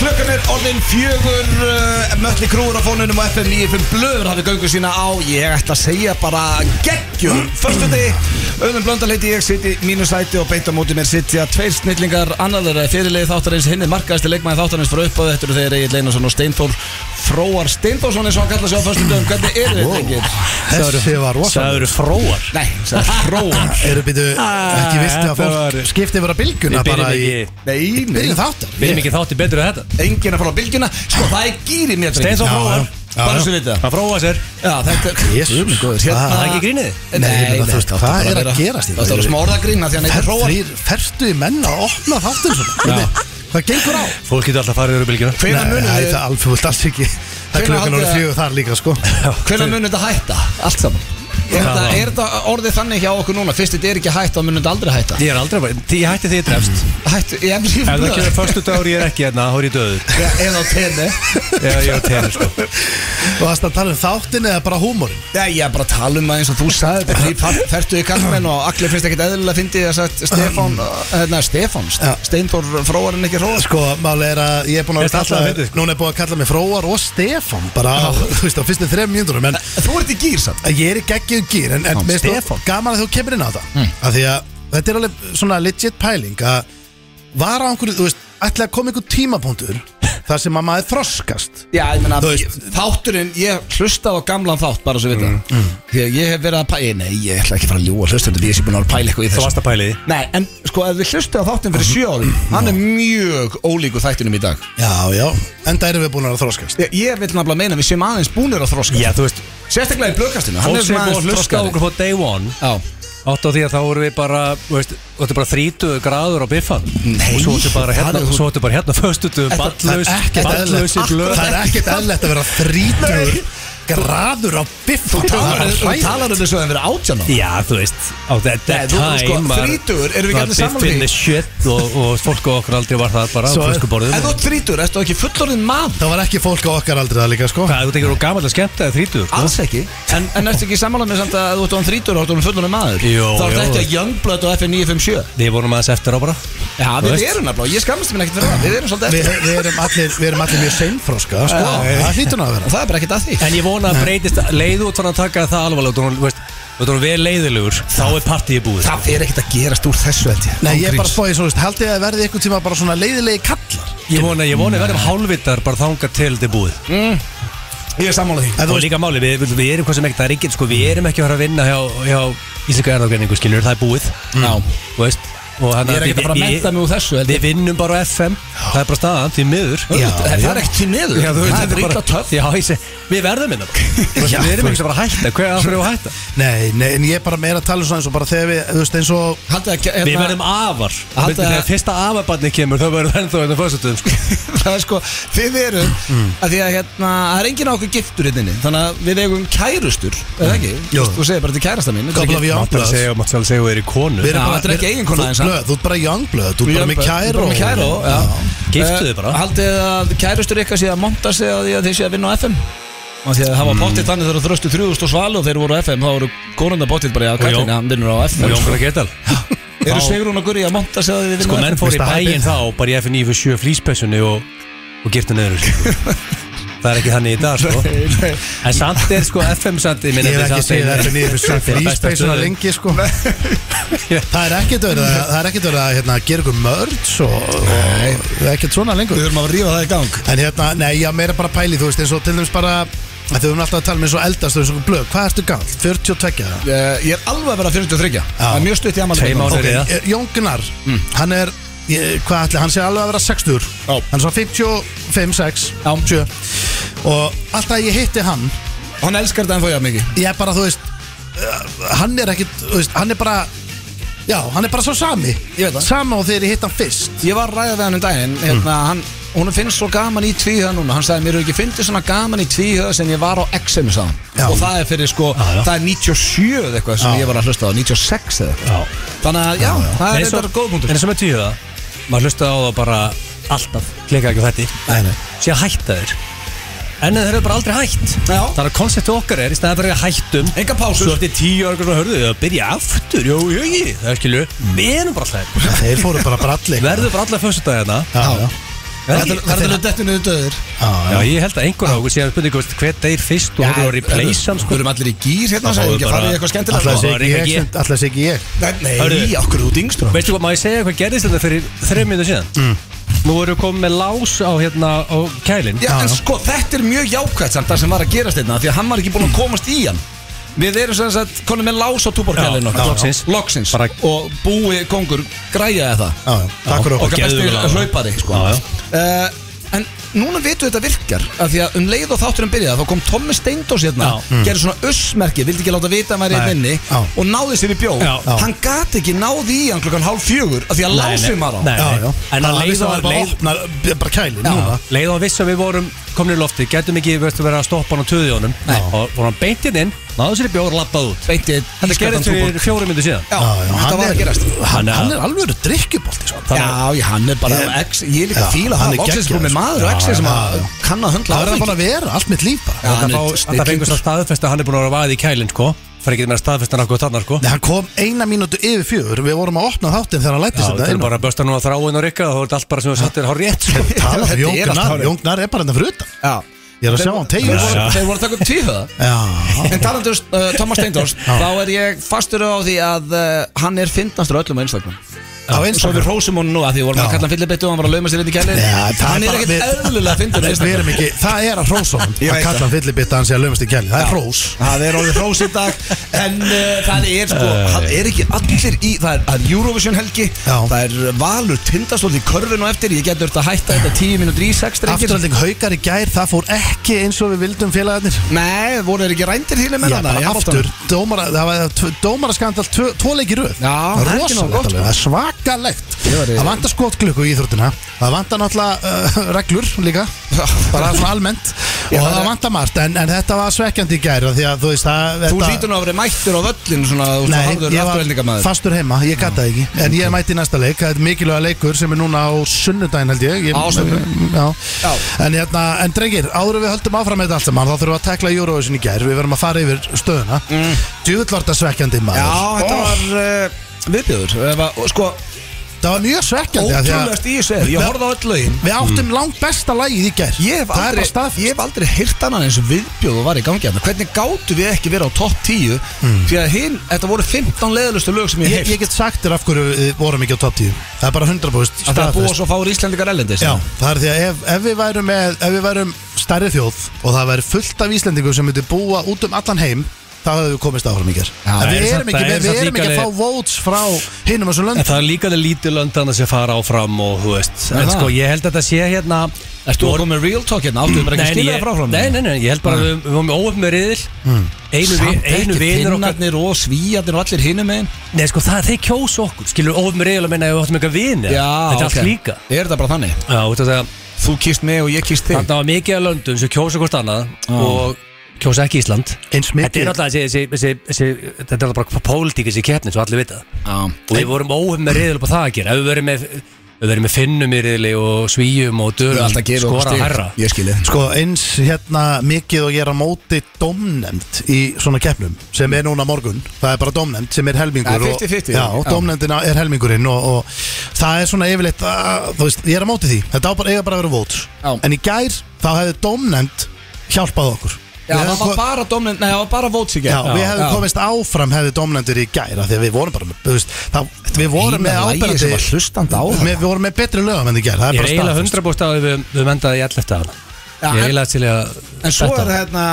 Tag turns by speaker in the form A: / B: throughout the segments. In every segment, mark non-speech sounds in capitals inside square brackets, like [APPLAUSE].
A: Ráðinn fjögur uh, Mötli krúur á fónunum og FM 95 Blöður hafði göngu sína á Ég ætla að segja bara geggjum Förstu degi, auðvitað blöndarleiti ég Sitt í mínu sæti og beint á móti mér sitja Tveir snillingar, annar þeirra er fyrirlegi þáttarins Hinn er markaðasti leikmaði þáttarins frá uppáði Þetta eru þeir Egil Einarsson og Steinþór Fróar Steinþórsson eins og hann kallar sig á förstu dögum Hvernig eru þeir drengir?
B: Þessi var rosa
C: eru fróar
A: Nei, sagði
B: [LAUGHS]
A: Fróar
B: Eru býtu ekki vist að
C: það var-
B: fólk skipti vera bylgjuna
C: Við
B: bara
C: byrjum
B: í
C: ekki,
A: Nei, nei,
B: Byrjum þáttar
C: byrjum ekki þátti betur að þetta
A: enginn að fara á bylgjuna Sko, það er gýri mér drengir.
C: Steinþór
B: Já,
C: fróar
B: já.
A: Bara svo við það
C: Hann fróa sér
A: Já, þetta er
B: Jésús góður
C: Það
B: hérna
C: er ekki grínið
B: Nei, ég meina, þú veist,
A: átti
B: hvað
A: bara
B: er að
A: vera-
B: gerast í
A: Það átti að vera
B: þessu?
A: smá orðagrín af því að neitt hróar
B: Þrýr ferstu í menn að opna þáttir svona Hvernig- Hvað gengur á?
C: Fólk getur alltaf farið yfir bylgjuna
A: Hvenær
B: Nei,
A: munum
B: það
A: við-
B: er alveg fullt alls ekki Það
A: Hvenær
B: er klukkan
A: haldið
B: orðið
A: að-
B: fjögur þar líka sko
A: Hvenær mun þetta hætta? Allt saman Er þetta, er þetta orðið þannig hjá okkur núna? Fyrst þetta er ekki hætt, þá mun þetta aldrei hætta
C: Ég er aldrei að fara- Því ég hætti því ég drefst
A: Hættu, ég hef líf
C: Ef það kemur förstu dagur ég er ekki hérna, þá er ég [LAUGHS] döður
A: Eða á tenni
C: Ég ég er á tenni sko
B: Og það að tala um þáttin eða bara húmórin
A: Já, ég er bara að tala um það eins og þú sagði þetta Því fer- fertu í kallmenn og allir finnst ekkit eðlilega Fyndi ég að sagt Stefán Nei, Stefán,
B: Já.
A: Steinþór fróar en ekki hróar
B: Sko, máli er að ég er búin að
C: Þetta er alltaf fyndið, sko.
B: Núna er búin að kalla mig Fróar og Stefán Bara, á, þú veist, á fyrstu þrejum mjöndurum En
A: Þú ert í gýr samt
B: Ég er í geggjum gýr En, en
A: Já,
B: mér finnst
A: Stefán.
B: þó gaman að þú kemur inn á það mm. Því að þetta er alveg svona legit pæling Að var á einhverju, þú veist Ætla að koma einhver tímapunktur Þar sem að maður þroskast
A: Já, ég meina,
B: Þú veist-
A: þátturinn, ég hlustaði á gamlan þátt bara svo við
C: Mm,
A: það Því að ég hef verið að pæla, nei, ég ætla ekki að fara að ljúa hlustundu Því ég sé búin að vera að pæla eitthvað í
C: Þú
A: þessu
C: varst að Mm, pæli því
A: Nei, en sko, ef við hlustu á þáttin fyrir sjö árum Hann er mjög ólíku þættinum í dag
B: Já, já, enda erum við búin að þroskast
A: Ég, ég vil nefnilega meina að við séum aðeins búnir að þroska
C: Já, þú veist
A: Sérstaklega í blökastinu Hann
C: Fólk
A: er
C: sem
A: svona
C: er
A: aðeins
C: búið að hlusta á
A: þroskari
C: okkur på day one
A: Já,
C: Átt á því að þá vorum við bara, þú veist, þetta er bara 30 gráður á biffan
A: Nei,
C: Og svo ertu bara
A: það
C: hérna,
A: er þú-
C: svo ertu bara hérna föstutum,
A: Þetta-
B: Það er
C: ballaus,
B: ekkert eðlilegt
C: ballausi blöð
B: Það er ekkert eðlilegt að vera þrítur Graður á biff
A: þú talar, þú talar um þessu að það verið átján á
C: Já, þú veist, á that,
A: Nei,
C: that
A: þú-
C: time
A: sko,
C: var-
A: þrítugur, erum við ekki
C: var
A: allir sammála
C: biffin
A: því?
C: the shit og, og fólk á okkur aldrei var það bara á
B: Svo-
C: flöskuborðum
A: En þú
C: og-
A: ert þrítur, ertu ekki fullorðin maður?
B: Það var ekki fólk á okkar aldrei það líka, sko
C: Hvað, þú tekir þú gamall að skemmta eða þrítugur?
A: Alls ekki En, en ertu ekki sammála með samt að ef þú ert án þrítur og ert án fullorðin maður?
C: Jó,
A: Þá ertu
C: jó.
A: ekki að Youngblood og FN957
C: Við vorum aðeins eftir á bara
A: Já,
C: Þú
A: við
C: veist.
A: erum nefnilega, ég skammast mér ekkert fyrir það Við erum svolítið
B: Við
A: eftir
B: við erum allir við erum allir mjög seinfroska, sko
A: Já.
B: Það hlýtur nú að vera
A: Og það er bara ekkert að því
C: En ég vona að breytist leið út fann að taka það alvarlega Þú veist, þú veist, við erum leiðilegur Þá er partíið búið
A: Það er ekkert að gerast úr þessu held ég
B: Nei, ég er bara
A: Ángríns.
B: spóið svo, veist, haldið þið að verði einhvern tíma bara svona leiðilegi kallar
C: Ég vona, ég vona að verðum hálfvitar bara þangað til þetta er búið
A: Ég er sammála því
C: Og líka máli, við, við, við erum hvað sem ekki, það er ekki, sko, við erum ekki að fara að vinna hjá, hjá Íslenska erðagreiningu, skiljur, það er búið,
A: Já
C: þú veist, og þannig
A: Ég er ekkert að fara að
C: við-
A: mennta mig úr þessu held
C: Við
A: ég
C: vinnum bara á FM, það er bara staðan, því miður
A: Já, Það
B: já.
A: er ekkert því miður
C: Já, þú veist,
A: Það er
C: þetta
A: illa töff
C: Já, ég seg, við verðum hérna [LAUGHS] innan Við
B: Já,
C: erum
B: þú
C: ekki bara að hætta, hver að fyrir að hætta?
B: Nei, nei, en ég er bara meira að tala um svona eins og bara þegar við, þú veist, eins og
A: Haldið að hérna-
C: Við
A: [LAUGHS]
C: verðum afar
A: Halda-
C: Haldi, Þegar fyrsta afarbarni kemur, þá verðum við ennþá ennþá fyrstutum sko.
A: Það er sko, við verum að því að hérna, það er enginn á okkur giftur hérna inni, þannig að við eigum kærustur eða ekki,
B: Jú.
A: þú segir bara þetta er kærasta mín þetta er
B: Couple of
A: ekki-
B: young
C: Mátt alveg
B: bloods
C: segja, mátt alveg segja, við erum í konu
B: Við erum
A: Já,
B: bara-
A: þetta er ekki
B: við-
A: eiginkona
B: þú-
A: eins og-
B: blöð, Þú ert bara young blöð, þú ert bara
A: Við
B: með
A: erum
B: kæru
A: bara með kæró já.
C: Giftu
A: Eh,
C: þið bara.
A: Haldið að kærustur ykkar sé að monta sig að því að þeir sé að vinna á Hmm. FM og því að það var bóttið þannig þegar þröstu 3000 og svalu og þeir voru á FM, þá voru konunda bóttið bara, já,
C: Jón-
A: kallin, hann vinnur á
C: Og
A: FM
C: Jón Gunnar Gerdal
A: Eru Sigrún og Guri að monta sig að þið
C: Sko,
A: vinna á
C: menn
A: FM?
C: fór í
B: Veist að
C: bæinn
B: hæpið.
C: þá, bara í FNI fyrir sjö flýspessunni og, og girtu neður sko. [LAUGHS] Það er ekki þannig í dag, sko En samt er, sko, FM samt Ég
B: Ég hef ekki segið þetta nýður fyrir fríspeysuna
C: lengi
B: lengi, sko [LAUGHS] Það er ekkert verið að, það er ekkert verið að hérna, gera ykkur mörds og, og það er ekkert svona lengur
A: Við erum að rífa það í gang
B: En hérna, nei, já, meira bara pæli, þú veist, eins og til dæmis bara að Þið höfum alltaf að tala með eins og eldast, þú veist, og blöð, hvað ertu galt? 42 eða?
A: Eh, Ég er alveg að vera 43 Það er mjög stutt í amal
C: Tveim árum.
B: Ok,
C: Þeir eru
B: eh, Jón Gunnar, hann er ég, hvað ætli, hann sé alveg að vera 60
A: Mm. Já.
B: hann er svo 55, 6
A: Já.
B: 7 og alltaf ég hitti hann
A: Hann elskar þetta en þó ég að mikið
B: ég er bara, þú veist eh, hann er ekkit, þú veist, hann er bara já, hann er bara svo sami
A: Ég veit það.
B: sama og þegar ég hitti hann fyrst
A: Ég var að ræða við hann um daginn
C: Mm.
A: hérna, hann, Hún finnst svo gaman í tvíhöða núna Hann sagði, mér hefur ekki fyndið svona gaman í tvíhöða sem ég var á X-inu sáðan
B: Já.
A: Og það er fyrir sko,
C: Já, já.
A: það er 97 eða eitthvað sem
B: Já.
A: ég var að hlusta á 96 eða eitthvað
C: Já.
A: Þannig að, já, það
C: En
A: er
C: eins og-
A: þetta góð
C: En
A: punktur
C: eins og með tíuða Maður hlusta á það bara alltaf Klika ekki á þetta
B: Nei, nei.
C: Sér hætta þeir En þeir eru bara aldrei hætt
A: Já.
C: Þannig að konceptu okkar er Í stæðan fyrir að hættum
A: Enga
C: Svo
A: pásur
C: eftir tíu ára Svo hörðu þau að byrja aftur Jó, jó, jó Það er skilju Við erum bara alltaf hérna.
B: þeir fóru bara bralli [LAUGHS]
C: Verður bara alltaf fyrstu dag hérna
B: Já, já.
A: Það er það er að dettu niður döður
C: Já, ég held að einhver á okkur sé að spurninga veist, hver deyr fyrst og hefur að replace hann sko.
A: Við erum allir í gýr hérna
C: Það
A: Það
C: fáum
A: er
C: við
A: ekki að
C: bara-
A: fara í eitthvað skemmtilega sko.
B: Alltaf
C: Ætlaði að
B: sé
C: var
B: ekki
C: ekki
B: ég
C: ég.
B: sem- ætli það sé ekki ég
A: Nei,
C: Hörðu.
A: nei, okkur er út yngstur
C: Veistu hvað, má ég segja hvað gerðist þetta fyrir þrejum minnum síðan?
A: Mm.
C: Nú erum við komið með lás á, hérna, á kælinn
A: Já, en sko, þetta er mjög jákvæmt samt það sem var að gerast hérna Því að hann var ekki búin að komast í hann Við erum sem sagt, konum með lás á túborkælinu
C: Já, já, loksins.
A: Loksins
C: Bara-
A: Og búi kongur, græja það
B: Já, já, takk
A: Okkar
B: fyrir okkur
C: ok.
A: besti
C: geðveikur lagaður.
A: hlaupari sko.
C: Já, já.
A: Eh, En núna vitum við þetta virkar af Því að um leið og þátturinn byrjaði Þá kom Tommi Steindós hérna
C: Já.
A: Gerði svona ussmerki, vildi ekki láta vita að maður er
C: Nei.
A: inni
B: Já.
A: Og náði sér í bjó
C: Já. Já.
A: Hann gat ekki náði í hann klukkan hálf fjögur af Því að lásið maður á
C: Nei,
B: Já, já.
C: nei. En að
B: Hann
C: leið
B: vissi
C: og
B: að bara
C: leið
B: opnar eh, bara kæli
C: Já,
B: núna
C: leið og hann vissi að við vorum komin í lofti Gætum ekki veistu, verið að stoppa hann á töði honum
A: Nei.
C: Og voru hann beintinn inn, náðu sér í bjór og labbað út
A: Beinti
C: Þetta
A: ískaldan
C: gerðist
A: túborg.
C: fyrir fjórum minnum síðan
A: Já,
B: Já, já,
A: þetta
B: hann
A: var að
B: er-
A: gerast
B: Hann,
C: Þannig að-
B: hann er alveg drikkjubolti sko.
C: Þannig að-
A: Já, já, hann er bara
B: Ég-
A: ex, Ég er líka
B: Já,
A: að fíla
B: hann
A: það
B: er
A: Loksins
B: geggjaður,
A: komið
B: sko.
A: maður
B: Já,
A: exið sem
B: já,
A: að
B: já.
A: kann að höndla
B: Það er hann
A: áfengi
B: bara að vera allt mitt líf bara
A: Já.
C: Þetta
A: hann er
C: fá- þetta
A: snillingur.
C: fengist að staðfesta að hann er búin að vera vaðið í kælinn sko Það er ekki með að staðfesta hann okkur þarna sko
B: Nei, hann kom eina mínútu yfir fjögur Við vorum að opna þáttinn þegar hann
C: Já,
B: lættist
C: þetta
B: þetta
C: er
B: inn
C: bara að bösta nú að þráin og rikka Það er allt bara sem við sattir hár
A: [LAUGHS]
C: rétt sko
B: [LAUGHS] Tala
A: Þetta
B: um
A: er allt
B: Jóngnar
A: hárið.
B: Jóngnar er bara hérna fyrir utan
A: Já.
B: Ég er að
A: Þeir-
B: sjá hann
A: þeir
B: tegja
A: voru-
B: sig.
A: Þeir voru að taka upp tvíhöða
B: Já
A: En talandi um uh, Thomas Steindors Þá er ég fastur á því að uh, Hann er fyndnastur á öllum á Instagram
B: Á
A: Svo við
B: Instagram
A: rósum hún nú að því vorum að
B: Já.
A: kalla hann fyllibittu Og hann var að lauma sér inn í kæli
B: Já, það
A: Hann er
B: bara-
A: ekkert
B: við-
A: eðlilega fyndin á
B: Nei, við
A: Instagram
B: erum ekki, það er að hrósa hann
A: Ég
B: að
A: veit
B: kalla hann fyllibitta hans í að löfumst í kæli það er hrós
A: Það er orðið hrós í dag En uh, það er sko Það er ekki allir í Það er, það er Eurovision helgi
B: Já.
A: Það er valur tindastóð í körfinu eftir Ég getur þetta að hætta þetta 10 mínútur í 6 drengir
B: afturhalding haukar í gær, það fór ekki eins og við vildum félagarnir
A: Nei, voru þeir ekki rændir þínu með
B: Já,
A: hana?
B: bara aftur, dómara, það var tv- dómaraskandal tvö, tvo leiki röð
A: Já, það
B: það er
A: er ekki nógu
B: rosalegt
A: gott,
B: alveg,
A: sko.
B: það er svakalegt
A: Ég var í-
B: það vantar skotglöku í Íþróttina það vantar náttúrulega uh, [LAUGHS] reglur líka bara svona almennt
A: Já,
B: og
A: það er-
B: það vantar margt, en, en þetta var svekkjandi í gær af því að þú veist það
A: Þú
B: þetta-
A: lítur nú að vera mættur á völlin svona, þú veist,
B: Nei,
A: harður
B: ég var
A: afturveldingamæður
B: fastur heima, ég gata ekki
A: Mm,
B: En ég mæti í næsta leik, það er mikilvæga leikur sem er núna á sunnudaginn held ég, ég
A: Á sunnudaginn.
B: já.
A: Já.
B: En, hérna, en drengir, áður en við höldum áfram með þetta allt saman Þá þurfum við að tekla Eurovision í gær Við verðum að fara yfir stöðuna mm. Djúvill var þetta svekkjandi maður
A: Já, þetta
B: Ó,
A: var uh, viðbjöður Ef að- og Sko,
B: Það var mjög svekkjandi af því að
A: ótrúlegast Mm. í þessu er Ég horfði á öll lögin
B: Við áttum langt besta lagið í gær
A: Ég hef
B: Það er
A: aldrei,
B: bara staðfest.
A: ég hef aldrei hýrt annað eins og viðbjóð og var í gangi hérna Hvernig gátu við ekki verið á topp 10 Því að hinn, þetta voru 15 leðlustu lög sem ég
B: Ég,
A: hef
B: ég get sagt þér af hverju við vorum ekki á top 10 Það er bara
A: Að
B: 100%
A: það er
B: staðfest.
A: búið svo fáur Íslendingar ellendis
B: Já, það er því að ef, ef, við værum með, ef við værum stærri þjóð og það væri fullt af Íslendingum sem myndi búa út um allan heim þá hefðu við komist áfram ykkar
C: það
B: En við
C: er samt-
B: erum ekki,
C: það er
B: við, við
C: samt
B: erum ekki að
C: líka
B: fá votes frá hinum þessum
C: En
B: lönd
C: það er líka það lítið löndana sem fara áfram og þú veist
A: Er
C: En
A: það?
C: sko ég held að þetta sé hérna
A: Ertu að koma með real talk hérna, áttu við bara ekki að
C: Nei,
A: skilja
C: ég-
A: það frá frá
C: Nei, nei, nei, ég held bara að við við vorum óöfn með riðil Einu, vi,
A: Samt
C: einu
A: ekki,
C: vinur okkar
A: finnarnir og svíjarnir og allir hinum einn
C: Nei, sko það, þeir kjósa okkur Skilur óöfn með riðil að minna ef við áttum eitthvað vini
A: Já,
C: Þetta er
A: ok.
C: allt líka
A: Er þetta bara þannig?
C: Já, þú veist að það
A: Þú kýrst mig og ég kýrst þig
C: Þarna var mikið af löndum sem kjósa hvort annað Og kjósa ekki Ísland
B: eins
C: Þetta er
B: mikið
C: náttúrulega þessi, þessi, þessi, þessi Þetta er náttúrulega bara pólitík þessi keppnin Svo allir vita það
A: Já.
C: Og við vorum óöfn með riðil upp á það að gera Ef við verðum með, ef við verðum með finnum í riðli og svíjum og
A: Við erum
C: dölum
A: alltaf að gefa okkur
C: Skora
A: stig.
C: herra
A: Ég skilji
B: Sko eins hérna mikið og ég er á móti domnefnd í svona keppnum sem er núna morgun, það er bara domnefnd sem er helmingur
A: Það er
B: og-
A: 50-50.
B: Já,
A: Já.
B: domnefndina er helmingurinn og, og það er svona yfirleitt að, þú veist, ég er á móti því, þetta á bara, eiga bara að vera votes
A: Já.
B: en í gær þá hefði domnefnd hjálpað okkur
A: Já,
B: Við
A: það
B: hefðum
A: var
B: ko-
A: bara domnin, nei, það var bara votes í
B: Já,
A: gerð
B: við hefðum komist áfram hefði domnendur í gæra því að við vorum bara með, þú veist, það, við vorum með
A: eina lagið
B: áberandi
A: sem var hlustandi á
B: með, Við vorum með betri lögum en þið gæra, það
C: Ég
B: er
C: er
B: bara
C: eiginlega
B: staðfest.
C: hundra búst að við, við mendaði í allefta hana
A: Já,
C: Ég er
A: en-
C: eiginlega til í að
A: En svo er
C: þetta.
A: hérna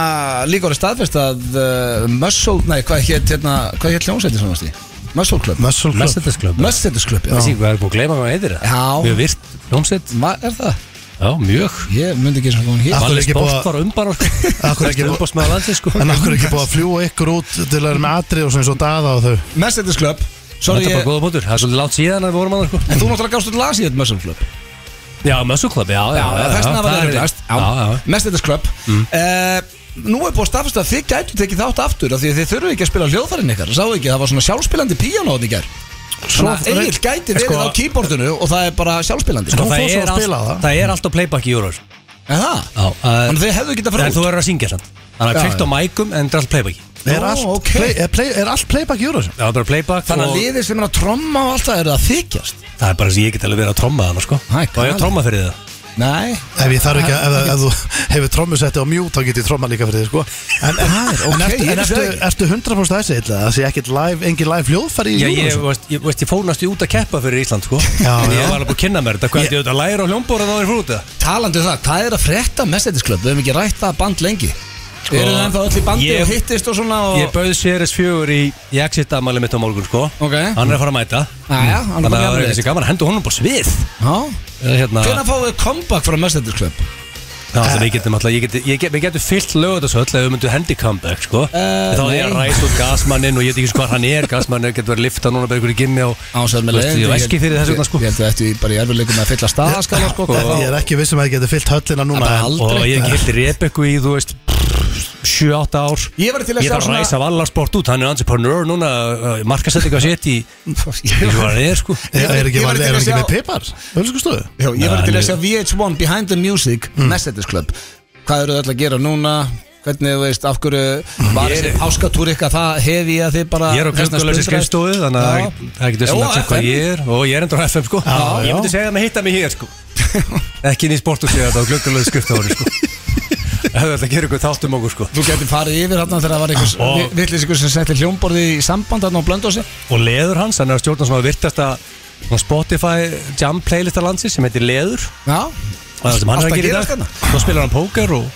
A: líka orðið staðfest að uh, Muscle, nei, hvað hétt hérna, hvað hétt hljómsveitin sem varst í? Muscle Club
B: Muscle Club.
C: Messenders Club Messenders
A: Muscle Club, já
C: Club Við erum búin að gleyma hvað heitir það
A: Já.
C: Við erum virt hljómsveit
A: Hvað er það?
C: Já, mjög
A: Ég myndi ekki sem hún hér
B: Af hverju
C: Valli
B: ekki búið að-
C: Sport var umbar
B: hverju ekki búið-
C: Umbars með landi sko
B: En okkur er ekki búið að fljúa ykkur út til að vera með atri og svona eins og daða og þau
A: Muscle Club,
C: Þetta
A: sorry
C: er bara
A: ég
C: góða bútur Það er svolítið látt síðan að við vorum að það sko
A: En þú náttúrulega gafst út las í þetta Muscle Club
C: Já, Muscle Club, já, já, já
A: þess vegna var
C: það
A: það
C: er-
A: reyndast
C: Já, já Mm.
A: Mestendis Club Eh, Nú er búið að staðfesta að þið gætu tekið þátt aftur af því að þið þurfu ekki að spila hljóðfærin ykkar Sáu ekki, það var svona sjálfspilandi píanóðn í gær Þannig að Egil gæti verið
C: Sko-
A: á keyboardinu og það er bara sjálfspilandi sko.
C: Og
B: Hún
C: Sko, það
B: fór svo
C: er
B: að spila
C: allt-
B: það.
C: Það er alltaf playback í Euros
A: Er það?
C: Já, eh,
A: Þannig að þið hefðu getað
C: En
A: farið
C: þú
A: út
C: verður að syngja samt Þannig
A: Já,
C: að kveikt
A: já.
C: á mækum en þetta er alltaf playback Já,
B: Er,
A: Nú,
B: allt,
A: ok.
B: play, er, play, er allt playback í Eurovision?
C: það er bara playback
A: Þannig
C: og-
A: að liðið sem er að tromma og allt það eru að þykjast
C: Það er bara sem ég get alveg verið að tromma þarna sko
A: Hæ,
C: Og ég
A: galið.
C: tromma fyrir það
A: Nei
B: Ef ég þarf ekki að, ef, ef þú hefur trommusetti á mjút þá get ég tromma líka fyrir þig sko En, en,
A: Það er ok,
B: en ertu,
A: ég
B: en
A: vissi
B: ertu,
A: það ekki.
B: ertu 100% þessi eitthvað? Það sé ekkit live, engin live hljóðfæri í
C: Já, ég,
B: Eurovision?
C: veist, ég, veist, ég fór næstu út að keppa fyrir Ísland sko.
B: Já,
C: En ég
B: já.
C: var alveg búin að kynna mér þetta Hvað er þetta að læra á hljómbóra þá er frútið
A: Talandi um það, hvað er að frétta mestendisklöp? Við hefum ekki rætt það band lengi sko, Eru það ennþá öll í bandi
C: ég-
A: og hittist og svona og...
C: Ég bauð Seres 4 í, í exit amæli mitt á morgun sko.
A: Ok.
C: Hann er að fara að mæta
A: Jæja, hann er
C: Þannig að
A: bara
C: það
A: gammal
C: er
A: þitt.
C: þessi gaman að henda honum bara svið
A: Já
C: Eh, hérna,
A: Hvernig fáum við comeback frá mestendisklöp?
C: Já, það við getum alltaf, ég get, ég get, við getum fyllt lögutasöll ef við myndum hendi comeback, sko
A: Eh,
C: Þá er ég að
A: nei.
C: ræsa út gasmanninn og ég veit ekki hvað hann er Gasmanninn getur verið að lifta núna bara ykkur í gimmi og
A: Ásæð með
C: Þú veist, Ég veski fyrir þessu vegna, sko
A: Ég held að þetta er bara í erfiðleikum að fylla staðaskala sko
B: En Ég er ekki vissum að ég geti fyllt höllina núna
A: Bara
B: en-
A: aldrei.
C: Og ég hef hilt Rebekku í, þú veist, 7-8 ár
A: Ég var til að
C: Ég
A: sjá
C: þarf að
A: svona- [LAUGHS]
C: ræsa vallarsport út, hann er entrepreneur núna eh, Markasettinga sitt [LAUGHS] í, eins og hann er, sko
B: Er
A: Ég-
B: er ekki,
A: ég var
B: er,
A: til
B: er
A: að
B: ekki
A: sjá-
B: með pipar? Ölskustofu?
A: Já, ég var
C: Nei,
A: til að
C: ég-
A: lesa VH1 Behind the Music mm. Club Hvað eru þau öll að gera núna? Hvernig, þú veist, af hverju var
C: Mm. Ég er-
A: þessi páskatúr ykkar það hefi ég að þið bara Hérna,
C: Ég er á kjöngulösi skrifstóðu, þannig að það getur svona að segja hvað ég er Og ég er endur á FM, sko
B: Já,
C: Ég
B: já.
C: myndi segja hann að hitta mig [LAUGHS] hér, sko Ekki inn í hérna, sportu segja þetta á kjöngulösi skrifstóðu, [LAUGHS] sko Það er alltaf að gera ykkur þátt um okkur, sko
A: Þú getur farið yfir hérna þegar það var
C: Ó.
A: einhvers vittlisingur sem setti hljómborði í samband hérna á blöndósi
C: Og leður hans, hann er að stjórna svona virtasta svona Spotify jam playlista landsins sem heitir Leður
A: Já
C: Og það sem hann er
A: Allt að
C: að gera í
A: gerast
C: dag
A: hérna.
C: Svo spilar hann póker og,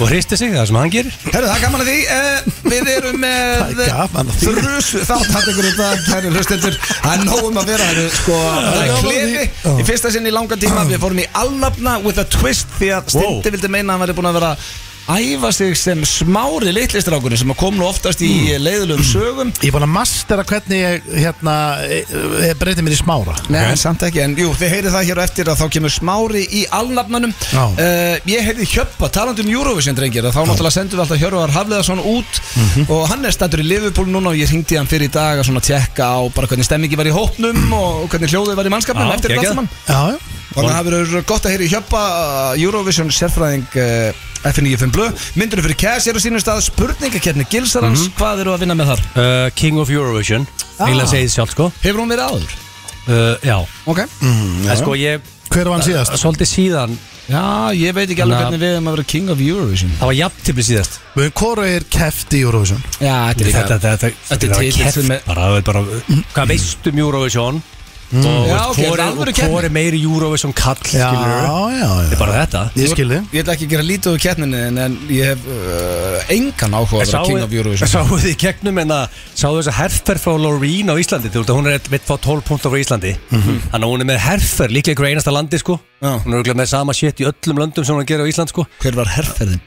C: og hristi sig, það er sem hann gerir
A: Herru, það er gaman að því uh, Við erum
B: [LAUGHS] Það
A: með
B: er gaman að því.
A: Þrjus þátt hatt ykkur út að kæri hlustendur Það er nógum að vera herru, sko, Það er
B: gaman að
A: klefi
B: því.
A: Í fyrsta sinn í langan tíma Við fórum í allafna with a twist Því að Stindi
C: Wow.
A: vildi meina að hann væri búin að vera að Æfa sig sem smári litlistrákunni Sem að kom nú oftast í
B: Hmm.
A: mm. leiðulegum sögum
B: Ég er búin að mastera hvernig ég hérna, e- e- breyti mér í smára
A: Nei, en samt ekki, en jú, þið heyrið það hér á eftir að þá kemur smári í alnafnanum
B: Já.
A: uh, Ég heyrði hjöppa, talandi um Eurovision drengir að þá náttúrulega sendum við alltaf Hjörvar Hafleðarsson út og hann er stættur í Liverpool núna og ég hringdi hann fyrir í dag að svona tjekka á bara hvernig stemmingi var í hópnum og hvernig hljóðið var í mannskapnum
C: Já,
A: eftir þetta allt
C: geggjað.
A: saman
B: Já, já
A: Þannig að það verður gott að heyra í hjöppa uh, Eurovision sérfræðing uh, F95 Blö Myndurinn fyrir Cash er á sínum stað spurningakerni Gilsarans, hvað eru að vinna með þar?
C: uh, King of Eurovision,
A: Ah.
C: eiginlega segið sjálf, sko
A: Hefur hún verið áður? Mm.
C: uh, Já,
A: Okay.
C: en sko ég
B: Hver var hann síðast?
C: Svolítið síðan,
A: Já, ég veit ekki alveg
C: Na-
A: hvernig við erum að vera king of Eurovision
C: það var jafntibli síðast
B: Við höfum kóru er keft í Eurovision
A: Já, þetta er líka
C: þetta, þetta,
A: Þetta er
C: bara
A: titill
C: keppt
A: sem er-
C: bara, það er bara, Hvað veistu um Eurovision mm.
A: Já,
C: og veist,
A: ok, þetta
C: hvor
A: er
C: er-
A: alvöru
C: og hvor er meiri Eurovision kall
B: Já,
C: skilurðu?
B: já,
C: Þetta er
B: já
C: bara þetta
B: Ég skil þið
A: Ég ætla ekki að gera lítið úr kettninni en, en ég hef uh, engan áhuga að vera king of
C: [LAUGHS]
A: Eurovision
C: Sáu þið í hérna, gegnum en að Sáu þess að herfer frá Loreen á Íslandi Þú veist að hún er mitt fá 12 púntar frá Íslandi Þannig að hún er með herfer líklega ykkur einasta landi sko
A: Mhm. Já.
C: Hún er örugglega með sama shit í öllum löndum sem hún er að gera á Ísland sko
A: Hver var herrferðin?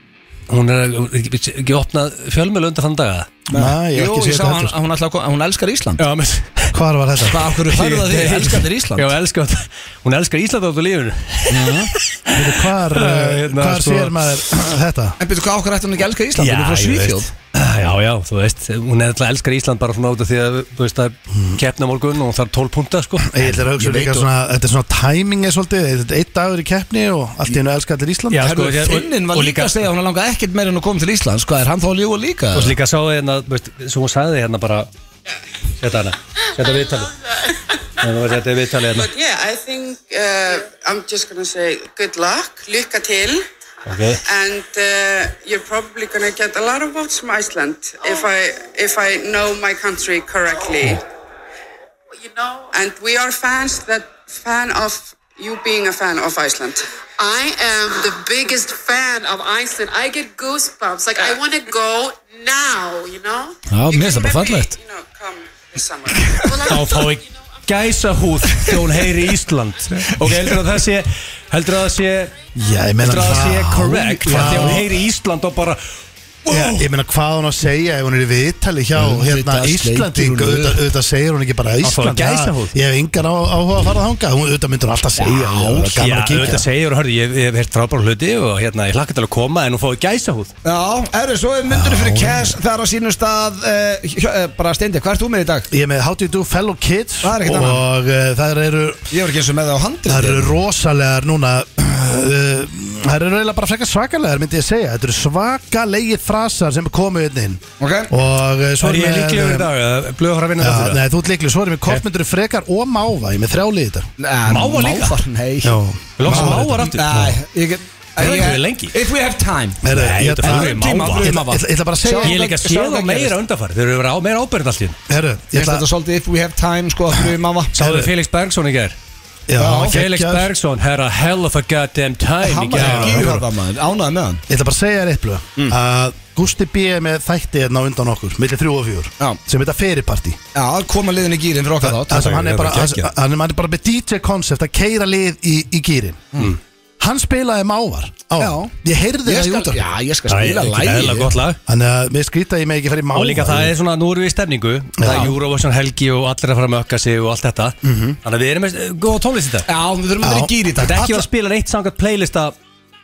C: Hún er ekki, ekki opnað fjölmjölu undan þann daga
B: Nei, ég hef
A: Jú, ég
B: ekki
A: sá
B: séð þetta
A: hann,
B: heldur.
A: að hún, ætlaði að ko- að hún elskar Ísland
C: Já, menn
B: Hvar var
A: [LAUGHS]
B: þetta?
A: Hvað, af hverju færðu það þig? Elskar þér Ísland?
C: [LAUGHS] Já, elskar þetta. Hún elskar Ísland áttu lífinu
B: Veitu, Hvar,
C: Já,
B: eh,
C: hérna,
B: hvar
C: sko.
B: sér maður þetta?
A: En betur hvað okkur ætti hún ekki að elska Ísland? Hún er frá
C: ég
A: Svíþjóð
C: veist. Ah, Já, já, þú veist, hún er alltaf elskar Ísland bara svona út af því að, þú veist, það er keppna morgun og hún þarf 12 punta, sko
B: Ég ætla að hugsa
A: Ég veit
B: líka
A: þú-
B: svona, þetta er svona timing er svolítið, þetta er eitt dagur í keppni og allt í hennu elska allir Ísland
C: Já, sko,
A: Herru,
C: ég- og-
A: Finnin var
C: og
A: líka
C: líka-
A: að segja að hún langa ekkert meira en að koma til Íslands Hvað er hann þá að ljúga líka?
C: Og svo líka sá þið hérna, þú veist, sem hún sagði hérna bara Setta hana, setta viðtali Setta viðtali hérna
D: But yeah, I think uh, I'm just gonna say good luck, lycka til,
C: okay.
D: and uh, you're probably gonna get a lot of votes from Iceland if I if I know my country correctly.
E: you know,
D: And we are fans that fan of you being a fan of Iceland.
E: I am the biggest fan of Iceland. I get goosebumps. Like, I want to go now, you know?
A: Já, mér finnst það bara
D: Maybe,
A: fallegt
D: You know, come this summer.
A: [LAUGHS]
E: Well, I
C: Þá fá ég gæsa húð þegar hún heyri Ísland Ok, heldur að það sé Heldur að það sé
B: Já, ég meina
C: Heldur að það sé
B: já,
C: correct
B: já.
C: Þegar hún heyri Ísland og bara
B: Já, ég meina hvað hún á að segja ef hún er í viðtali hjá hérna
A: Auðvitað
B: Íslanding
A: sleikir hún
B: auðvitað auðvitað segir hún ekki bara Ísland
C: fór að
B: ja,
C: gæsahúð.
B: ég hef engan á, áhuga að fara þangað hún auðvitað myndur alltaf segja já, það er gaman
C: Já,
B: að
C: þetta
B: kíkja
C: segir og hörðu, ég ég hef heyrt frábæra hluti og hérna, ég hlakka til að koma en hún fái gæsa húð
A: Já, erðu, svo er myndurinn fyrir Cash Það er á sínum stað uh, hjö, uh, Bara steindi, hvað ert þú með í dag?
B: ég er með How do you do fellow kids
A: Það er ekkert
B: og uh, það eru
A: Ég var ekki eins og með það á handrið
B: það eru rosalegar núna uh, [CLEARS THROAT] Það eru eiginlega bara frekar svakalegar myndi ég segja Þetta eru svakalegir frasar sem komu hérna inn
A: Ok.
B: Og eh, svo
C: Það er ég
B: með-
C: líklegur í dag eða Blöð har að vinna
B: Já,
C: það
B: Nei, þú ert líklegur, svo erum við kortmyndur frekar og máva Ég er með þrjá liði þetta
A: Mávar
C: líka?
A: Mávar, nei
C: Loks
B: Mávar.
C: mávar aftur
A: Nei, ég get
C: Það er
A: ég-
C: ekki lengi.
A: If we have time
B: Heyrðu,
C: Nei,
B: ég-
C: þetta er
B: ég-
C: alveg máva.
B: ég- ég- Ég ég ætla bara að segja
C: Ég er líka
A: Sjáðu
C: séð á
A: það gerist.
C: meira undanfari Þeir eru verið á meira ábyrðin allt í enn
B: Heyrðu,
A: Ég
B: ég
A: veist þetta
B: ætla Ah,
A: svolítið if we have time sko að fyrir máva
C: Sáðu Felix Bergson í gær
B: Já, hann
C: Felix
B: geggjaður.
C: Bergson had a hell of a goddamn time í
A: Hann var
C: gær
A: ekki í það maður, ánæði með hann
B: Ég ætla bara að segja þér eitthvað
C: Mm.
B: að Gusti B. er með þætti hérna á undan okkur millir 3 og 4
A: Já.
B: sem heita Feriparti
A: Já, koma liðin í gýrin fyrir okkar
B: það
A: þátt
B: sem hann er
C: það er
B: bara
C: bara
B: það sem-
C: geggjað.
B: hann er- hann er bara með DJ koncept að keira lið í, í gýrin hann spilaði mávar á
A: Mm. Já.
B: ég heyrði
A: Ég
B: það í
A: skal,
B: útar
A: já, ég skal
C: Það er
A: spila
C: ekki eðla
A: lægi
C: gott lag
B: þannig að mér skrýta að ég með ekki farið
C: Og
B: mávar
C: líka það er svona, nú erum við í stemningu Það er Eurovision helgi og allir að fara að mökka sig og allt þetta
B: Mhm.
C: Þannig að við erum með eh, góða tónlist í dag
A: Já, við þurfum að
B: Já.
A: vera í gýri í
C: Þetta
A: dag
C: er ekki að spila neitt sangat playlist af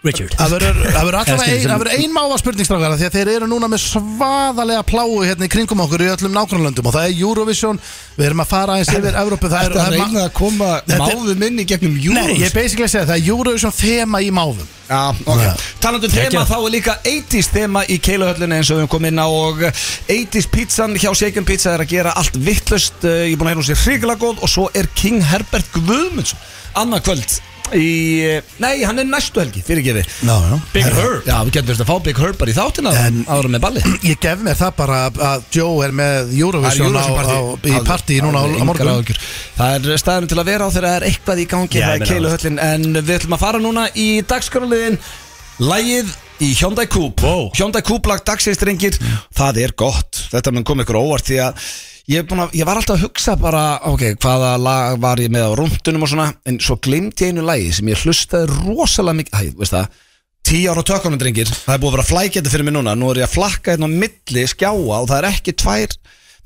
C: Richard
B: Það verður það
A: [LAUGHS]
B: verður
C: Eða
B: allavega
C: skilur
B: ein,
C: sem-
B: það verður ein máva spurningstrákara því að þeir eru núna með svaðalega pláu hérna í kringum okkur í öllum nágrannlöndum og það er Eurovision, við erum að fara aðeins yfir Evrópu, það er,
A: Þetta
B: það er
A: reyna að koma
B: Þetta er-
A: máðum inn í gegnum júrus
B: Nei, ég er basically að segja það er Eurovision þema í máfum
A: Já, ok
B: Já.
A: Talandi um þema,
C: Geggjað.
A: þá er líka 80s þema í keiluhöllinu eins og við höfum komið inn á og 80s pizzan hjá Shaken Pizza er að gera allt vittlust Ég er búin að hérna sér hrigilega góð og svo er King Herbert Guðmundsson annað kvöld í, eh, nei, hann er næstu helgi, fyrir gefið
B: Já, já.
C: Big
B: Herra,
C: Herb
A: Já, við getum þurft að fá Big Herb bara í þáttina
B: En-
A: ára með balli
B: Ég gef mér það bara að- að Joe er með
A: Það er
B: Eurovision á, á,
A: Eurovision-partí.
B: í partí núna á,
A: Alveg
B: á
A: engar
B: morgun
A: áhyggjur. Það er staðinu til að vera á þegar það er eitthvað í gangi
C: Já,
A: Það
C: ég
A: er
C: meina
A: keiluhöllin En við ætlum að fara núna í dagskraliðin Lægið í Hyundai Coupe
C: Wow.
A: Hyundai Coupe lag dagsinstrengir Það er gott Þetta mun kom ykkur á óvart því að Ég, er búinn að, ég var alltaf að hugsa bara, ok, hvaða lag var ég með á rúndunum og svona En svo glimti ég einu lagi sem ég hlustaði rosalega mikið Æ, veist það, tíu ára tökunum drengir Það er búið að vera að flækja þetta fyrir mig núna Nú er ég að flakka hérna á milli skjáa og það er ekki tvær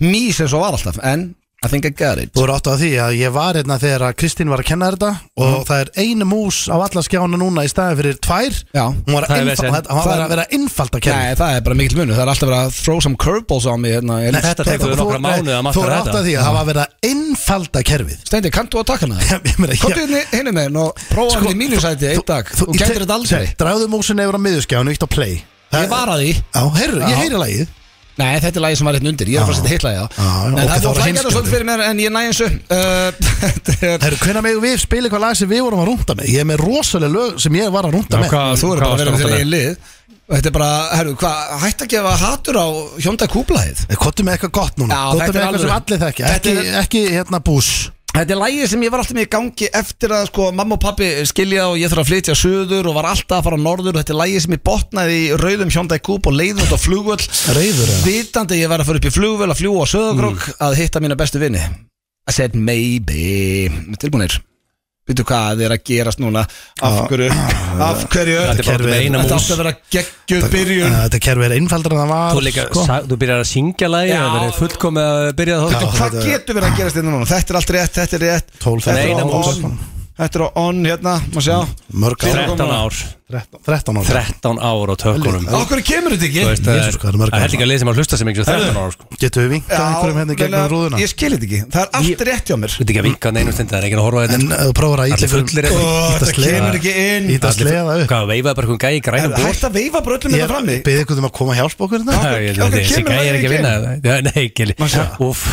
A: mís eins og var alltaf En I think I got it
B: Þú eru átt á því að ég var hérna þegar að Kristín var að kenna þetta og
A: Mhm.
B: það er einu mús á alla skjána núna í staði fyrir tvær
A: Já.
B: Hún var
C: Það er
B: að,
C: vesen.
B: innfa- hún
A: Það
B: var
A: er-
B: að vera innfald að kenna
A: Nei, það er bara mikill munur, það er alltaf verið að throw some curveballs á mig hérna, ég-
C: þetta tekur við nokkra mánuði að
B: Þú
C: matta
B: eru átt
C: þetta
B: að því að það var að vera innfalda kerfið [LAUGHS]
A: Steindi, kanntu að taka hana? hérna
B: Ég meina, ég- Sko,
A: Kottu henni henni með henni og prófa henni í mínu sæti einn dag Þú
B: ég te-
A: gætir þetta aldrei
B: seg, Dragðu músin yfir á miðurskjánu, ítt á play
A: Ég var að því
B: Já, heyrðu,
A: Já.
B: ég heyri lagið
A: Nei, þetta er lagið sem var hérna undir, ég er að fara að setja hitla í það
B: Já, já,
A: En það er búið
B: ok, þá var
A: að flækja þetta
B: heimskjöldur.
A: svolítið fyrir mér en ég næ einsu [LAUGHS] uh,
B: Herru, hvenær megum við spila eitthvað lag sem við vorum að rúnda með? Ég er með rosalega lög sem ég var að rúnda með
C: hvað-
A: Þú eru bara
C: hvað
A: að vera með
C: varstu
A: þér
C: með?
A: eigin lið Og Þetta er bara, herru, hvað, hætt að gefa hatur á hjónda kúblaðið
B: Kottu með eitthvað gott núna
A: Já,
B: Kottu
A: þetta
B: með
A: er
B: eitthvað sem
A: alvöru.
B: allir þekki
A: Þetta
B: ekki,
A: er-
B: ekki hérna bús
A: Þetta er lagið sem ég var alltaf með í gangi eftir að sko mamma og pappi skilja og ég þurfa að flytja söður og var alltaf að fara norður og þetta er lagið sem ég botnaði í rauðum Hyundai Coupe og leiði út á flugvöll
B: Reyður eða?
A: Vitandi að ég var að fara upp í flugvöll að fljúa á söðurkrók
C: Mm.
A: að hitta mína bestu vini I said maybe Tilbúinir Veitu hvað er að gerast núna Af hverju Af hverju
C: Ah, Þetta er bara með eina
A: Þetta
C: mús
A: átti að vera geggjöð byrjun
B: Eh, Þetta kerfi er einfaldar en það var sko.
C: Þú, líka, sa- þú byrjar að syngja lagi
A: Já.
C: Það verður fullkomið að byrja þá
A: Veitu, Hvað getur verið að gerast þetta núna Þetta er allt rétt, þetta er rétt
B: 12,
A: Þetta er
C: Eina
A: á
C: mús.
A: on Þetta er á on hérna, má sjá
C: Mm.
B: Mörg ár
C: 13 ár
B: 13 ára
C: 13 ár á tökunum
A: Okkur kemur þetta
C: Þú
A: ekki
C: veist, það
B: Jesus,
C: er-
B: hvað er mörg
C: það
B: ár?
C: er líka lið sem að hlusta sem einhverjum 13 ár sko.
B: Getur við vinkað einhverjum hérna í gegnum
A: meina,
B: rúðuna?
A: Ég skil þetta ekki, það er allt rétt hjá mér
C: Þú veit ekki að vinka hann einu stund Það er ekki að horfa að
B: En
C: þetta
B: ef þú prófar að
C: Allir
B: ýta fyrir-
C: fullir
B: Ó, ýta
C: eru.
A: Þetta
B: sleða-
A: kemur ekki inn.
B: Ýta
C: Allir-
B: sleða upp
C: Hvað veifaði bara einhvern gæi í grænum ból
A: Hætt að veifa bröllum
B: Ég
A: þetta Hérna frammi
B: beðið ykkur um að koma að hjálpa okkur
A: Já.
B: hérna
A: Okkur-
C: Ég-
A: okkur
C: Þessi
A: kemur
C: gæi
A: það
C: er ekki að
A: ekki
C: vinna Já, Nei, Gili
A: Massa.
C: Úff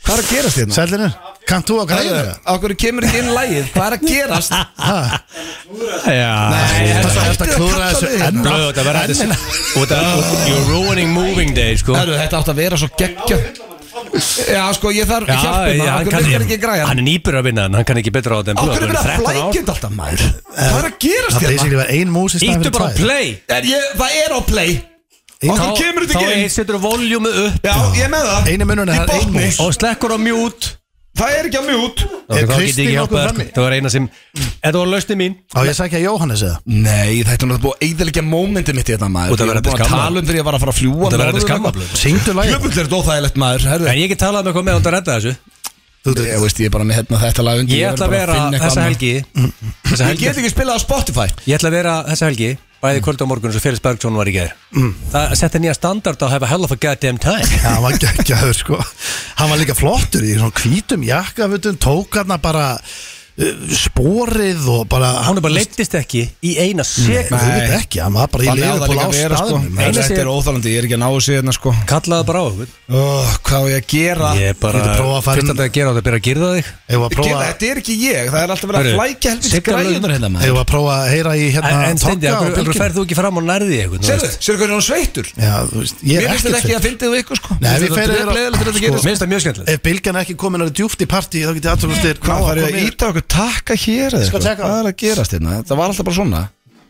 A: Hvað er að gerast hérna?
B: Sælinu, kannt þú að græða það?
A: Okkur kemur ekki inn lægið, hvað er að gerast?
C: Sko. Já
A: Þetta hættu
B: Þetta er
A: að
B: að
A: kalla
B: klúðra
A: hérna?
B: þessu
A: við
B: enn
C: Blöð, Þetta verður þetta
B: Enn-
C: og þetta- You're ruining moving day sko
A: Herru, þetta átt að vera svo geggja Já, sko, ég þarf
C: Já,
A: hjálpina
C: já, hann
A: Okkur
C: kann-
A: virkar ekki græja
C: Hann er nýbur að vinna hann, hann kann ekki betra á þetta en Blöð,
A: Okkur er
C: hann
A: verið að
C: 13 ár.
A: flækja þetta alltaf maður Hvað er að gerast
B: Það er
A: hérna?
B: basically var ein mús í staðan
C: Íttu
B: fyrir
C: bara á
B: tvær
C: play
A: Er ég- Það er á play Okkur kemur þetta
C: Þá
A: ekki
C: er-
A: inn
C: setur þú voljúmið upp
A: Já, ég er með það
B: Einu munurinn
A: Í
B: er ein
A: botni.
B: mús.
C: Og slekkur á mute
A: Það er ekki á mjút
B: Er
C: Þá get ég
B: Kristín
C: ekki
B: nokkuð
C: hjálpað þér,
B: frammi?
C: sko. Það var eina sem Þetta var lausni mín
B: Á ég sagði ekki að Jóhannes eða?
A: Nei, þetta er náttúrulega búið að eiðilegja mómyndi mitt í þetta maður
C: Og það
A: Ég
C: verður
A: var búinn að
C: skammað.
A: tala um þegar ég var að fara að fljúa
C: Þetta verður
A: norður
C: skamma
A: eitthvað.
C: blöð
B: Syngdu lagið
A: Jöfull er þetta óþægilegt maður herðu.
C: En ég get talað með hvað með átt að redda þessu
B: Þú
A: Ég veist, ég er bara með hérna þetta lag undir
C: Ég ætla
A: verð bara
C: að vera
A: finna eitthvað
C: þessa
A: annað.
C: helgi Þessa
A: Ég get
C: helgi
A: ekki spilað á Spotify
C: Ég ætla að vera þessa helgi Bæði kvöld á morgun svo Félix Bergson var í gær Það setti nýja standard að hafa hell of a goddamn time
B: Já, hann var geggjaður sko Hann var líka flottur í svona hvítum jakkafutum Tók hann bara uh, sporið og bara
C: Hún er bara leittist ekki í eina
B: Nei,
C: sekundu
B: þú veit ekki, hann var bara í
A: Þannig á
B: liðu
A: það
B: på
A: líka að vera sko
B: lástaðnum
C: Eina
A: Þetta
C: sig-
A: er óþálandi, ég er ekki að ná þessu hérna sko
C: Kallaði bara á okkur
A: oh, Hvað á ég að gera?
C: Ég er bara
B: Getur prófað að fara
C: Fyrst
B: inn-
C: að þetta gera á þetta Byrja að girða þig
B: Eða að
A: Gera,
B: prófa
A: þetta er ekki ég, það er alltaf verið að
C: Hörru,
A: flækja helviti
C: Sigga
A: græðunar
C: lögð-
A: hérna maður
B: Eða að prófa að heyra í
C: En,
B: hérna
C: en Stendi,
B: Togga á
C: af hverju
B: bylgjunni?
C: ferð þú ekki fram og nærði þig einhvern, þú
A: Serðu,
C: veist?
A: serðu hvernig hún sveittur?
B: Já, þú veist,
A: Mér
B: ég er
A: finnst þetta ekki
B: ekkert
A: að fyndið við ykkur sko Mér
B: Nei, við
A: finnst þetta
B: ferum-
A: drepleiðilegt þegar þetta
B: sko,
A: gerist.
C: Mér finnst það mjög skemmtilegt
B: Ef bylgjan er ekki komin að djúft í partí þá getið aðtöfustir
A: Hvað farið að Sko, íta okkur takka hér eða
B: Skal
A: eitthvað?
B: tjekka það.
A: Hvað er að gerast hérna? Þetta var alltaf bara svona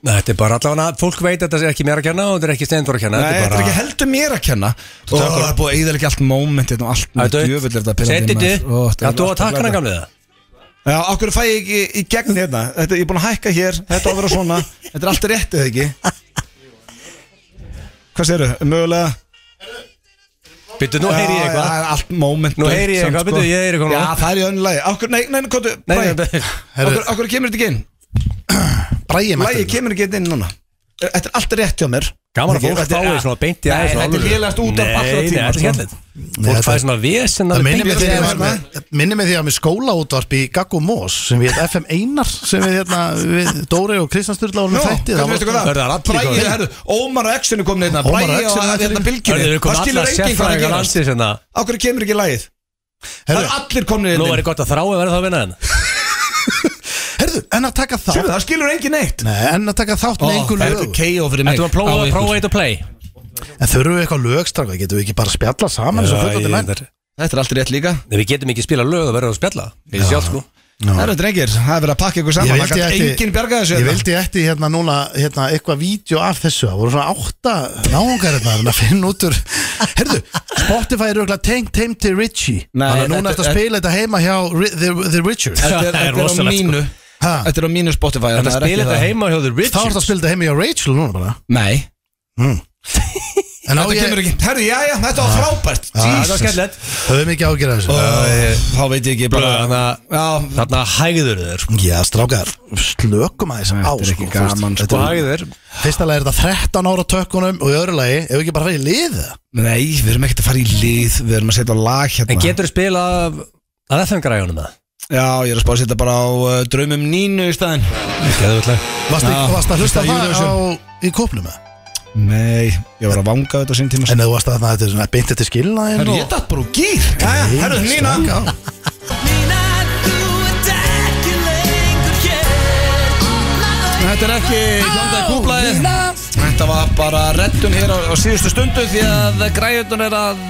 C: Nei, Þetta er bara allavega Fólk veit að þetta er ekki mér að kenna og þetta er ekki Stendur að kenna
A: Nei, þetta er
C: bara-
A: ekki heldur mér að kenna Ó,
C: tekur-
A: Það er búið að eða ekki allt momentið og allt
C: Það er
A: með
C: dautt.
A: djöfull er þetta pirrandi,
C: Setti
A: maður. Ó,
C: þið
A: þetta er
C: Kanntu að
A: alltaf
C: taka hana
A: glæpað.
C: gamlega
A: Já, okkur fæ ég ekki í gegn hérna þetta, Ég er búin að hækka hér, þetta á að vera svona Þetta er alltaf réttið ekki Hvað séru, mögulega
C: Byttu, nú heyri
A: Já,
C: ég eitthvað
A: Það er allt moment
C: Nú heyri ég
A: samt,
C: eitthvað,
A: sko.
C: byrju, ég heyri eitthvað
A: Já,
C: núna.
A: það er í önnu lagi Okkur, nei, nei, komdu,
C: Nei,
A: Bragi.
C: nei, nei.
A: okkur, okkur kemur þetta ekki inn
B: Bræði
A: Lagi kemur ekki hérna inn núna Þetta er alltaf rétt hjá mér
C: Gaman að
A: Þetta er-
C: fólk
A: þetta er-
C: fái svona beint í
A: Nei,
C: aðeins
A: Þetta er lélast út af allra
C: Nei, nei,
A: tíma
C: þetta er
A: sko.
C: skemmtilegt Fólk
B: þetta-
C: fæði svona vesen
B: Það
C: alveg
B: minnir mig
C: beint í
B: því
C: aðeins.
B: að ég var með- minnir mig því að með skólaútvarp í Gaggo Mós sem við FM Einar sem við, hérna, við Dóri og Kristján Sturla vorum
A: Nú,
B: með þætti
A: hvernig veistu hvað
C: Það er
A: það?
C: allir
A: Bræði,
C: komnir.
A: herru, Ómar og Exinu komin hérna
B: Ómar og
A: Bræði
B: Exinu
A: og
B: er
A: hérna
B: allir-
A: bylginni
C: Hörðu, við komum
A: Það skilur
C: alla
A: enginn hvað er að
C: sérfræðingar
A: gerast
C: landsins hérna.
A: Okkur kemur ekki lagið Það er
B: Herðu,
A: allir komnir
C: Nú er
A: hérna
C: það gott að þrái verið það að vinna henn
B: herðu, en að taka
A: Sérðu,
B: þátt
A: það skilur enginn neitt
B: Nei, en að taka þátt með einhver lög
A: KO fyrir
C: Þetta var prófa að prófa eitt að play
B: En þurfum við eitthvað lögstráka, getum við ekki bara að spjalla saman eins og
C: Já,
B: fullandi
C: ég-
B: menn
C: þetta er-
A: Þetta er allt rétt líka
C: Nei, Við getum ekki spila lög og verður að spjalla Við sjálf sko
A: Það eru drengir, það er verið að pakka ykkur
B: Ég
A: saman Það
B: vildi
A: kann
B: ekki-
A: enginn bjarga þessu
B: Ég
A: hérna.
B: vildi eftir hérna núna hérna, eitthvað vídeo af þessu Það voru svona átta náungar hérna en að finna út úr Herðu, Spotify er auðvitað tengt heim til Richie
A: Nei,
B: Þannig að
A: þetta-
B: núna eftir að spila þetta heima hjá Ri- The, the Richard
A: Þetta er-
C: Það er
A: þetta er á
C: rosalegt, sko.
A: mínu
B: Ha?
A: Þetta er á mínu Spotify það
C: Þetta
A: er
C: spila
A: ekki
C: þetta
A: það.
C: heima hjá The
B: Þá er þetta
C: Richards
B: að spila þetta heima hjá Rachel núna bara
A: Nei,
B: En á
A: þetta
B: ég,
A: kemur ekki Herru, já, já, þetta var frábært
C: Það var
A: Jesus.
C: skemmtilegt
B: höfum ekki ágjörða þessu
A: Æ, Þá veit ég ekki bara
C: Þannig að-
A: Já,
C: Þarna hægður þér sko.
B: Já, strákar, slökum aðeins á
A: Þetta er ekki
B: sko,
A: gaman, sko.
B: fyrst- þetta er-
C: Hægður þér
B: Fyrsta lagi er þetta 13 ára tökkunum og í öðru lagi, ef við ekki bara farið í liða
A: Nei, við erum ekkert að fara í lið Við erum að setja á lag hérna
C: En getur þú spila að FM græjónum það?
A: Já, ég er að spá að setja bara á uh, draumum nínu í staðin
C: Geðvöldlega
B: Varstu
A: Já,
B: varstu að hlusta
A: hlusta
B: á
A: á
B: það á,
A: Eurovision.
B: í kópnum eða?
A: Nei, ég var að vanga þetta á sín tíma
B: En þú varst að þetta er svona beintið til skilnaðin
A: Herru, ég datt bara úr gýr Jæja, herru, nína Þetta er ekki hljóndaði kúplaði Þetta var bara reddun hér á, á síðustu stundu Því að græðun er að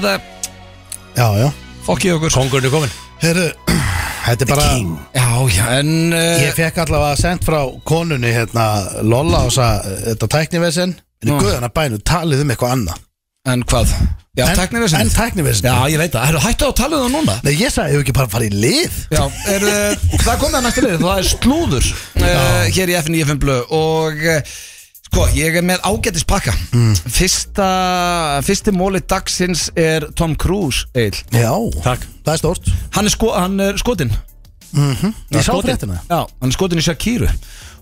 B: Já, já
A: fokkið okkur
C: Kongurinn er komin
B: Herru, þetta er bara
A: Já, já, en uh,
B: Ég fekk allavega sendt frá konunni hérna Lolla og sa, þetta tæknivesen En í
A: Nú.
B: guðana bænum talið um eitthvað annað
A: En hvað? Já,
B: En-
A: tæknir þessi
B: En tæknivesen
A: Já, ég veit það, herru, hættu á að tala um það núna
B: Nei, ég sagði, hefur ekki bara farið í lið
A: Já, er, uh, það komið að næsta lið, það er slúður uh, hér í FNF Blu og uh, sko, ég er með ágætis pakka Fyrsta, fyrsti móli dagsins er Tom Cruise, Eil
B: Já,
C: Takk.
B: það er stórt
A: Hann er, sko, hann er skotin
B: Ég sá fréttina
A: Já, hann er skotin í Shakiru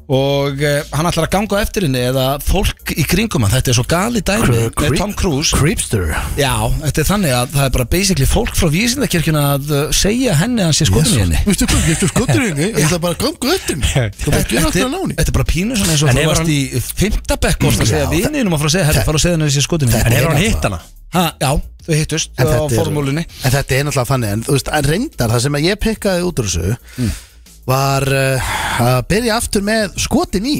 A: og uh, hann ætlar að ganga á eftir henni eða fólk í kringum hann, þetta er svo gali dæmi
B: Cre-
A: með
B: creep-
A: Tom Cruise
B: Creepster
A: Já, þetta er þannig að það er bara basically fólk frá vísindakirkjuna að uh, segja henni að hann sé skotin í henni
B: Vistu hvað, ég er skotur í henni Ég ætla bara að ganga öttin Þú bara gera alltaf að láni
A: Þetta er bara pínu svona eins og
C: En
A: þú
C: hefur
A: varst
C: hann-
A: í fymtabekk og varst að
B: Já,
A: segja
B: það-
A: vininum að fara að segja herri, fara að segja henni þessi skotin
B: Þetta
C: En hefur hann
B: Nei,
C: hitt hana?
A: Ha, já, þau hittust á
B: En þetta er-
A: formúlinni
B: En þetta er náttúrulega þannig En þú veist, en reyndar það sem að ég pekkaði út úr þessu Var uh, að byrja aftur með skotin í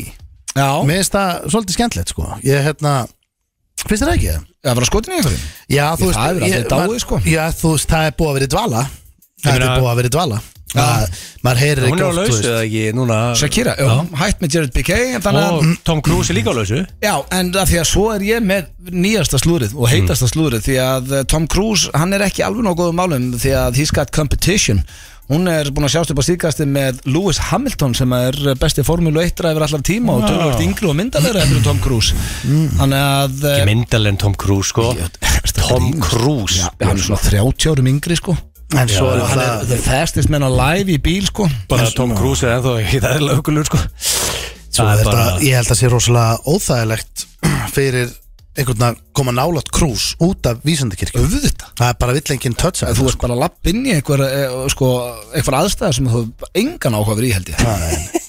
A: Já,
B: Mér finnst það svolítið skemmtilegt sko Ég hérna Finnst þér það ekki?
A: það var að skotin í einhverjum
B: Já,
A: Ég,
B: þú veist
A: það hefur
B: ég-
A: aldrei dáið,
B: maður-
A: sko.
B: Já, þú veist, það er búið að vera í dvala
C: Ég
B: Það
C: meina-
B: er búið að vera í dvala Það, maður heyrir
C: Hún er á
B: oft, þú
C: lausu
B: veist.
C: eða ekki núna
A: Shakira, já, hætt með Jared Piquet en þannig að
C: Og Tom Cruise er líka á lausu
A: Já, en af því að svo er ég með nýjasta slúrið og heitasta slúrið því að eh, Tom Cruise, hann er ekki alveg nóg góðum málum því að he's got competition Hún er búin að sjást upp á síkasti með Lewis Hamilton sem er besti formúlu 1 yfir allar tíma og tölvöld yngri og myndalegra eftir Tom Cruise Þannig að eh,
C: Ekki myndalegin Tom Cruise sko Tom Cruise
A: Já, hann er svona 30 árum yngri sko
B: En svo er
A: Hann er
B: það
A: the fastest man alive í bíl sko
C: Bara Tom Cruise er ennþá ekki það er lögulur sko
B: Svo
C: Það
B: er
C: er bara
B: þetta, ég held að sé rosalega óþægilegt [CLEARS THROAT] fyrir einhvern að koma nálat krús út af vísendakirkju
A: Auðvitað
B: Það er bara vill enginn toucha
A: Þú ert bara að lappa inn í einhver, eh, sko, einhver aðstæða sem þú hefur engan áhuga verið í held ég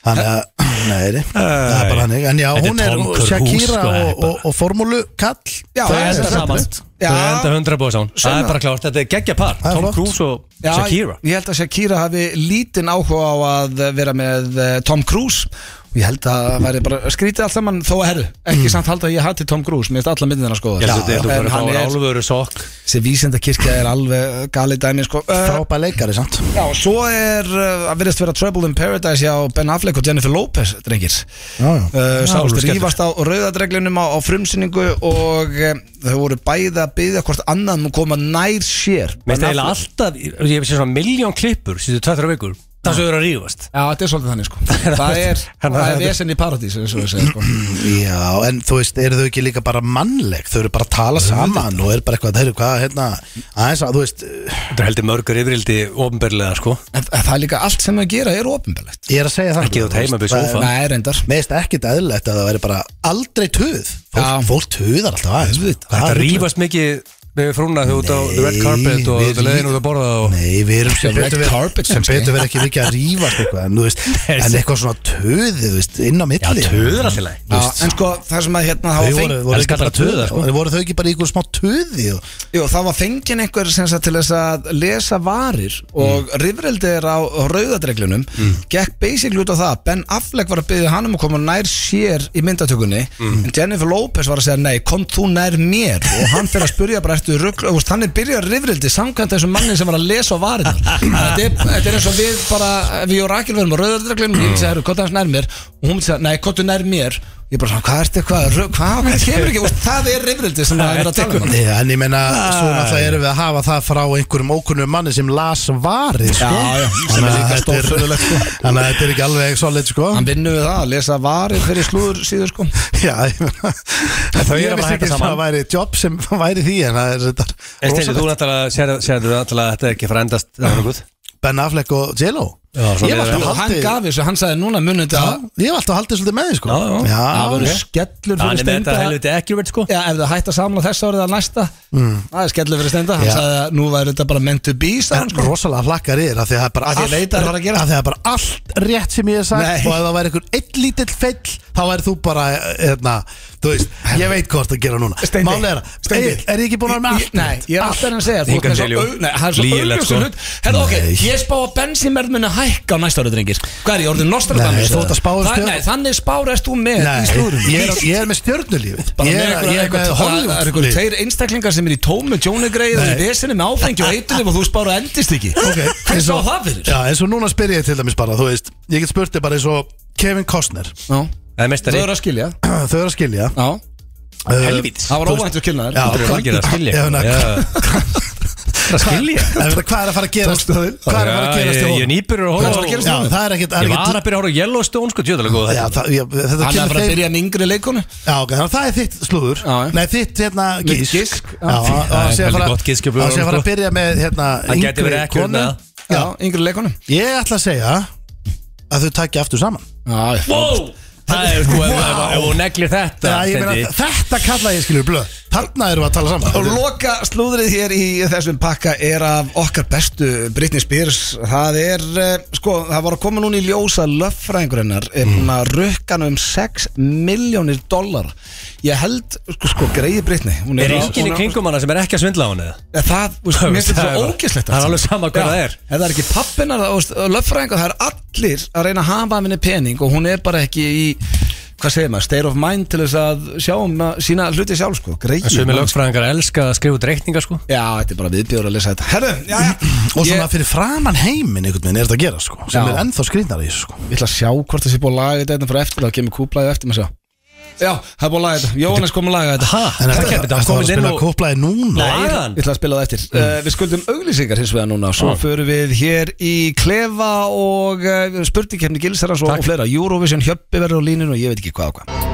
B: Þannig að, [CLEARS THROAT] nei, nei, það er bara hannig En já,
C: Þetta er
B: hún er um
C: Tom Cruise,
B: Shakira
C: sko, það er
B: og, og, og formúlu kall
A: Já,
B: það
A: það
B: er
A: er
B: það
A: það.
B: saman
A: Já.
C: Þau enda 100 bóð sán Það
A: Sannlega.
C: er bara klárt, þetta er geggja par
B: Það er
C: Tom
B: flott.
C: Cruise og
A: Já,
C: Shakira
A: Ég held að Shakira hafi lítinn áhuga á að vera með eh, Tom Cruise og ég held að það væri bara skrítið allt saman þó að herru, ekki samt halda að ég hati Tom Cruise mér finnst alla myndin hennar
C: Ég
A: skoða
C: held að Mm. þetta er
A: en hann
C: bara að fá
A: er,
C: álföru sokk
A: þessi vísindakirkja er alveg galið dæmi sko uh,
B: Frábæð leikari, sant
A: Já, og svo er eh, að virðist vera Trouble in Paradise hjá Ben Affleck og Jennifer Lopez, drengir
B: Já, já.
A: uh, Sást
C: alveg skellur.
A: rífast á rauðadreglunum á, á frumsýningu og um, þau voru bæði að byggja hvort annan um að koma nær sér Ben
C: Mér finnst eiginlega
A: Affleck-
C: alltaf, ég hef séð svona miljón klippur síðan tvær þrjá vikur, það sem þau eru að rífast
A: Já, þetta er svolítið þannig [LAUGHS] sko Það er,
C: Hann-
A: það er vesen í paradís eins og við segja sko
B: Já, en þú veist, eru þau ekki líka bara mannleg Þau eru bara að tala saman og eru bara eitthvað Þeir eru hvað, hérna, aðeins að, þú veist eh,
C: Þetta er heldur mörgur yfirildi ofnberlega sko
A: En en það er líka allt sem þau gera er ofinbelegt
B: Ég er að segja það
C: Ekki þótt heima við sófa. Hvað?
A: Nei, reyndar
B: Mér finnst ekkit eðlilegt að það væri bara aldrei töð Fólk,
A: Já.
B: fólk töðar alltaf aðeins
A: Auðvitað.
B: Hvað
C: Þetta
B: er rugl?
C: rífast mikið með frúna þau út á the red
B: Nei,
C: carpet og
B: við
C: þau leiðin
B: rí-
C: út að borða og
B: Nei, við erum sem
A: The red
B: betur verið-
A: carpet,
B: sem
A: kannski.
B: betur verið ekki mikið að rífast eitthvað en, þú veist, en eitthvað svona töði þú veist, inn á
C: Já,
B: milli
C: töður alltaf leið
A: Já, en sko, það sem að hérna
B: Þau
A: það var,
B: voru,
A: feng,
B: voru,
C: Elskar
B: ekki bara
C: bara töða, sko.
B: töð, voru þau ekki bara í einhver smá töði og,
A: jú, það var fengin einhver sem sagt til þess að lesa varir og mm. rifrildir á rauðadreglunum gekk basically út á það að Ben Affleck var að byggja hann um að koma nær sér í myndatökunni en Jennifer Lopez var að segja nei, kom þú nær mér og hann fyrir að spurja bara eftir rugl og þú veist, hann er byrjað rifrildi samkvæmt þessum manni sem var að lesa á varir þetta er, þetta er eins og við bara ef ég og Rakel verðum á rauðadreglunum ég myndi segja, herru, hvað það er nær mér og hún myndi segja, nei, hvað nær mér Ég bara svona, hvað ertu, hvað, hvað, hvað, hvað kemur ekki, þú veist, það er rifrildi sem það er verið að tala um
B: Nei, en ég meina, svo náttúrulega erum við að hafa það frá einhverjum ókunnum manni sem las varið sko.
A: Já, já, sem er
B: Þannig að
A: líka
B: þetta er-
A: stórfurðulegt, sko.
B: Þannig að þetta er ekki alveg solid sko.
A: Hann vinnur við það að lesa varir fyrir slúður síður sko
B: [LAUGHS] Já, ég meina
C: Þau
B: Ég
C: eru bara
B: vissi
C: að hætta
B: ekki að
C: saman.
B: það væri jobb sem [LAUGHS] væri því en það er þetta
C: En Steini, þú
B: rosalegt.
C: náttúrulega, sérðu sérðu náttúrulega að þetta er ekki að fara að endast það er nokkuð
B: Ben Affleck og J-Lo
C: Já, svo
B: Ég var alltaf
C: leiðir
A: Og hann
B: haldið-
A: gaf þessu, hann sagði núna munið þetta
B: Já, Ég hef alltaf haldið svolítið með því sko
C: Já, já.
A: Það voru
B: ok.
A: skellur fyrir
C: Þannig með
A: steinda
C: þetta helviti accurate sko
A: Já, ef það hætti að samla þess árið að næsta Það er skellur fyrir steinda Hann
B: Mm. Já.
A: sagði að nú væri þetta bara meant to be sagði
B: En [LAUGHS]
A: hann, sko.
B: rosalega flakkar yfir að því að það er bara
A: Að því að leita er bara að gera.
B: að því að það er bara allt rétt sem ég hef sagt
A: Nei.
B: og ef það væri einhver einn lítill fell þá væri þú bara, hérna, þú veist ég veit hvort að gera núna
A: Steindi,
B: Mál er, að-
A: Steindi.
B: Egill, er ég ekki búin að vera með
A: Ég-
B: allt
A: Nei,
B: rétt?
A: ég er alltaf að segja þú ert
C: Hingað
A: með svo
C: til, jú.
A: au- Nei, það er svo
C: Lygilegt,
A: augljósum
C: sko.
A: hlut Herðu, ok,
B: Nei.
A: ég spá að bensinverð muni hækka á næsta árið, drengir Hvað er ég, orðin
B: Nei,
A: Nostradamus?
B: þú ert að spá í
A: Það-
B: stjörnur.
A: Nei, þannig spárest þú með í slúðurum
B: Nei, ég er, ég er með stjörnulífið
A: Bara
B: Ég
A: með
B: er,
A: einhverja-
B: ég er
A: einhver- Það
B: með
A: er
B: Hollywood
A: einhverju tveir einstaklingar sem er í tómi Jónagreið og í vesinu með áfengi [LAUGHS] og eitunum og þú spára endist ekki
B: Ok,
A: Hver
B: eins
A: sá
B: og-
A: það fyrir?
B: Já, eins og núna spyr ég til dæmis bara, þú veist Ég get spurt þig bara eins og Kevin Costner [CLEARS THROAT]
A: Já.
C: Það er
A: Þau
C: mestari
A: eru að skilja
B: Þau eru að skilja Uh,
A: Já.
C: Helvítis.
A: Það var
B: Þú veist-
A: óvænt að skilja
B: Já,
A: þær
C: Það er margir að skilja
B: Já,
C: eitthvað.
B: nei.
C: Já. Það er að skilja
B: [LAUGHS] En þetta, Hvað er að fara að gerast?
A: Tókstu það inn?
B: Hvað er að fara að gerast?
C: Já,
B: í
C: ég-
B: honum?
C: Ég er nýbyrjur að
A: Hvað er að fara að
C: horfa á-
A: gerast?
B: Já, það er ekkert það er
C: Ég
B: ekkert-
C: var að byrja að horfa á Yellowstone sko Tjóðalega góð
B: Já,
C: þetta
B: það, já,
A: Hann
B: þetta
A: er að
B: kemur
A: fara að
B: þeim
A: byrja með yngri leikunum
B: Já, ok, þannig að það er þitt slúður
A: Já, já.
B: Nei, þitt hérna
A: Mitt
B: gísk
A: gísk, já.
B: Já, og- og
C: Það er
B: hann sé að
C: heldur
B: fara
C: gott gísk hjá
B: hann sé að fara
C: blöðunum,
B: að byrja með hérna
C: Það gæti verið
B: yngri
C: ekki
B: konu
C: með
A: Já, yngri leikunum
B: Ég ætla að segja að þau takja aftur saman
A: Já,
C: Wow Það er sko, ef- ef ef hún neglir þetta
B: Já, ég meina,
C: Steindi.
B: Þetta kalla ég skilur blöð Þarna erum við að tala
A: Og
B: saman
A: loka slúðrið hér í þessum pakka er af okkar bestu Britney Spears Það er, eh, sko, það var að koma núna í ljósa löffræðingurinnar er búin að rukka hann um 6 miljónir dollar Ég held, sko, sko greið Britney Hún
C: Er
A: á-
C: enginn í
A: hún á-
C: kringum hana sem er ekki að svindla á henni eða?
A: Ja, Það, þú
C: [LAUGHS]
A: veist, mér finnst
C: Það
A: þetta
C: er
A: svo
C: bara-
A: ógeðslegt
C: það er
A: allt
C: alveg
A: saman.
C: sama hvað
A: Já,
C: það er.
A: Ef það er ekki pappinar, löffræðingar, það er allir að reyna að hafa af henni pening og hún er bara ekki í hvað segir maður, state of mind til þess að sjá um að sína hluti sjálf sko, greið
C: Sumi lögfræðingar elska að skrifa út reikninga sko
A: Já, þetta er bara viðbjóður að lesa þetta Herru, já, já
B: Og svona
A: ég,
B: fyrir framan heiminn einhvern veginn er þetta að gera sko Sem
A: Já.
B: er ennþá skrýnari í þessu sko
A: ég ætla að sjá hvort það sé búið að laga þetta Þetta fyrir eftir, þá kemur kúplaði eftir maður sjá Já, það er búið að laga þetta, Jóhannes kom að laga þetta
C: Ha?
B: En þetta
C: kemur
B: er
C: þetta
B: að
C: komin inn
B: spila
C: og
B: kóplaði núna
C: Lagan
A: Ég ætla að spila það eftir
C: Mm.
A: uh, Við skuldum auglýsingar hins vegar núna
C: Ah.
A: Svo förum við hér í Klefa og uh, spurningkefni Gilsarans og, og fleira Eurovision hjöppi verður á líninu og ég veit ekki hvað og hvað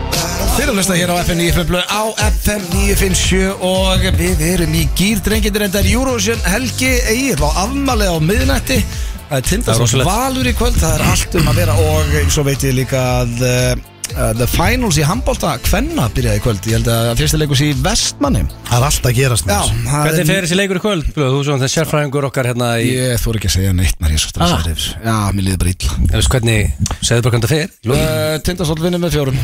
A: Þeir eru að hlusta hér á FM 957 á FM 957 og við erum í gýr drengindir en það er Eurovision helgi Egil á afmali á miðnætti Það er
C: Það er
A: tindast
C: rosalegt.
A: valur í kvöld, það er allt um að vera og eins og veit ég líka að uh, uh, The Finals í handbólta Hvenna byrjaði í kvöld Ég held að fyrsta leikus í Vestmanni
B: Það er alltaf að
A: Já,
B: gerast með þessu.
A: það
C: Hvernig fer þessi leikur í kvöld? Blöð, Þú svo hann sérfræðingur okkar hérna í yeah.
A: Ég þór ekki að segja neitt maður ég er svo stressaður yfir þessu. Já, mér liði bara illa
C: veist, Hvernig, segðu bara hvernig það fer
A: uh, Tindastóll vinnur með fjórum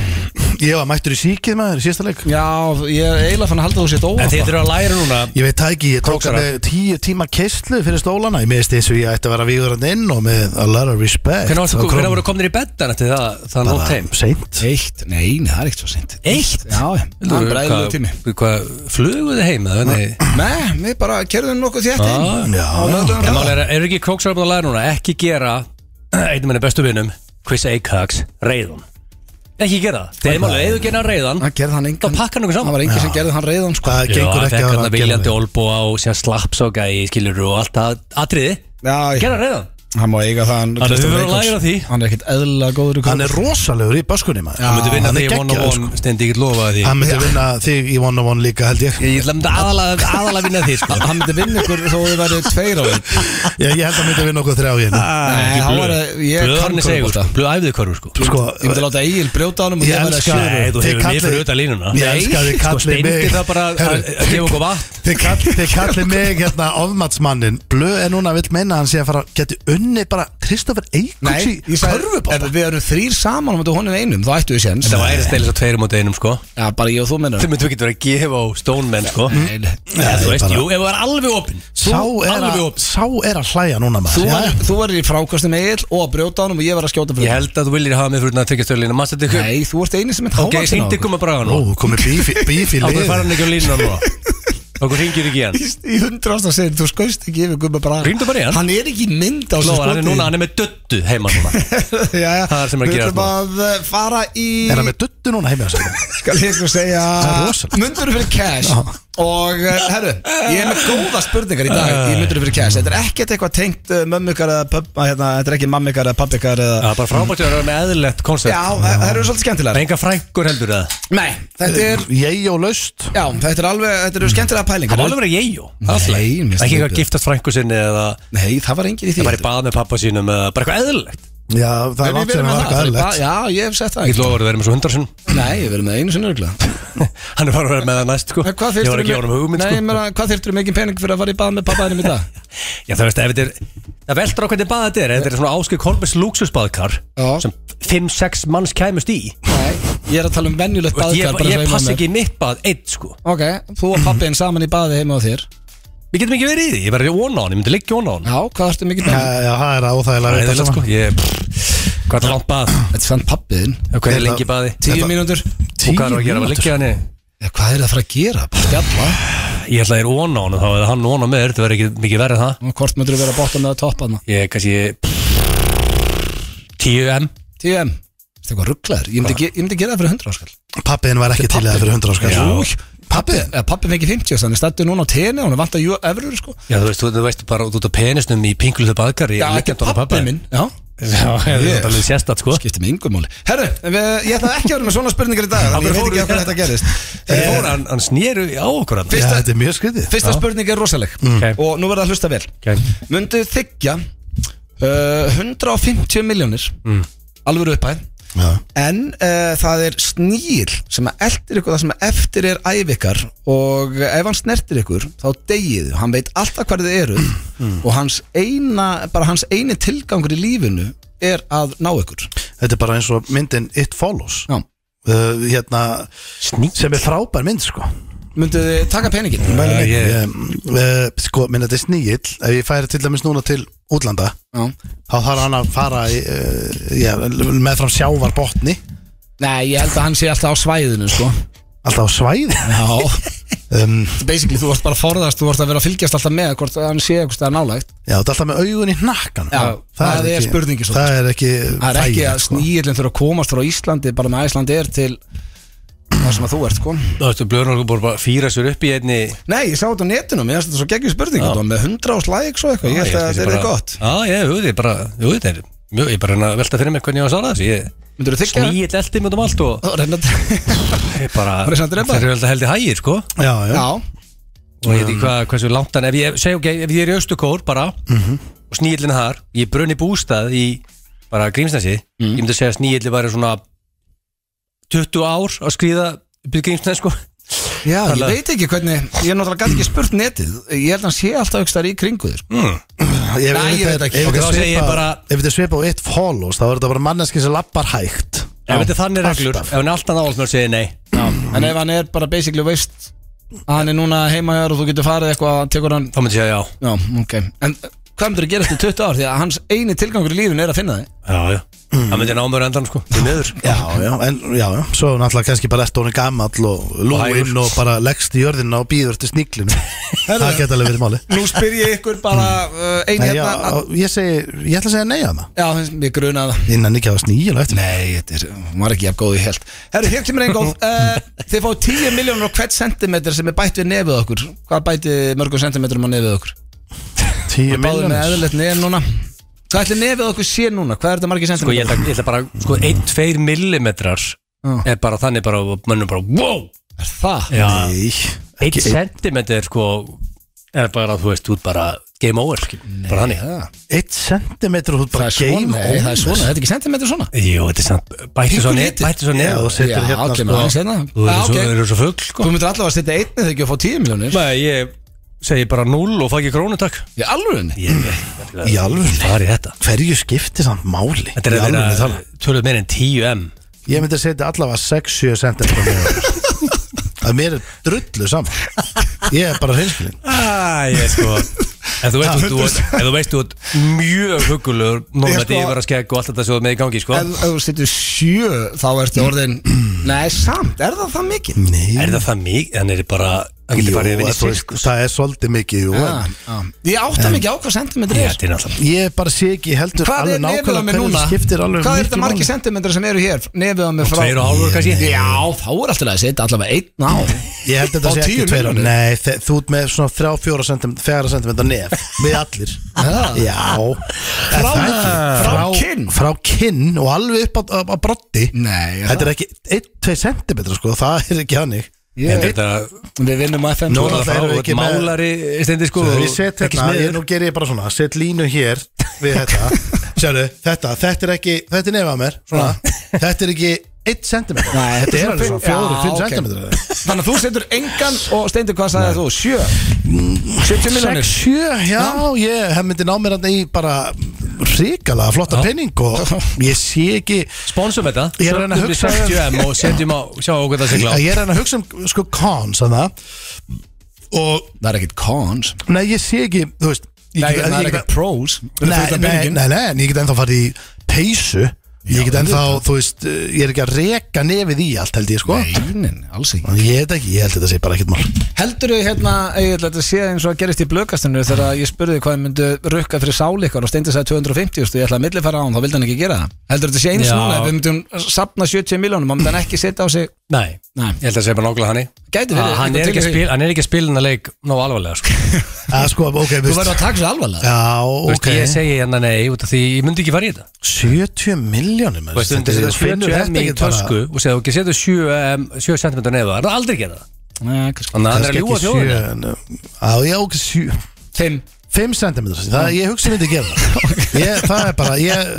B: Ég var mættur í síkið maður í síðasta leik
A: Já, ég er eiginlega fann að halda þú sétt
C: En þið
A: óhafa
C: þurfa að læra núna
B: Ég veit það ekki, ég tók
C: Króksara.
B: alveg tíu tíma keistlu fyrir stólana Ég meðist þessu ég ætti að vera vígur hann inn og með a lot of respect
C: Hvernig, varstu,
B: Þá kom
C: hvernig voru komnir í beddan eftir það,
B: bara
C: það nótt heim?
B: Seint
A: Eitt, nei, nei, það er ekkert svo sent
C: Eitt?
A: Já, já, það er bara eðlilegur tími
C: Hvað, fluguðu þið heim? eða hvernig?
A: Nei, við bara kerðum nokkuð þétt
C: Já,
A: inn
B: já.
A: Á laugardaginn.
C: En mál er, er ekki króksar að læra núna Ekki gera Einnum minni bestu vinum Chris Aikax Reyðan Ekki gera það Það er málið Eða þú gerir hann reyðan
A: Það gerði hann
C: Þá
A: engan
C: pakkar hann okkur
A: Það
C: saman
A: var engin sem gerði hann reyðan sko
B: Það
C: Já,
B: gengur
C: það
B: ekki
C: fekk hann
B: að
C: að viljandi olbúa og síðan slappsoka í skilur og allt það atriði
A: Já, ég-
C: Gerða reyðan
A: hann má eiga það hann,
C: Hann er
A: Kristján
C: verið að
A: Reykjavíks.
C: læra því.
A: Hann er ekkert eðlilega góður í
B: Hann er rosalegur í baskunni maður
C: Hann myndi vinna
B: Ah, Hann er
C: því í one on
B: geggjaður,
C: one Stendi ekki lofa því
B: sko. Hann myndi vinna þig í one on one líka held ég
C: Ég ætla myndi [LAUGHS] aðalega aðalega vinna því sko
A: Hann myndi vinna ykkur þó þið verið tveir á einn
B: Ég, ég held að hann myndi vinna okkur þrjá
C: Ah,
B: hérna
A: Nei, hann var að Ég kann
C: Blöðarni segur
A: körfbólta
C: sko Blöð æfðið körfur sko
B: Sko,
A: Ég myndi láta Egil brjóta á honum og
B: Ég
A: ég verið að
B: elska-
A: sjöru
C: Nei, þú
B: Þið kallið-
C: hefur mér fyrir auðvitað línuna
B: Ég elska að þið
C: Sko
B: kallið mig-
C: steindi það bara að- að
B: Herru,
C: að gefa okkur vatn
B: Þið kall- þið kallið mig hérna ofmatsmannin Blöð er núna vill meina að hann sé að fara Geti unni bara Kristoffer Eikuks
A: Nei,
B: í
A: ég sagði Ef
B: körfubóta
A: við erum þrýr saman á móti honum einum Þá ættu við séns
C: Það var eða stelið svo tveir mútið einum sko
A: Já, bara ég og þú mennur
C: Þú myndir ekki verið að gefa á stónmenn sko
A: Nei, nei.
C: Já, Þú
B: Nei,
C: veist,
B: bara-
C: jú, ef það er alveg opinn
B: Sá er,
C: alveg
B: að,
C: opinn
B: sá er að hlæja núna
A: Þú
B: maður
A: verður- Þú verður í frákastum Egil og að brjóta á honum og ég verið að skjóta
C: Ég
A: fyrir
C: held að þú viljir hafa mig fyrir að tryggja stjórnlínu Massa þetta ykkur
A: Nei, þú ert eini sem er
C: Ok, hindi koma bara á hann
B: Ó, komið bífi,
C: [LAUGHS]
B: bífi
C: Ákveð
B: lið
C: fara hann ekki á línuna núna Okkur ringir ekki í hann
A: Í hundrasta segir, þú skoist ekki yfir Gummi Braga
C: Rýndu bara í hann.
A: Hann er ekki í mynd á þessu
C: Lóðan, hann er
A: skoti. [LAUGHS]
C: núna, hann er með döttu heima núna
A: Jæja,
C: Það er sem er að sko.
A: við
C: gerast
A: ætlum að uh, fara í
B: Er hann með duttu núna heimja sér?
A: Skal ég sko segja
B: er rosalegt.
A: Mundur fyrir cash Og uh, herru, ég er með góða spurningar í dag Í mundur fyrir cash Þetta er ekkert eitthvað tengt uh, mömmukar eða pöpp hérna, Þetta er ekki mammikar eða pappikar
C: Það
A: eða
C: er bara frábært að vera með eðlilegt koncept
A: Já, það það eru svolítið
C: Það er
A: skemmtilegar
C: enga frængur heldur það
A: Nei, þetta er
B: Ég og laust
A: Já, þetta er alveg, þetta eru skemmtilega pælingar
C: Það má alveg vera ég, jú Það er
A: Nei,
C: allt í
A: mér
C: lagi.
A: finnst
C: Ekki
A: það
C: eitthvað
A: ekki.
C: giftast frængur sinni eða
A: Nei, það var engin í því
C: bara í bað með pappa sínum eða bara eitthvað eðlilegt
B: Já, það er
A: Við verðum
B: langt sér að
A: með
B: var
A: það, það er í
B: eitthvað
A: bað-
B: eðlilegt
A: Já, ég hef sett það
C: Ég lofa að vera með svo hundar sinn
A: Nei, við verðum með einu sinni örgulega
C: [LAUGHS] Hann er bara að vera með það næst sko
A: En Hvað
C: Ég var
A: þyrftirðu
C: ekki á honum
A: mi-
C: hugmynd
A: Nei,
C: sko
A: ég meina, hvað þyrftur mikið pening fyrir að fara í bað með pappa þínum í dag?
C: Já það veist, ef þetta er Það veldur á hvernig bað þetta er Ef Þetta er svona Áskei Kolbers lúksusbaðkar
A: Já.
C: Sem 5-6 manns kæmust í
A: Nei, ég er að tala um venjulegt
C: Veist,
A: baðkar
C: Ég,
A: bara
C: ég
A: heima
C: pass
A: með mér.
C: ekki í mitt bað eitt sko
A: Ok, þú og pappiðin saman í baði heima á þér
C: Við getum ekki verið í því Ég verði ón á hann Ég myndi liggja ón á hann
A: Já, hvað ertu mikið
B: Já,
A: pening?
B: já, það er óþægilega veit
C: Æðilegt
B: allt
C: sko
B: saman.
C: Ég Hvað er það langt bað?
A: Þetta er samt pappiðin
C: Hvað er
B: Þetta-
C: lengi í baði?
A: Tíu
B: Þetta-
A: mínútur
C: Og hvað er að gera? Að
B: mínútur.
C: liggja hann
A: Já, Hvað er það að fara að gera? Bara Spjalla
C: Ég ætla að ég er ón á hann Þá er hann ón á mér Þetta verði ekki mikið verið það
A: Og Hvort myndur þú vera að bóta með að toppa hana?
C: Ég kannski 10M
A: Tíu M Þetta er eitthvað rugglaður Ég myndi ge- ég myndi gera það fyrir 100 áskall
B: Pappiðin var ekki til það fyrir 100
C: Já.
B: áskall Pappiðin?
A: Eða pappi fengi 50 áskall Þannig stættu núna á tenni Hún er vant að jú efrur sko
C: Já þú veist, þú, þú veist bara út á penisnum í pingluðu baðkar
A: Já, þetta er pappið minn Já
C: Já, það
A: Yes.
C: er alveg sérstætt sko
A: skiptir mig yngum máli Herru, en við- ég ætla ekki að vera með svona spurningar í dag Þannig ég veit ekki af hverju þetta gerist
C: Þeir fóru, hann, hann snýru á okkur hann
B: Já,
A: Eh. Fyrsta-
B: þetta er mjög skriðið
A: Fyrsta spurning er rosaleg
C: Ok.
A: Og nú verða að hlusta vel
C: Ok.
A: Mundu þykja uh, 150 miljónir mm. Alveg uppæð En uh, það er snýl Sem að eldir ykkur það sem eftir er æf ykkar Og ef hann snertir ykkur Þá degiðu, hann veit alltaf hvað þið eru Og hans eina Bara hans eini tilgangur í lífinu Er að ná ykkur
B: Þetta er bara eins og myndin It Follows
A: Já.
B: Uh, hérna,
C: Sník
B: sem er frábær mynd sko
A: Mundu þið taka peningin
B: uh,
A: Já.
B: ég, uh, sko, minn þetta er sníill ef ég færi til dæmis núna til útlanda þá þarf hann að fara í, uh, já, með fram sjávar botni
A: Nei, ég held að hann sé alltaf á svæðinu sko.
B: alltaf á svæði
A: [LAUGHS] Já
B: um,
A: basically þú vart bara að forðast, þú vart að vera að fylgjast alltaf með hvort hann sé eitthvað stæða nálægt
B: Já, þetta er alltaf með augun í hnakkan
A: Já, það er spurningin svolítið,
B: Það er ekki
A: það er ekki
B: þægilegt, sko.
A: að snýillin þurfa að komast frá Íslandi bara með Íslandi er til það sem að þú ert sko
C: Þú veist, blöður hann bara að fýra sér upp í einni
A: Nei, ég sá þetta á netinu, mér finnst þetta svo geggjum spurning þetta var með hundra ás læg svo eitthvað, ég held að þetta er gott
C: Já, ég, þú veit, ég bara, þú veit, ég Mjög, ég bara reyna að velta fyrir mig hvernig ég var að svara þessu Ég
A: Myndur þú þykja?
C: snýill eldi mjög um allt og
A: Þá reyna að-
C: ég bara
A: Bara þess að drepa.
C: Þeir eru alltaf held í hægir, sko Og
B: sko. Já, já,
A: [LAUGHS] Já,
C: ég veit ekki hvað, hversu langt hann Ef ég, segjum, ok, ef ég er í austukór bara Og snýillin þar, Mhm. ég brunni bústað í bara Grímsnesi Ég myndi að segja að snýilli væri svona 20 ár að skrýða byrgingsnæð sko
A: Já, ég
C: Þannig að-
A: veit ekki hvernig Ég er náttúrulega gæti ekki spurt netið Ég held að hann sé alltaf aukstar í kringu þér sko.
B: Ég
A: Nei, ég veit ekki.
B: Ef
C: Ok,
B: þetta
C: þá segi ég
B: svipa-
C: bara-
B: ef þetta svipa á eitt follows þá er þetta bara manneski sem lappar hægt
C: Ef þetta er þannig reglur,
B: alltaf.
C: ef hann er alltaf náðalmörd segir nei
A: En ef hann er bara basically veist að hann er núna heima hér og þú getur farið eitthvað tekur hann
C: þá myndi ég að já
A: Já, ok En eh, hvað myndir að gera eftir 20 ár því að hans eini tilgangur í lífinu er að finna þig
C: Já, já, það myndi hann ámörd endan sko Því miður
B: Já, já, en já, já Svo náttúrulega kannski bara eftir honum gamall og lúinn og bara leggst í jörðina og býður
A: [LAUGHS]
B: til sníklinu Það geta alveg verið máli
A: Nú spyr ég ykkur bara uh, eini
B: Nei, já,
A: hérna að-
B: ég, segi, ég ætla að segja nei að það
A: Já, mér grunaði það
B: Innan ekki að það sníla eftir
A: Nei, þetta er, hún var ekki jafn góð í held Herru, hér kemur einn góð uh, Þið fáið 10 miljónur á hvert sentimetr sem er bætt við nefið okkur Hvað bæti mörgum sentimetrum á nefið okkur?
B: Tíu
A: Báðum með
B: miljonir
A: eðlilegt nefn núna Hvað ætli nefið okkur sé núna? Hvað er þetta margir
C: Sko ég
A: sentimetr?
C: ætla, ég ætla bara, sko, 1-2 millimetrar er bara þannig bara, og mönnum bara, wow
A: Er það?
C: Já,
B: Nei,
C: 1 sentimeter sko er bara, þú veist, út bara game over, skil, bara þannig
B: eitt sentimetr og þú ert
A: Það
B: bara
A: Ah, er svona,
B: game
A: nei, það er svona, þetta er ekki sentimetr svona
C: Jú, þetta er samt, bættu svo
A: Pingu
C: neð
A: lítið.
C: bættu svo
B: Já,
C: neð
B: þú setur
A: Já,
B: hérna
A: kemur
B: sko
A: aðeins hérna
C: Þú
A: Já, ok.
C: eru svo, okay. svo fugl, sko
A: Þú myndir allavega að setja einni þegar ekki að fá 10 miljónir
C: Nei, ég segi bara 0 og fæ ekki krónu, takk
A: Í alvörinni?
C: Ég,
B: Í alvöru
C: það er í þetta
B: Hverju skipti samt máli
C: Þetta
B: Í
C: er að
B: alvöru
C: vera
B: talað.
C: tölvöð meir en 10M
B: Ég myndi að setja allavega 6-7 sentimetr á miljonir
A: [LAUGHS]
B: Að mér er drullu saman Ég er bara hreinskilin
C: Æ, ég sko Ef þú veist, þú, þú, ef þú veist, þú ert mjög hugulegur Normandi
A: sko-
C: yfir að skegg og allt þetta sem þú ert með í gangi, sko
A: Ef ef þú setur 7 þá ertu orðin Nei, samt, er það það mikið?
B: Nei
C: Er það það mikið? Þannig er bara, hann
B: Jú,
C: getur farið að vinna í
B: þú veist,
C: sirkus
B: það er svolítið mikið jú,
A: Já,
B: en
A: já. Ah, Ég átta mikið á hvað sentimetr
C: Ég,
A: er
C: Þetta er náttúrulega
B: Ég bara sé ekki heldur
A: Hvað
B: alveg
A: er nefið á
B: nákvæmlega
A: mig
B: hverju
A: núna?
B: það skiptir alveg
A: Hvað er
B: miklu
A: þetta margir
B: máli.
A: sentimetr sem eru hér? Nefið á mig frá
C: Tveir og hálfur kannski
A: Já, þá er alltaf að setja allavega einn á
B: Ég held að
A: Á
B: þetta sé
A: 10
B: ekki tveir
A: milljónir?
B: Nei, þe- þú ert með svona 3-4 cm 4 cm nef Við allir
A: Ah.
B: Já
A: Frá,
B: Það er ekki-
A: frá kinn
B: Frá kinn og alveg upp á, á, á brotti
A: Nei,
B: Þetta er ekki 1-2 cm sko Það er ekki hannig
C: En
A: ég,
C: Þetta
A: Við vinnum á FM
B: Nú
C: Þú er
B: náttúrulega
C: það frá,
B: erum
C: þú
B: við
C: ert
B: ekki með-
C: málari stendi sko
B: Þegar
C: og
B: ég set
C: ekki
B: hérna, ég,
C: smiður.
B: nú ger ég bara svona Set línu hér við þetta Sjáru, þetta, þetta er ekki Þetta er nefn að mér, svona Þetta er ekki 1 cm
A: Nei,
B: Þetta er alveg
A: fimm-
B: svona 4-5
A: Já, ok.
B: cm
A: Þannig að þú setur engan og steindir hvað sagði þú? Sjö? 70 miljonir?
B: 6-7, já, ég hef myndi ná mér hann í bara ríkala flotta penning og ég sé ekki
C: Sponsum þetta
B: Ég er að reyna að hugsa-
C: 70M um og setjum á Sjá okkur það segla á
B: að ég er hann að hugsa um sko cons að það og
A: Það er ekkit cons
B: nei, ég sé ekki, þú veist ég
A: Nei,
B: get-
A: það
B: ég
A: er
B: get-
A: ekkit pros
B: nei, nei, nei, nei, en ég get ennþá farið í peysu ég get ennþá, þú veist, eh, ég er ekki að reka nefið í allt held ég sko
A: Einin, alls ekki
B: Þannig ég veit ekki, ég held þetta sé bara ekkert
C: [LAUGHS]
B: mál
A: Heldur þau hérna, ég ætla að sé eins og að gerist í blökastinu þegar ég spurði hvað þau myndu rukka fyrir sáli ykkar og steindi sagði 250 og ég ætla að millifæra á hann, þá vildi hann ekki gera það Heldur þetta sé eins
C: Já.
A: núna, ef við myndum sapna 70 miljonum, þá myndi hann ekki setja á sig
C: Nei,
A: Nei.
C: ég held að segja bara nákvæmlega hann
A: Gæti verið
C: Ah, Hann
A: eitthvað
C: er ekki
A: til
C: að
A: í því.
C: spila Hann er ekki að spila hennar leik Ná alvarlega sko Þú
B: að sko, ok,
A: [LAUGHS]
B: þú
A: Þú verður að taka svo alvarlega
B: já,
C: veist,
B: ok
C: Ég segi hérna nei út af því Ég myndi ekki fara í þetta
B: 70 miljónir
C: Þú veist, undir setja 70M í tösku Og segja þú ekki setja 7M 7 cm neða Það er aldrei gera það
A: Nei, kannski.
C: Þannig að hann er að ljúa þjóðinu
B: eh, Já, já, ok, 7
A: Fimm.
B: 5 cm, það ég hugsa myndi að gera
C: [LAUGHS]
B: það ég, það er bara, ég,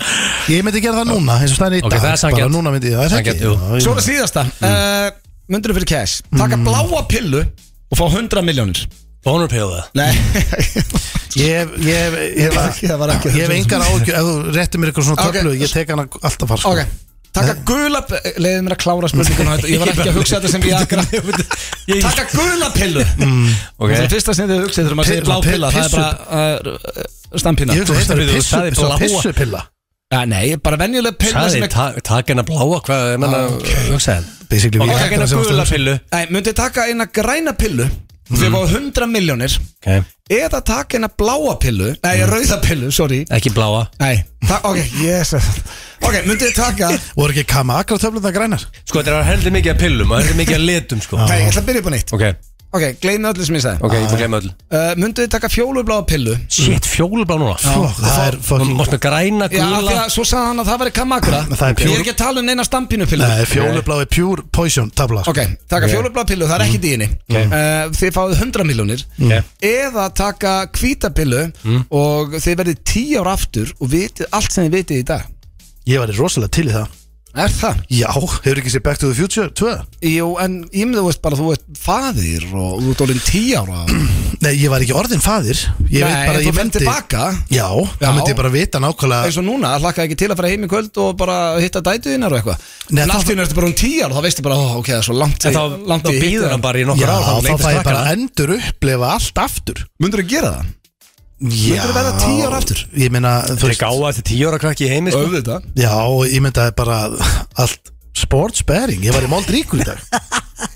B: ég myndi að gera það núna eins og stæðin í
C: Ok,
B: dag
C: það er sanngjarnt.
B: bara núna myndi ég, það er
C: Sanngjarnt, jú.
B: það
A: Svo er
B: ekki
A: það síðasta
C: Mm.
A: uh, Myndur fyrir cash Taka bláa pillu og fá 100 miljónir
C: Bónurpjóða
A: Nei
C: [LAUGHS]
B: ég, ég,
A: [LAUGHS]
B: ég, ég,
A: Það var ekki
B: ég, hef engar ágjur, ef þú réttir mér eitthvað svona
A: Ok.
B: töflu, ég tek hana alltaf far sko.
A: Ok Taka gula Leðið mér að klára spurninguna Ég var ekki að hugsa þetta sem við agra Taka gula pillu
B: Mm,
A: Það er
C: Ok
A: fyrsta sem þið hugsið þegar maður segir
B: Pi-
A: blá
B: pi-
A: pilla Það er
B: pissu-
A: bara uh, stampina
B: ég hugsa þetta
C: Þú sagði
B: er pissu,
C: bláa.
B: pissupilla
A: Ja, Nei, bara venjuleg pilla sem
C: Sæði,
A: er
C: takk hennar bláa Hvað, ég menna, hugsaði
B: basically ég
C: Ok, takk
B: hætti
C: hennar
B: að segja
C: gula
B: það sem
C: pillu
A: Nei, myndið taka eina græna pillu
B: Mm.
A: Þið fá 100 miljónir
C: Ok,
A: Eða taka eina bláa pillu Nei,
B: Mm.
A: rauða pillu, sorry
C: ekki bláa
A: Nei, ta- ok, yes Ok, myndið taka
B: voru ekki kama akkur töflum það grænar
C: Sko þetta er heldur mikið að pillum og heldur mikið að litum sko
A: Nei, ég ætla að byrja upp á nýtt
C: Ok,
A: Ok, gleymi öllu sem ég sagði
C: ok, ég fór að glemja öll
A: uh, Mundu þið taka fjólubláa pillu
C: Shit, fjólublá núna
B: Fuck, það er
C: Þú
B: fucking
C: mást með
A: Já,
C: græna,
A: af því
C: gula
A: að svo sagði hann að það væri kamagra
B: Það er
A: Ég
B: pure-
A: er ekki að tala um neina stampinu pillu
B: Nei, fjólublái pure poison sko. tabla
A: Ok, taka fjólubláa pillu, það er ekki dýni uh, Þið fáið 100 miljónir
C: Ok.
A: Eða taka hvítapillu og þið verðið 10 ára aftur og vitið allt sem þið vitið í dag
B: ég var rosalega til í það
A: Er það?
B: Já, hefur ekki séð Back to the Future 2?
A: Jú, en ég með þú veist bara, þú ert faðir og þú ert orðin 10 ára
B: Nei, ég var ekki orðin fadir
A: Nei,
B: Ég veit bara,
A: en
B: að ég
A: þú ferð
B: myndi
A: tilbaka.
B: Já, þá
A: Já.
B: myndi ég bara vita nákvæmlega
A: eins og núna, hlakka ekki til að fara heim í kvöld og bara hitta dætuðinnar og eitthvað
B: Nei,
A: en
B: þá-
A: allt í henni ertu bara um tíjar og þá veistu bara, ó, ok, það er svo langt
C: En
A: í-
C: þá,
A: langt
C: þá
A: í
C: býður
A: hitta-
C: hann bara í
B: Já,
C: nokkur ár
B: þá
C: leitist
B: fæ ég bara
C: krakkanna.
B: endur upplefa allt aftur
A: Mundirðu gera það?
B: Já
A: Myndirðu verða 10 ára aftur?
B: Ég meina, þú
C: Þetta er gáða þetta er tíu ára krakki í heimi sko.
A: Öfðið
B: Já, ég myndaði bara allt sportsbering Ég var í Moldríkur í dag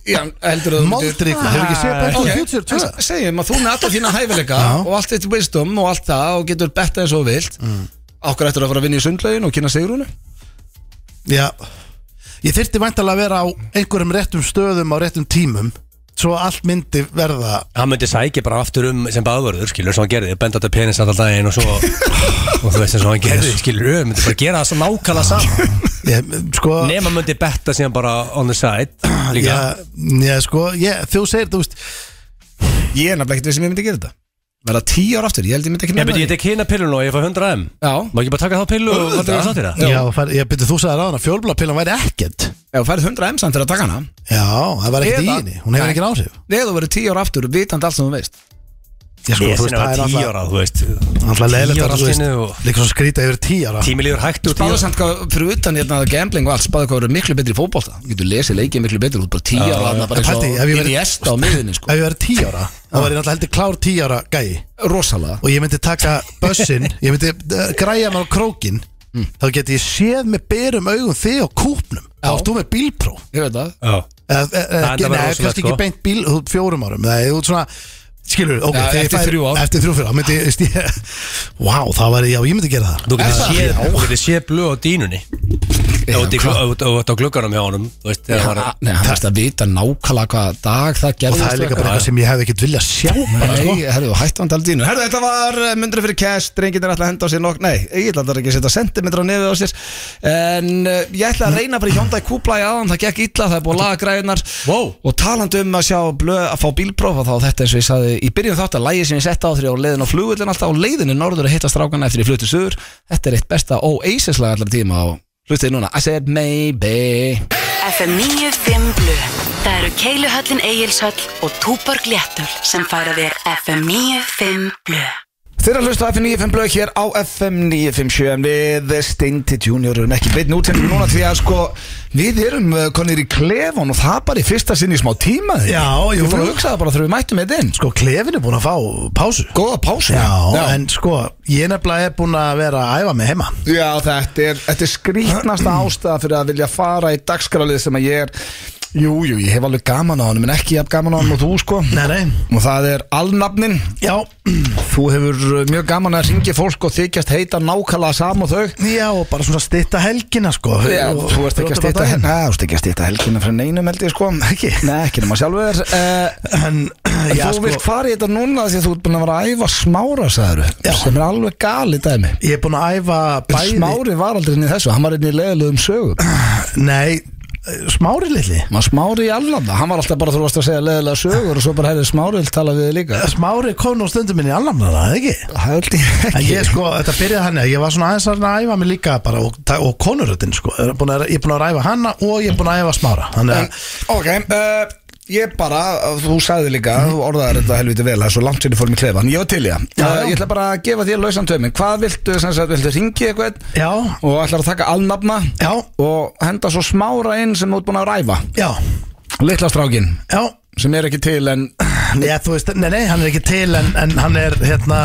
A: Heldur þú
B: [LAUGHS] Moldríkur, Ah, hefur ekki séð Back to the Future 2?
A: En segjum að þú með alla þína hæfileika
B: Já.
A: og allt þitt wisdom og allt það og getur betta eins og þú vilt
B: Mm.
A: okkur eftir að fara að vinna í sundlaugin og kynna sigrunu
B: Já Ég þyrfti væntalega að vera á einhverjum réttum stöðum á réttum tímum Svo allt myndi verða
C: Hann myndi sækja bara aftur um sem baðvörður skilur sem hann gerði, benda þetta penis alltaf daginn og
B: [LAUGHS]
C: svo og þú veist eins og hann gerði skilur hann myndi bara gera það svo
B: [LAUGHS]
C: nákvæmlega saman
B: ég, Sko
C: nema myndi betta síðan bara on the side líka
B: Já, já, sko, ég, þú segir, þú veist
A: Ég er nefnilega ekkert við sem ég myndi gera þetta Verða 10 ára aftur, ég held ég myndi ekki
C: Ég
A: nefna
C: myndi ég tek hina pillun og ég fá 100 M
A: Já.
C: Má ekki bara taka þá pillu og það er sátt í það
A: Já.
B: Já, fær, ég byrja þú sagði ráðan að fjólblapillan væri ekkert
A: Ef þú færið 100 M samt til að taka hana
B: Já, það var ekkert í
A: Eða-
B: henni, hún hefur
A: Nei.
B: ekki áhrif
A: Nei, þú verður 10 ára aftur, vitandi allt sem þú veist
B: Já, sko,
C: Ég
B: þú
C: sinna
B: veist, það
C: var
B: er
C: 10
B: alltaf
C: ára, þú veist
B: Alltaf leiðilegt
C: Tíu ára
B: að þú
C: allt
B: veist
C: inni og-
B: Líka svona skrýta yfir tíu ára
C: Tímilíður hægt og 10
A: Báðu
C: ára
A: samt hvað, fyrir utan hérna gambling og allt Báðu hvað verður miklu betri í fótbolta Þú getur lesið leikið miklu betri, þú er bara 10 ára þarna bara
B: En
A: eins
B: pældi, ef ég
A: og
B: væri-
A: inn í esta á miðinni
B: Ef
A: sko
B: ég verið tíu ára, þá var ég náttúrulega heldur klár tíu ára gæi
A: Rosalega
B: Og ég myndi taka
A: [LAUGHS]
B: bussinn, ég myndi uh, græja mér á krókin
A: Mm.
B: Þá geti ég séð með berum augum þig á kúpnum Þá
A: Já.
B: ert þú með bílpró
A: Ég veit það
C: Já.
B: Eða- eða-
C: þetta
B: eða-
C: var
B: Nei,
C: rosalegt,
B: kannski eh, ekki
C: sko.
B: beint bíl þú- fjórum árum Það er út svona Skilur, ok,
A: Já,
B: þegar ég
A: eftir
B: færi-
A: þrjú ár.
B: Eftir þrjú fyrir, þá myndi ég stið, Wow, það var, já, ég myndi gera það
C: Þú getur
A: það?
C: séð, þú getur séð blöð á dínunni
A: Já,
C: Ef þú ert á glugganum hjá honum Þú veist, þegar hann var
A: Nei, hann veist að vita nákvæmlega hvað dag það
B: Og
A: gerðist
B: það er líka bara eitthvað sem ég hefði ekkert viljað sjá bara, sko.
A: Nei, herðu, hættu hann talað dínu Herðu, þetta var myndri fyrir cash, drengirnir ætla að henda á sér nokk Nei, ég ætla að ekki að setja sentimetra á nefið á sér En uh, ég ætla að reyna bara í Hyundai Kúbla í aðan Það gekk illa, það er búið að laga græðunar
C: Wow.
A: Og talandi um að sjá blöð að fá bílpróf og Þá þetta eins og ég sagði í byrjun þátt að lægi sem ég sett á þrjá Leðin á flugullin alltaf og leiðinu norður að hitta strákana eftir ég flutti suður Þetta er eitt besta Oasis lag allar tíma og hlutið núna I said maybe
F: FM 95 Blu Það eru Keiluhöllin Egilshöll og Túborg Léttul sem færa þér FM 95 Blu
A: Þeirra hlustu á FM 95 blöð hér á FM 957 en við Steinti Junior erum ekki beitt nútíðan núna því að sko við erum uh, konir í klefan og það bara í fyrsta sinn í smá tíma því.
B: Já,
A: ég
B: jú.
A: fór að hugsa það bara þegar við mættum þetta inn
B: Sko, klefin er búin að fá pásu
A: Góða pásu
B: já, en sko, ég nefnilega er búin að vera að æfa mig heima
A: Já, þetta er, þetta er skrítnasta ástæða fyrir að vilja fara í dagskralið sem að ég er Jú, jú, ég hef alveg gaman á hann en ekki jafn gaman á hann og þú sko
B: Nei, nei,
A: og það er alnafnin
B: já, [CLEARS THROAT]
A: Þú hefur uh, mjög gaman að ringja fólk og þykjast heita nákvæmlega sam og þau
B: já, og bara svona stitta helgina, sko
A: Já,
B: og-
A: þú ert ekki að
B: brjóta
A: stýta
B: bara daginn.
A: hérna Þú ert ekki að stýta helgina fyrir neinum held ég sko
B: [LAUGHS] Ekki?
A: Nei, ekki nema
B: [LAUGHS]
A: sjálfur uh,
B: En, já,
A: Þú vilt
B: sko,
A: fara í þetta núna því að þú ert búin að vera að æfa smára sagður
B: Já.
A: sem er alveg gali dæmi
B: ég er búin að æfa
A: Bæði.
B: bæði
A: Smári var aldrei inn í þessu, hann var inn í leðilegum sögum
B: [CLEARS THROAT] Nei, eh, smári litli
A: Maður smári í allan það, hann var alltaf bara þú varst að segja leðilega sögur og svo bara hefði smári vilt tala við þig líka
B: Eh, Smári kom nú stundum minni allamnara, eða ekki?
A: Held ég
B: En
A: ekki
B: ég sko, þetta byrjaði hann Ég var svona aðeins að reyna að æfa mig líka bara og, og konuröttin sko Ég er búin að, ég er búin að æfa hana og ég er búin að æfa smára Þannig
A: En,
B: að,
A: ok, uh, ég bara, þú sagði líka, þú orðaði þetta helviti vel, það er svo langt sinni fórum í klefan, ég var til ég.
B: Mhm. Já,
A: Uh,
B: já.
A: ég ætla bara að gefa þér lausan tömin, hvað viltu, sem sagt, viltu ringi eitthvað
B: já,
A: og ætlar að taka alnafna
B: já,
A: og henda svo smára inn sem þú ert búin að ræfa,
B: já,
A: litla strákin,
B: já
A: sem er ekki til en
B: Nei, þú veist, nei, nei, hann er ekki til en, en hann er hérna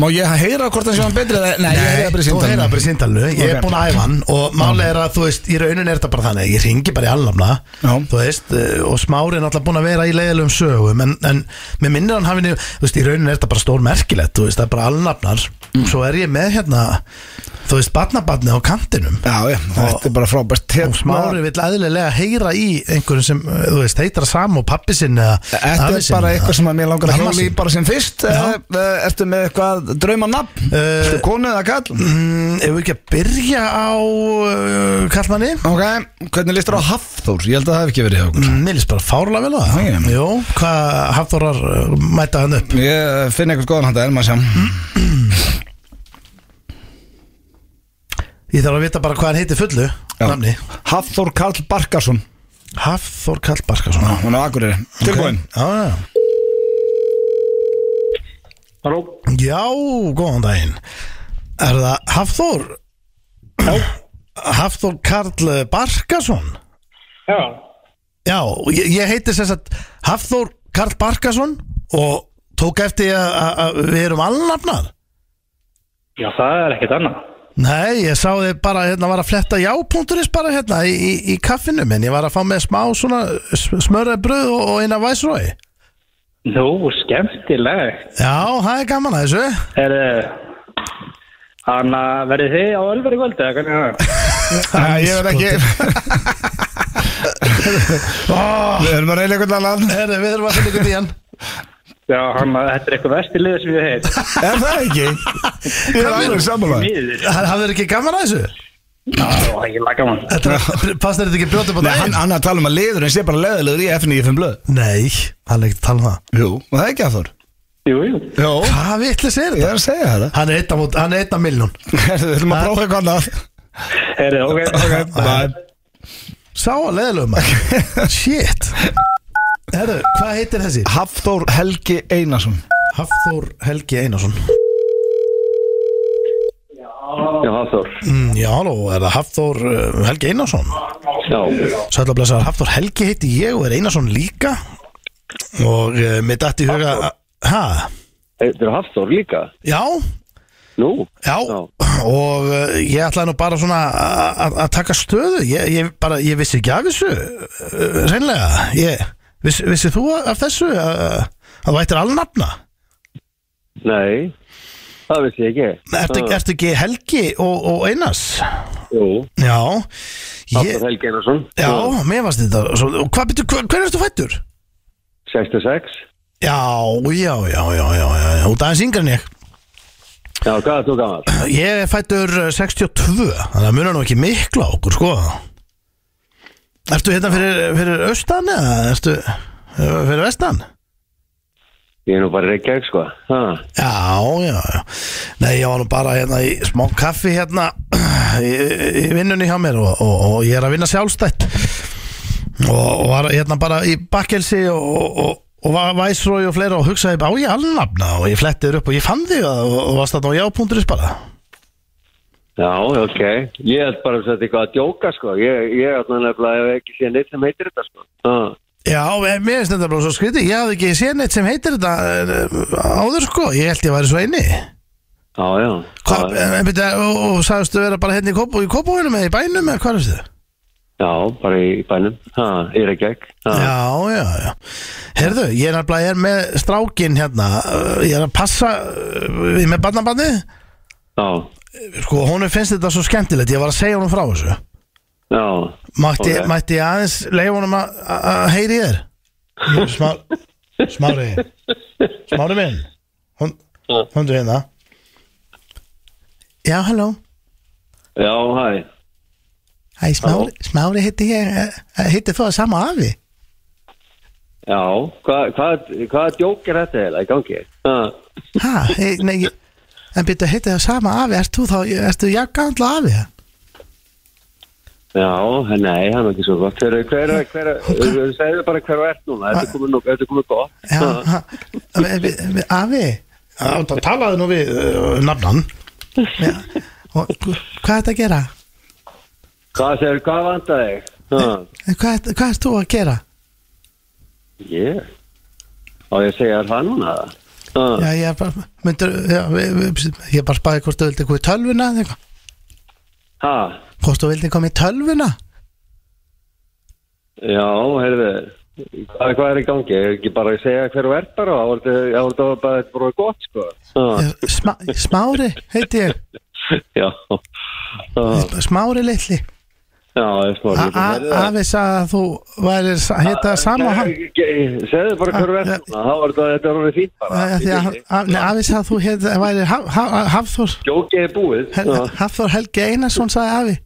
A: má ég heyra hvort það sé hann betri? eða- Nei, ég heyra bara í
B: þú heyrða bara í
A: síndan.
B: síndalnu Ég er
A: Ok.
B: búin að æfa hann og máli er að þú veist, í raunin er þetta bara þannig Ég ringi bara í allamna,
A: Já.
B: þú veist eh, og smári er náttúrulega búin að vera í leiðilegum sögum en, en með minnir hann hafinni þú veist, í raunin er þetta bara stór merkilegt þú veist, það er bara allamnar
A: Mm.
B: Svo er ég með hérna, þú veist, barnabarni á kantinum
A: Já, já, þetta er bara frábært. Hérna,
B: og smári vill aðlilega heyra í einhverjum sem, uh, þú veist, heitar sam og pappi sinn eða
A: Þetta er bara eitthvað sem að mér langar að
B: Mamma
A: hjóla í
B: sín.
A: bara sem fyrst Eh, eh, Ertu með eitthvað draumanafn? Uh,
B: Eh,
A: Ertu konu eða kall?
B: mm, ef við ekki að byrja á uh, kallmanni
A: Ok, hvernig listur á Hafþór? Ég held að það hef ekki verið hjá okkur
B: Mm, Mér líst bara fárlega vel á
A: Já, ég.
B: það Jó, hvað hafðórar mæta hann upp
A: Ég finn eitthvað góðan handa, en maður sjá
B: Ég þarf að vita bara hvað hann heiti fullu
A: Já,
B: nafni
A: Hafþór Karl Barkarsson
B: Hafþór Kall Barkarsson Já,
A: Hún er á Akureyri Tilbúin
B: já
G: Halló,
B: Já, góðan daginn Er það Hafþór? Já Hafþór Karl Barkarsson
G: já,
B: Já, ég, ég heiti sem sagt Hafþór Karl Barkarsson og tók eftir að- að að við erum alnafnar
G: já, það er ekkert annað.
B: Nei, ég sá þið bara hérna var að fletta já.is bara hérna í, í, í kaffinu minn, ég var að fá með smá svona smörða bröð og, og eina væsrói
G: Nú, skemmtilegt.
B: Já, það er gaman að þessu
G: Er, hann að verði þið á Ölveri kvöldi, eða hvernig er það?
A: Æ, Ég veit ekki [LAUGHS] Við erum að reyna einhvern annan
B: Herðu, við þurfum að finna ykkur í hann
G: Já, hann að þetta er eitthvað vesti liða sem ég heit.
A: Er það ekki? Ég er alveg sammála
G: Mýður.
B: Hafðu ekki gaman að þessu?
G: Já, ég laga mann.
B: Þetta er, passar þetta ekki brjótið
A: Nei,
B: bara
A: hann, hann er að tala um að leiður en sé bara leiðilegur í FNF blöð
B: Nei, hann er ekki að tala um það
A: Jú, og það er ekki að þór
G: Jú, jú.
A: Jó,
B: Hvað vitlega segir
A: ég
B: þetta?
A: er að segja það
B: Hann er einn á mót- hann er einn af milljón
A: Við ætlum að prófa eitthvað annað
G: Er þið, ok, ok.
A: bye
B: Sá að leðlum [LAUGHS] maður Shit Herðu, hvað heitir þessi?
A: Hafþór Helgi Einarsson
B: Hafþór Helgi Einarsson
G: Já, Hafþór.
B: mm, Já, halló, er það Hafþór uh, Helgi Einarsson?
G: Já.
B: Sætla að blessa, Hafþór Helgi heiti ég og er Einarsson líka Og uh, mér datt í huga Hæ?
G: Þetta er Hafþór líka.
B: Já,
G: Nú.
B: já Og uh, ég ætlaði nú bara svona að- að að taka stöðu ég, ég, bara, ég vissi ekki af þessu uh, Reinlega ég, viss, Vissi þú af þessu uh, að þú ættir alnafna?
G: Nei, það vissi ég ekki.
B: Ertu, ertu ekki Helgi og, og Einars?
G: Jú,
B: Já ég,
G: Helgi Einarsson.
B: Já, mér varst þetta svo, og Hvað byrju, hver, hver ertu fættur?
G: 66.
B: Já, já, já, já, já, já, já. Út aðeins yngri en ég
G: Já, hvað er þú gammal?
B: Ég er fættur eh, 62 Þannig að munar nú ekki mikla okkur, sko Ertu hérna fyrir, fyrir austan eða ertu eh, fyrir vestan?
G: Ég er nú bara reykjæk, sko. Ha.
B: Já, já, já Nei, ég var nú bara hérna í smá kaffi hérna [CLEARS THROAT] í, í vinnunni hjá mér og, og, og ég er að vinna sjálfstætt og, og var hérna bara í bakkelsi og, og, og og var væsrói og fleira og hugsaði bara á ég alnafna og ég flettið upp og ég fann þig og, og varst þarna á já.is bara
G: Já, ok. Ég held bara að þetta eitthvað að djóka, sko. Ég, ég held nefnilega ef ekki sé neitt sem heitir þetta, sko. Ha.
B: Já, en mér finnst þetta bara svo skrítið Ég hafði ekki séð neitt sem heitir þetta eh, áður sko, ég held ég væri svo einni
G: Já, já.
B: Hva,
G: Já,
B: en, byrja, og, og sagðistu vera bara hérna í kóp í kópóinu með í bænum eða hvað er þetta?
G: Já, bara í bænum. Ha, ég er ekki ekki. Já.
B: Já, já, já Herðu, ég er nefnilega ég er með strákin hérna uh, Ég er að passa uh, við- með barnabarni
G: Já.
B: Sko, honum finnst þetta svo skemmtilegt Ég var að segja honum frá þessu
G: Já.
B: Mætti,
G: Ok.
B: mætti ég aðeins leifa honum að- að að heyri þér Jú, smá, Smári Smári minn Hún, Hundu hérna Já, halló
G: Já, hæ.
B: Æ, Smári, smári heiti ég eh, Heiti þú að sama afi
G: Já, hvað hva, hva djók er þetta eiginlega í gangi? Ha.
B: Ha, hey, nei, ég- en byrja, heiti það sama afi, ert þú þá, ert þú jafnkandla afi?
G: Já, nei, hann er ekki svo gott. Hver, hver, hver, hver, segðu bara hver þú ert núna. Þetta er komið nú, þetta er komið gott.
B: Já, ha, vi- vi- vi- afi? Já, það talaði nú við uh, nafnan. Já, og hva- hvað ert að gera?
G: Hvað segir, hvað vantar þig? Ha.
B: Hvað, ert- hvað ert þú að gera?
G: Ég? Á ég að segja þér það núna? eða?
B: Já, ég er bara, myndur, já, vi, vi, ég bara spæði hvort þú vildi koma í tölvuna eða eitthvað.
G: Ha?
B: Hvort þú vildi koma í tölvuna?
G: Já, heyrðu, hvað, hvað er í gangi? Ég er ekki bara að segja hver þú ert bara, þá er þetta- þá er þetta bara þetta bara gott, sko. Ha,
B: Já, Sma, smári, heiti ég.
G: Já, Ha,
B: Smári litli.
G: já, ég smá.
B: A- a- Afi sagði að þú væri, heita sama og hann.
G: Segðu bara hver þú ert
B: Ah,
G: núna, þá er þetta þetta er orðið fínt
B: Af Því að
G: bara.
B: af- nei, afi sagði að þú hér væri Haf- Haf- Hafþór
G: Jókið er búið.
B: Hel-
G: Ha,
B: Hafþór Helgi Einarsson sagði afi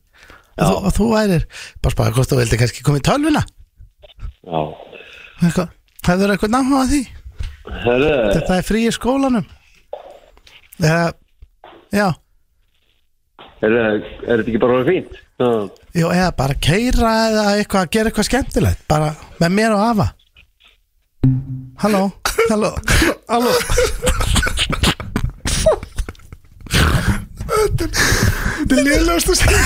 B: og þú,
G: Já.
B: og þú værir bara spara hvort þú vildi kannski koma í tölvuna
G: Já,
B: Eitthvað- hefur eitthvað náhuga því
G: heyrðu,
B: þetta er frí í skólanum eða já
G: Er, er þetta ekki bara orðið fínt? Já,
B: Jó, eða bara keira eða eitthvað, gera eitthvað skemmtilegt bara með mér og afa Halló, [LAUGHS] halló, halló Þetta er liðlöfst að segja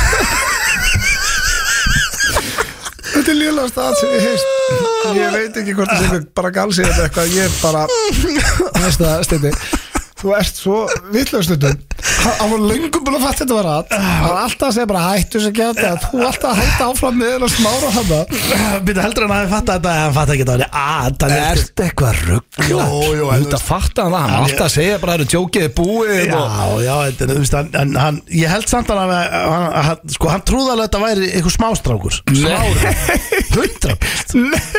A: Þetta er liðlast að sem ég heist Ég veit ekki hvort það sé eitthvað bara galsið þetta eitthvað Ég er bara Næsta steindi Þú ert svo vitlaus stundum Hann hann var löngum búin að fatta þetta var að Hann var alltaf að segja bara hættu þessu ekki að þetta Þú alltaf að hætta áfram með þeirra smára hann
B: Býta heldur en að þið fatta þetta en fatta ekki þetta að það er
A: Ertu
B: eitthvað rugg Jó, jó, en þú
A: Þetta fatta hann það Hann var alltaf að segja bara það eru tjókið er búið og-
B: Já, já, þetta er, þú veist, hann, hann, hann, ég held samt að hann, hann, hann, sko, hann trúði alveg að þetta væri einhver smástrákur Smári, hundra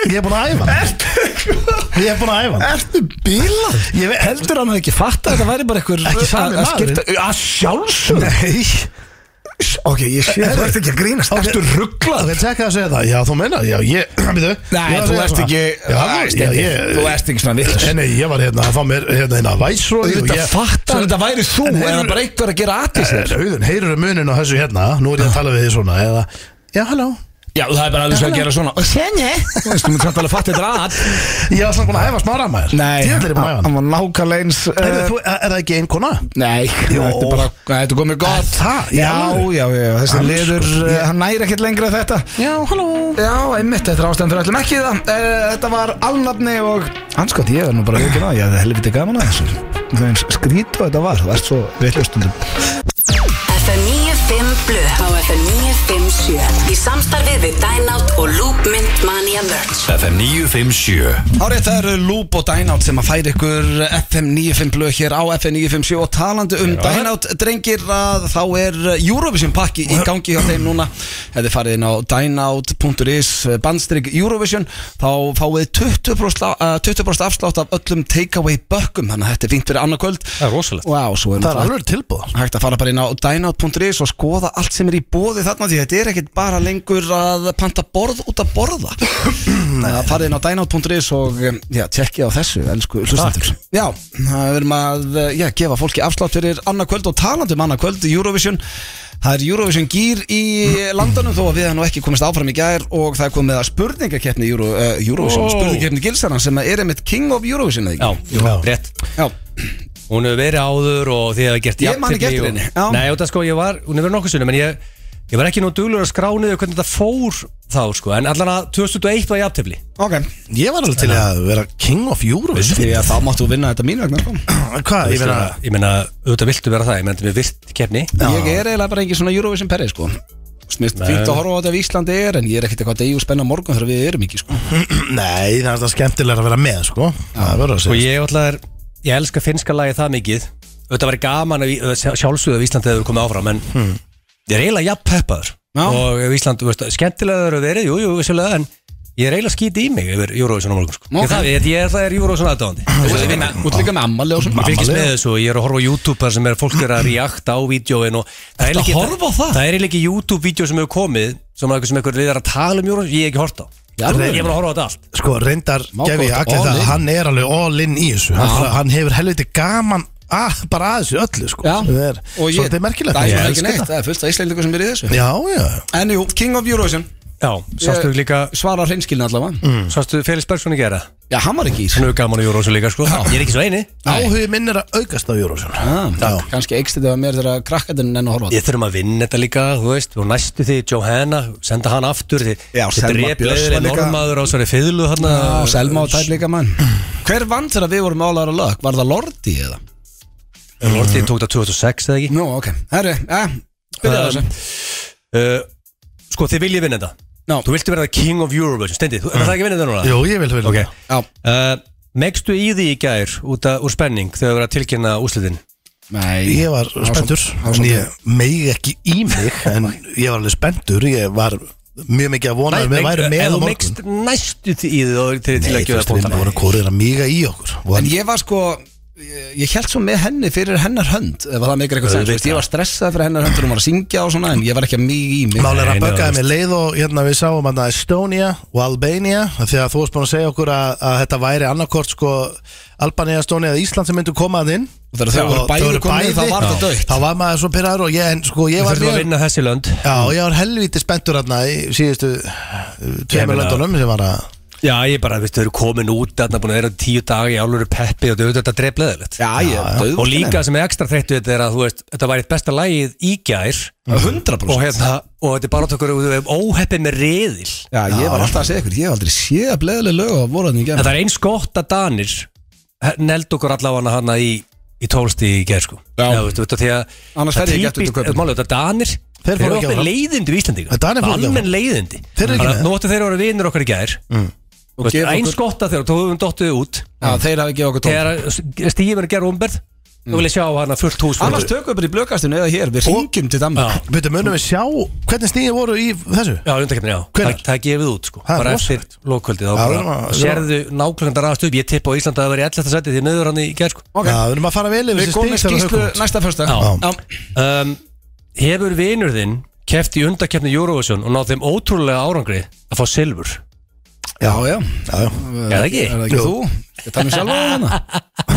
B: Ég er búin að æfa hann Ég er búin að æfa hann
A: Ertu bílað? Ég veit, heldur hann hafi ekki fatta þetta væri bara einhver
B: Ekki
A: að-
B: sami
A: að
B: maðurinn.
A: skipta- Að sjálfsög
B: Nei,
A: Ok, ég sé
B: Þú ert
A: ekki að grínast
B: Ok.
A: Ertu rugglað?
B: það er tekka að segja það Já, þú meina, já, ég, [CLEARS THROAT] býtu
A: Nei, þú ert ekki
B: Já,
A: Nei,
B: já,
A: Steindi,
B: ég
A: Þú ert ekki svona vitlaus
B: Nei, nei, ég var hérna að fá mér hérna hérna væsrói og
A: Þetta
B: ég
A: fattar að þetta væri þú
B: En
A: en
B: heyrðu-
A: það bara eitt verið að gera aðtis
B: Eh,
A: þér
B: Auðun, heyrur munin á þessu hérna Nú er ég að tala við því svona eða Já, halló
A: Já, það er bara alveg svo að gera svona Og senni Þú veist, þú mér samt alveg fatt þetta að
B: Ég var samt búin að æfa smára maður Ég er búin að æfa hann
A: var nákvæmlega eins eh,
B: Heyrðu, þú- Er það ekki einn kona?
A: Nei, þetta er bara Þetta er komið
B: Er
A: gott
B: það? Í
A: Já,
B: alvöru?
A: já, já, þessi
B: Alls
A: liður
B: konar.
A: eh, Hann næri ekkert lengra þetta
B: Já, halló
A: Já, einmitt, þetta er ástæðan fyrir öllum ekki í það Eh, Þetta var alnafni og Hanskvæmt, ég er nú bara ekki náð Ég hefði helviti gaman að þessu Það er eins skrítu þetta var Það er svo villustundum
F: FM 95 Blu á FM 957 í samstarfið við Dynout og Loop Mint Mania Merch
H: FM 957
A: Árið það eru Loop og Dynout sem að færi ykkur FM 95 blöð hér á FM 957 og talandi um Dynout drengir að þá er Eurovision pakki í gangi hjá þeim núna hefði farið inn á dynout.is bandstrygg Eurovision þá fáið 20%, lá- eh, 20 afslátt af öllum takeaway bökkum þannig að þetta er fínt fyrir annarkvöld
C: Það er rosalegt
A: Vá, svo er
B: Það er
A: náttúrulega
B: alveg tilbúð
A: hægt að fara bara inn á dynout.is og skoða allt sem er í bóði þarna því þetta er ekkert bara lengur að panta borð út að
C: [CLEARS THROAT]
A: borða það farið inn á dynout.is og um, já, tjekki á þessu elsku hlustendur já, það verðum að uh, já, gefa fólki afslátt fyrir annað kvöld og talandi um annað kvöld Eurovision Það er Eurovision gýr í landanum þó að við hann og ekki komist áfram í gær og það er komið að spurningakeppni Euro, uh, Eurovision,
C: Ó.
A: spurningakeppni Gilsarna sem er einmitt King of Eurovision eða
C: Já,
A: ekki?
B: Já.
C: rétt
A: Já.
C: Hún hefur verið áður og þið hefur gert
A: Ég man ekki
C: jafntefli
A: eftir henni, já.
C: og... Nei, og það sko, ég var, hún hefur verið nokkuð sunni En ég, ég var ekki nú duglur að skrá niður hvernig þetta fór þá sko En allan að 2001 var ég aftöfli
A: Ok,
B: Ég var alveg til í að vera king of Eurovision
A: því að þá máttu vinna þetta mín vegna sko.
B: Hvað, [CLEARS THROAT] ég vera
C: Ég meina, auðvitað viltu vera það Ég meina, þetta er vilt keppni
A: Ég er eiginlega bara engin svona Eurovision perri sko Þú veist, Mér finnst
C: Nei.
A: fínt að horfa á þetta ef Íslandi er En ég er ekkert eitthvað degi og spenna morgun þegar við erum ekki sko
B: Nei, það er það skemmtilega að vera með, sko Það verður að
C: Og
B: segja
C: ég alltaf er, ég elska finska lagi það mikið Þetta var gaman að sjálfsögðu að Íslandi hefur komið áfram En ég er eiginlega jafn peppaður
A: Hmm. Já.
C: Og ef Ísland, þú veist, skemmtilega hefur verið Jú, jú, vissulega, en ég er eiginlega skítið í mig Yfir Eurovision á morgun, sko
A: Ok.
C: Ég það, ég, ég er það er Eurovision aðdáðandi
A: Þú ert líka- þú ert líka með ammali og
C: Ég
A: svona
C: fylgist með þessu og ég er að horfa á YouTube-ar sem er fólk er að reakta á vídjóin og það er
A: Ertu að
C: ekki-
A: horfa á það?
C: Það er ekki YouTube-vídjó sem hefur komið sem er eitthvað sem eitthvað við erum að tala um júrun ég hef ekki horfa á
A: Já,
C: Ég
A: alveg.
C: er bara að horfa á þetta allt
B: Sko, reyndar
A: Má
B: gef ég
A: gott,
B: allir
A: all
B: það
A: in.
B: Hann er alveg all in í þessu Hann, hann hefur helviti gaman að, bara að þessu öllu, sko
A: Já,
B: Það er
A: og ég,
B: svolítið merkilegt
A: það er
B: Ég
A: svona
B: elska
A: ekki neitt
B: þetta.
A: Það er fullt af Íslandingur sem er í þessu
B: Já, já
A: En jú, King of Eurovision
C: Já, sástu
A: Ég-
C: líka,
A: Svara hreinskilin allavega
B: Mm.
C: sástu Felix Bergson í gera
A: Já, hann var ekki í
C: Hann
A: þessu
C: hefur gaman á júrun líka sko Ég er ekki svo eini
B: Áhugi minn er að aukast á Eurovision
A: ah,
B: Já.
A: Kanski eikst þetta að mér þegar að krakkatinn enn að horfa á þetta.
C: Ég þurfum að vinna þetta líka, þú veist og næstu því Johanna, senda hann aftur því
A: Já, Selma Björns var
C: Björnsson
A: líka-
C: líka Normaður á svari fiðlu hann
A: Já, Selma og tæp líka mann
C: Mm.
A: Hver vann þegar við vorum álæður að lög? Var það Lordi eða?
C: Lordi tók það 2006 eða ekki
A: Nú, ok, herri, ja, byrjaðu þessu
C: Um, Uh, Sko þið viljið vinna þetta
A: Já.
C: Þú viltu vera King of Eurovision, stendi, þú er það ekki að vinna þetta núna?
B: Jú, ég vil fyrir
C: Ok.
A: Já,
C: Uh, Megstu í því í gær út af, úr spenning þegar við erum að tilkynna úslitin
A: nei
B: Ég var
A: Það
B: spenntur
A: svona- það var
B: en
A: svona-
B: ég megi ekki í mig en ég var alveg spenntur ég var mjög mikið að vona að við værum með á
C: þú
B: morgun
C: megst næstu því í því og til, til
B: Nei,
C: að
B: þú
C: gjöða
B: veist, við
C: bóta
B: vorum korður að míga í okkur
A: En
B: og
A: ég var sko ég, ég held svo með henni fyrir hennar hönd ef það meikir eitthvað sens, þú veist, ég var stressað fyrir hennar hönd þegar hún var að syngja og svona, en ég var ekki að mig í mig
B: Málega
C: Nei,
B: að
C: nei,
B: böggaði
C: þú
B: mig leið og hérna við sáum að Estonia og Albania af því að þú varst búin að segja okkur að, að þetta væri annarkort sko Albania, Estonia eða Ísland sem myndu komað inn
A: Og þegar þau
B: Og
A: voru bæði
B: voru
A: komið, þá var
B: Já.
A: það dautt.
B: Þá var maður svo pyrraður og ég, en, sko, ég
C: Við
B: var
C: þurfum að
B: mjög
C: vinna þessi lönd
B: Já, ég var helvítið spenntur hérna í síðustu
C: Ég
B: tveimur
C: meina-
B: löndunum sem var að
C: Já, ég bara, veistu, þau eru komin út Þarna búin að vera tíu dagi í álur peppi Og þau eru þetta dreifleðilegt
A: Já, ég er dauð
C: Og líka sem er ekstra þreyttu þetta er að þú veist Þetta var eitt besta lagið í gær
A: 100%
C: Og hérna, og þetta er bara tökur Óheppið með reðil
A: Já, ég var alltaf að segja ykkur, ég hef aldrei séð að bleðileg lög á voruðin í
C: En
A: gerð
C: það er eins gott að Danir Neld okkur allavega hana í, í tólsti í gerð sko
A: Já.
C: Já veistu, veistu, Því að
A: Annars
C: það
A: fer ég ekki aftur til
C: típist-
A: Kaupmannahafnar.
C: Málið þetta Danir
B: Þeir fóru ekki
C: ekki
B: áfram.
C: leiðindi við Íslandinga
B: En Danir fóru ekki
C: Almenn
B: áfram.
C: leiðindi
B: Þeir eru ekki
C: Þannig að
B: með.
C: Nú áttu þeir að vera vinur okkar í gær mm.
A: gefa okkur-
C: Eins gott að þeir Þú höfum dottuð út
A: Já, þeir hafi gefið okkur tón
C: Þegar stífin er að gera umberð Þú vil ég sjá hana fullt hús
A: Annars tökum við bara í blökastinu eða hér, við ringjum til Danmark
B: Veitu, munum við sjá hvernig stíði voru í þessu?
C: Já, undarkeppnin, já.
B: Hvenær?
C: Það, það er gefið út, sko.
B: Það er
C: bara eftir
B: rosalegt.
C: lokkvöldið. Þá
B: Já,
C: bara
B: það var-
C: sérðu nákvæmlega ræðast upp. Ég tippa á Íslanda að það veri 11. sætið því miður hann í gerð, sko.
A: Ok.
B: Já, við erum að fara vel yfir
A: Við
B: þessi
A: komum með
B: stíð þegar þau
A: skýslu
B: komast.
A: næsta fyrsta
C: Já.
A: Já,
C: um, Hefur vinur þinn keft í undarkeppni Eurovision og náð þeim ótrúlega árangri að fá silfur?
A: já, já.
B: Já, já.
C: Er það ekki?
A: Er það ekki þú? Ég tala um sjálf á hana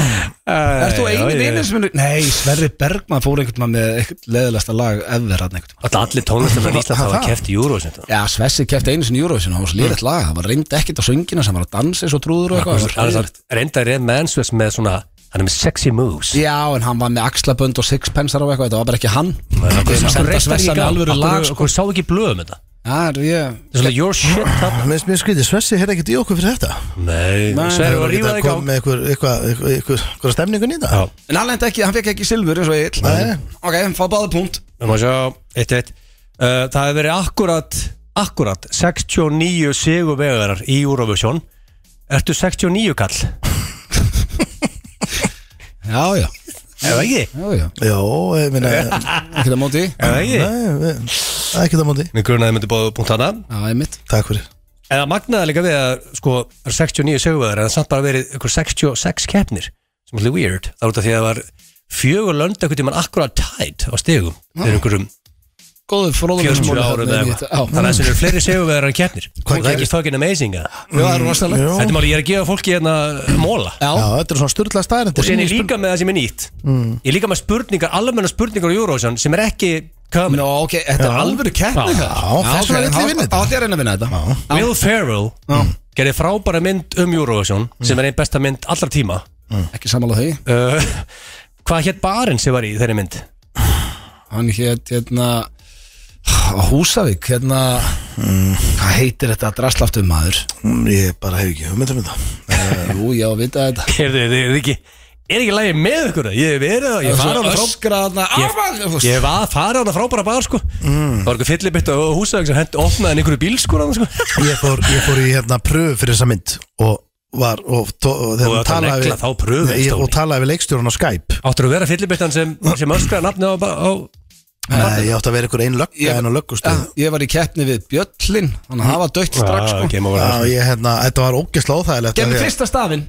A: [LAUGHS] Ert þú
C: já,
A: eini
C: ég-
A: vinur sem er Nei, Sverri Bergman fór einhvern veginn með eitthvað leðilegasta lag ever hann einhvern veginn
C: Alltaf allir tónlistamenn í Ísland hafa keft í Eurovision.
A: Já, Svessi kefti einu sinni í Eurovision, það var slíðitt lag, það var reynd ekkert á söngina sem var að dansa svo trúður og eitthvað það var
C: Það
A: hræðilegt.
C: er reyndar reynd mennsvers með svona, hann er með sexy moves.
A: Já, en hann var með axlabönd og sixpensar og eitthvað, þetta var bara ekki hann Þeim senda Svessa með alvöru lag sko.
C: Okkur sá ekki blöðum þetta.
A: Já, er ég
C: Það er svona your shit þarna.
B: Mér finnst mjög skrítið, Svessi hefði ekkert í okkur fyrir þetta
C: Nei,
B: Þeir
C: Sverri var
B: voru
C: rífaði
B: að
C: í
B: koma
C: gang.
B: með eitthvað, eitthvað, eitthvað, eitthvað, eitthvað stemningun í það
C: Já.
A: En hann lendi ekki, hann fekk ekki silfur eins og ég
B: Nei.
A: Ok, hann fá báði punkt
C: Við maður sjá eitt, eitt. Uh, Það hefur verið akkurat, akkurat 69 sigurvegarar í Eurovision Ertu 69 kall?
A: Já, já,
C: Eða ekki?
A: já, já
B: Jó, ég
C: [LAUGHS]
B: minna
A: Ekki það móti Já,
C: Eða ekki?
B: Ekki það móti,
C: Mér grunaði myndi bóða punkt hana
A: ég mitt
B: takk fyrir
C: Eða magnaði líka við að sko það eru 69 sigurvegarar en samt bara verið ykkur 66 keppnir sem er allir weird Það er út af því að það var fjögur lönd eitthvað tímann akkurat tætt á stegum fyrir einhverjum
A: Góðu fróðum
C: 40 árum eða eitthvað Þannig að þessu eru fleiri sigurvegarar en keppnir
B: Hvað
C: Það er ekki fucking amazing eða?
A: Já, það er rosalegt
B: Jó.
C: Þetta er máli, ég er að gefa fólki hérna uh, móla
B: Já,
A: Já,
B: þetta er svona styrla staðarindir
C: og sér ég líka með það sem er nýtt ég er líka með spurningar, almenna spurningar á Eurovision sem er ekki
A: Nó,
C: komin
A: ok, þetta er alvöru keppni
C: Já.
A: það.
B: Já, þess vegna
A: ok,
B: vill ég
A: þá-
B: vinna
A: þá átti ég að reyna að vinna þetta
C: Will Ferrell gerði frábæra mynd um Eurovision sem er einn besta mynd allra tíma
A: Ekki samála því
C: uh, [LAUGHS] hvað hétt barinn sem var í þeirri mynd [LAUGHS]
A: Hann hétt, hérna á Húsavík, hérna Hvað heitir þetta draslaftum maður?
B: Mm, Ég bara hef ekki hugmynd um þetta
A: Eh, Jú, já, vita þetta
C: Heyrðu, þið er ekki er ekki lægið með ykkur ég hef verið það, ég fara á hana frá
A: öskraðna
C: ég hef að fara á hana frábæra bar sko það var eitthvað fyllibitt á húsavík sem hent opnaði einhverju bíl sko, þarna, sko. [LAUGHS]
B: Ég fór, ég fór í hérna pröf fyrir þessa mynd og var og, tó, og
C: Þú
B: þegar
C: ert að negla þá pröfu,
B: Nei, ég-
C: Stóni.
B: og talaði við leikstjórun á Skype
C: áttur að vera fyllibittan sem, sem öskraði nafni á, á
B: Nei, ég átti að vera ykkur ein lögga en á löggustofu
A: Ég var í keppni við Bjöllin Þannig að hafa dött strax
C: Ah,
A: sko.
C: ok, má vera.
B: Já, ég hérna, þetta var ógeðslega óþægilegt
A: Gefðu
B: af því að-
A: fyrsta stafinn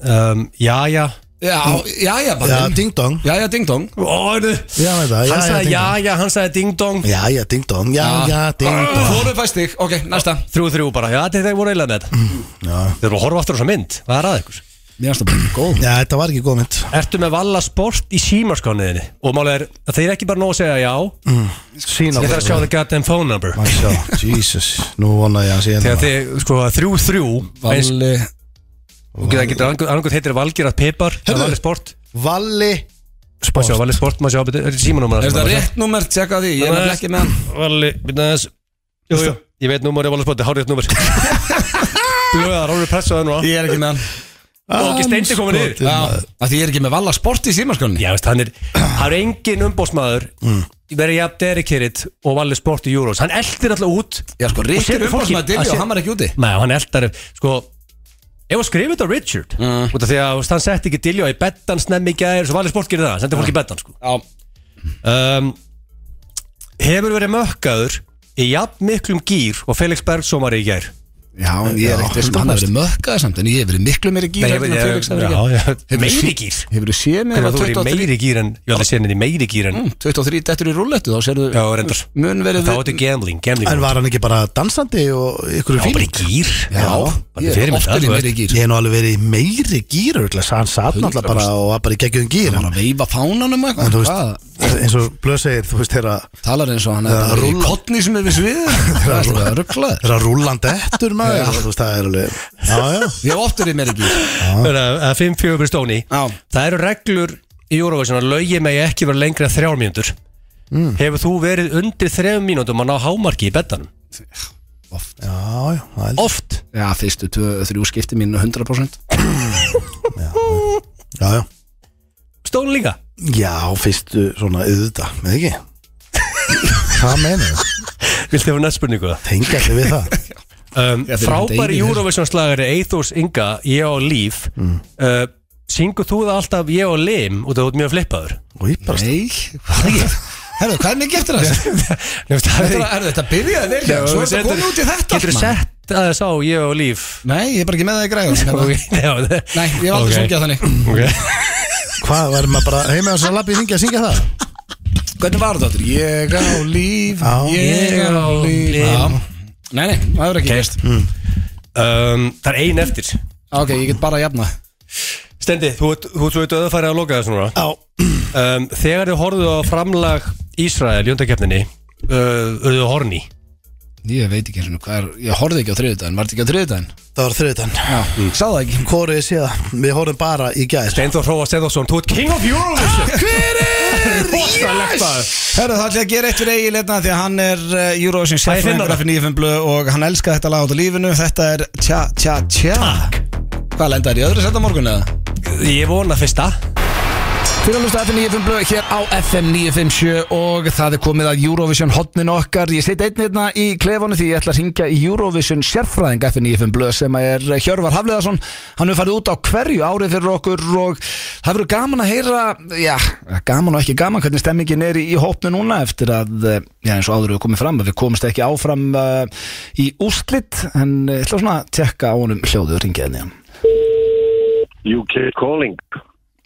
C: um, já, já
A: Já, já, já,
B: Já,
A: barnum.
B: ding dong
A: já, já, ding dong
C: Ó, heyrðu.
B: Já, veit það, já,
C: Hann
B: já,
C: sagði
B: ding
C: já, já, hann sagði ding dong
B: Já, já, ding dong, já, já, ding dong
A: Þóru fæst þig, Ah, ok, næsta
C: Þrjú, þrjú bara, já, þetta er þeir voru eiginlega með
A: Mm.
C: þetta Þeir eru að horfa aftur á þessa mynd, hvað er að ykkur?
A: Mér finnst það bara góð
B: Já, þetta var ekki góð mynd
C: Ertu með valla sport í símarskániðinni Og málega er að þeir ekki bara nóg að segja já
B: Sýna
C: Ég þarf að sjá the goddamn phone number
B: Má sjá, Jesus, nú vona ég að sé hérna.
C: Þegar þið, sko, þrjú, þrjú eins,
A: Valli
C: og Það getur annað heitir Valgir að pipar
B: Heyrðu.
C: Valli sport,
B: Valli
C: má sjá,
B: Sport
C: Valli sport, má sjá betur- Þetta er símanúmer
A: Er þetta rétt nummer, tjekka því, ég er nefnilega ekki með hann
C: Valli, byrna þess Jú, jú, ég veit númer, ég valið spott, það er
A: [LAUGHS]
C: hárið númer Þú veist það, Rólur pressaði núna
A: Ég er ekki
C: [LAUGHS]
A: með hann
C: Og ekki steindi komin yfir
A: Já, af því ég er ekki með Valla Sport í símaskjölni
C: Já, veist, hann er, hann er engin umbósmaður mm. verið jafn derikiritt og valið sport í Euros, hann eldir alltaf út
A: Já, sko,
C: Og setur
A: Rikki
C: fólki-
A: Rúforsmaður
C: að
A: Dilli
C: set-
A: og hann var ekki úti
C: Nei, hann eldar, sko ef að skrifa þetta á Richard
A: Mm.
C: út af því að þú veist, hann setti ekki Dilljó í bettan snemmi í gæðir, svo valið sport gerir það, sendir fólk í bettan sko.
A: Já,
C: um, hefur verið mökkaður í jafn miklum gýr og Felix Bergsson var í gær
I: Já, en ég er ekkert
A: Hann
I: viss um það,
A: hann hefur verið mökkaði samt En ég hefur verið miklu meiri gýr
C: Nei,
A: heldur en
C: ég-
A: Felix hefur
C: já,
A: verið
C: já,
A: gert. Hefurðu
C: meiri
A: sé-
C: gýr?
A: Hefurðu séð mig
C: Hvernig
A: vera
C: þú verið
A: 23
C: meiri gýr en Ég ætla að sé henni meiri gýr en
A: Mm, 23 dettur í rúllettu Þá sérðu
C: Já, reyndar.
A: Mun verið
C: Þá ertu gambling, gambling
B: En var hann ekki bara dansandi og ykkur
C: Já, bara í gýr
A: Já,
C: bara
A: ég
C: fyrir
A: er
C: mig
A: oftar
C: það
A: í
C: þú
A: meiri
C: veist.
A: gýr
B: Ég hef nú alveg verið í meiri gýr örugglega, sa- Hann satt náttúrulega bara og var bara í geggjum gýr
A: Hann var að veifa fánanum og
B: En þú
A: eitthvað Hvað?
B: veist, eins og Blöð segir, þú veist, þeirra
A: Talar eins og hann
B: Það
A: hefur bara verið
B: rúlla.
A: í kottni sem er við
C: [LAUGHS]
A: svið Rugglaður
B: þeirra rúllandi ettur maður og þú veist, það er alveg Já, já,
A: Ég hef oft verið meiri gýr
C: Þannig að- að 5-4 fyrir stóni
A: Já.
C: Það eru reglur í Eurovision að lögi megi ekki vera lengri en þrjár mínútur
A: Mm.
C: Hefur þú verið undir þrejum mínútum að ná hámarki í betanum?
A: Oft
B: já, já það er-
C: Oft
A: Já, fyrstu tvö, þrjú skipti mín 100%
B: Já, já
C: Stóni líka
B: Já, fyrstu svona auðvita, með ekki? Hvað meina það?
C: Viltu hafa næst spurningu það?
B: Tengja allir við það
C: Um,
A: Já, þeir eru
C: frábær
A: deyfir.
C: Eurovision slagari Eithos Inga, Ég á líf
A: Mm.
C: uh, Syngur þú það alltaf Ég á lim út af þú ert mjög flippaður? [LAUGHS]
B: Og ég bara
A: Nei, hvað er ekki? Herðu, hvað er mér gert þér þessu?
C: Þetta
A: Er þetta byrjaði vel hjá? Svo er þetta komið út í þetta
C: Getur þú sett að það sá Ég á líf? [LAUGHS]
A: Nei, ég er bara ekki með það í [LAUGHS] græðum
C: Ok,
A: Nei,
C: já, það-
A: ég hef aldrei
C: Ok.
A: sungið þannig
C: Ok.
B: Hvað, verður maður bara heima þess að labbi í þingi að syngja það?
A: Hvernig var þetta? Ég á líf
B: Já.
A: Ég á líf Já. Nei, nei, það verður ekki gerst
C: um, Það er ein eftir
A: Ok, ég get bara að jafna
C: Stendi, þú ert þú ert svo eitthvað öðfærið að loka þessu núna
B: Já,
C: um, Þegar þið horfðu á framlag Ísrael í undarkeppninni Öðu uh, horni
A: Ég veit ekki hérna hvað er Ég horfði ekki á þriðudaginn, var þetta ekki á þriðudaginn?
B: það var þriðutan
A: Já, sá það ekki
B: Hvorið sé það, við horfum bara í gæðir
C: Steindur Hróa Steindorsson, þú ert king of
A: Ah,
C: Eurovision [LAUGHS] Rosalegt maður
I: Hörru, það ætla ég að gera eitt fyrir Egil hérna því að hann er uh, Eurovision
C: finna
I: sérfræðingur
C: það.
I: fyrir 95 blöð og hann elskar þetta lag út af lífinu þetta er tja, tja, tja
A: Hvað lenda í öðru setta morgun eða?
C: Ég vona fyrsta
A: Fyrir að hlusta FM 95 blöð hér á FM 957 og það er komið að Eurovision hotnin okkar. Ég seti einn hérna í klefanu því ég ætla að ringja í Eurovision sérfræðing FM 95 blöð sem er eh, Hjörvar Hafleðarsson. Hann hefur farið út á hverju árið fyrir okkur og það verður gaman að heyra, já, gaman og ekki gaman hvernig stemmingin er í, í hópnu núna eftir að, eh, já eins og áður við komið fram að við komumst ekki áfram uh, í úrslit en eh, ég ætla svona að tekka á honum hljóðu ringjaðinni hérna hann.
G: UK Calling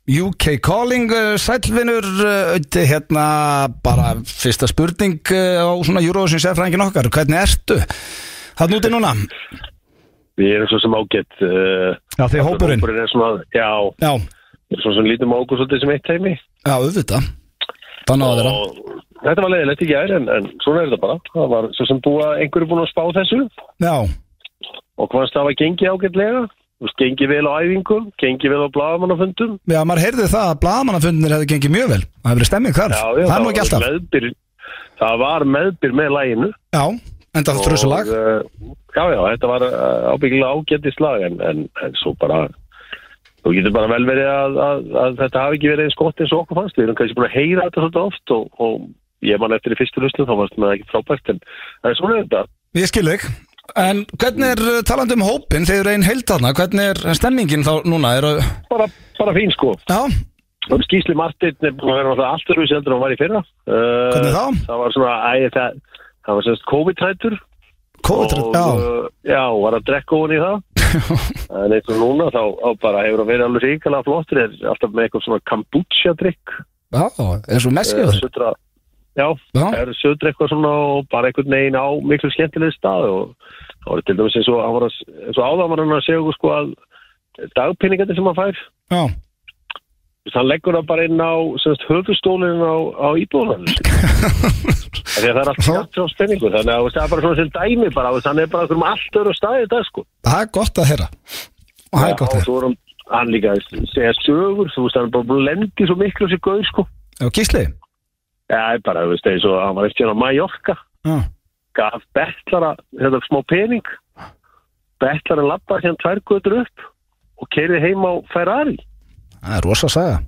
A: UK Calling, uh, sælvinur, uh, Auddi, hérna bara fyrsta spurning uh, á svona Eurovision sérfræðingin okkar, hvernig ertu? Það núti núna,
G: Við erum svo sem ágætt uh,
A: já þið hópurinn,
G: Hópurinn er svona, já,
A: já,
G: svo sem lítum á okkur svolítið sem eitt heimi
A: já auðvitað, þannig á að vera,
G: Og Þetta var leiðilegt í gær en, en svona er þetta bara Það var svo sem búa einhverju búin að spá þessu
A: já,
G: og hvað það var gengið ágætlega Þú veist, gengið vel á æfingum, gengið vel á blagamannafundum
A: já maður heyrði það að blaðamannafundinir hefði gengið mjög vel, það hefur verið stemming þar, það er nú ekki alltaf,
G: meðbyr, Það var meðbyr með læginu
A: já, enda það trussulag,
G: Og, eh, Já, já, þetta var uh, ábyggilega ágættist lag en, en, en svo bara þú getur bara vel verið að, að, að þetta hafi ekki verið eins gott eins og okkur fannst við erum kannski búin að heyra þetta svolítið oft og, og ég man eftir í fyrstu lustum þá varst maður ekki frábært en, en svona er þetta
A: ég skil þig, en hvernig er uh, talandi um hópin, þið eru einn heildarna, hvernig er stemmingin þá núna, eru,
G: bara, bara fín sko
A: já,
G: og Skísli Martin er búin að vera náttúrulega allt öruvísi heldur en hann var í fyrra uh,
A: Hvernig þá?
G: Það var svona, æ, það, það var semst COVID-trættur
A: COVID,
G: og,
A: já,
G: uh, já, var að drekka ofan í
A: [LAUGHS]
G: það en eins og núna þá á bara hefur að vera alveg ríkala flottir er alltaf með eitthvað svona kombucha drikk
A: já, eins og messi á
G: eh,
A: þér.
G: södra já,
A: Já.
G: er södra eitthvað svona og bara einhvern veginn á miklu skemmtilegði stað og það var til dæmis eins og, hann var að- eins og áðan var hann að segja okkur sko að dagpinningandi sem hann fær
A: Já,
G: þú veist, hann leggur það bara inn á semst, höfustólinn á, á íbúðan
A: [LAUGHS]
G: því að það er allt skatt frá spenningu þannig að þú veist, það er bara svona sem dæmi bara, þú veist, hann er bara okkur um allt öru staði þetta sko
A: það er gott að heyra og það er gott að
G: og
A: heyra
G: svo er hann, hann líka að segja sögur þú veist, hann er bara búin að lendi svo miklu sér gauð sko
A: Já, Gísli
G: Já, það er bara, þú veist, eins og hann var eftir hann á Mallorca
A: Já.
G: gaf betlara, þetta smá pening betlara lappar hérna tvær götur upp og keirði heim á Ferrari
A: það er rosa að segja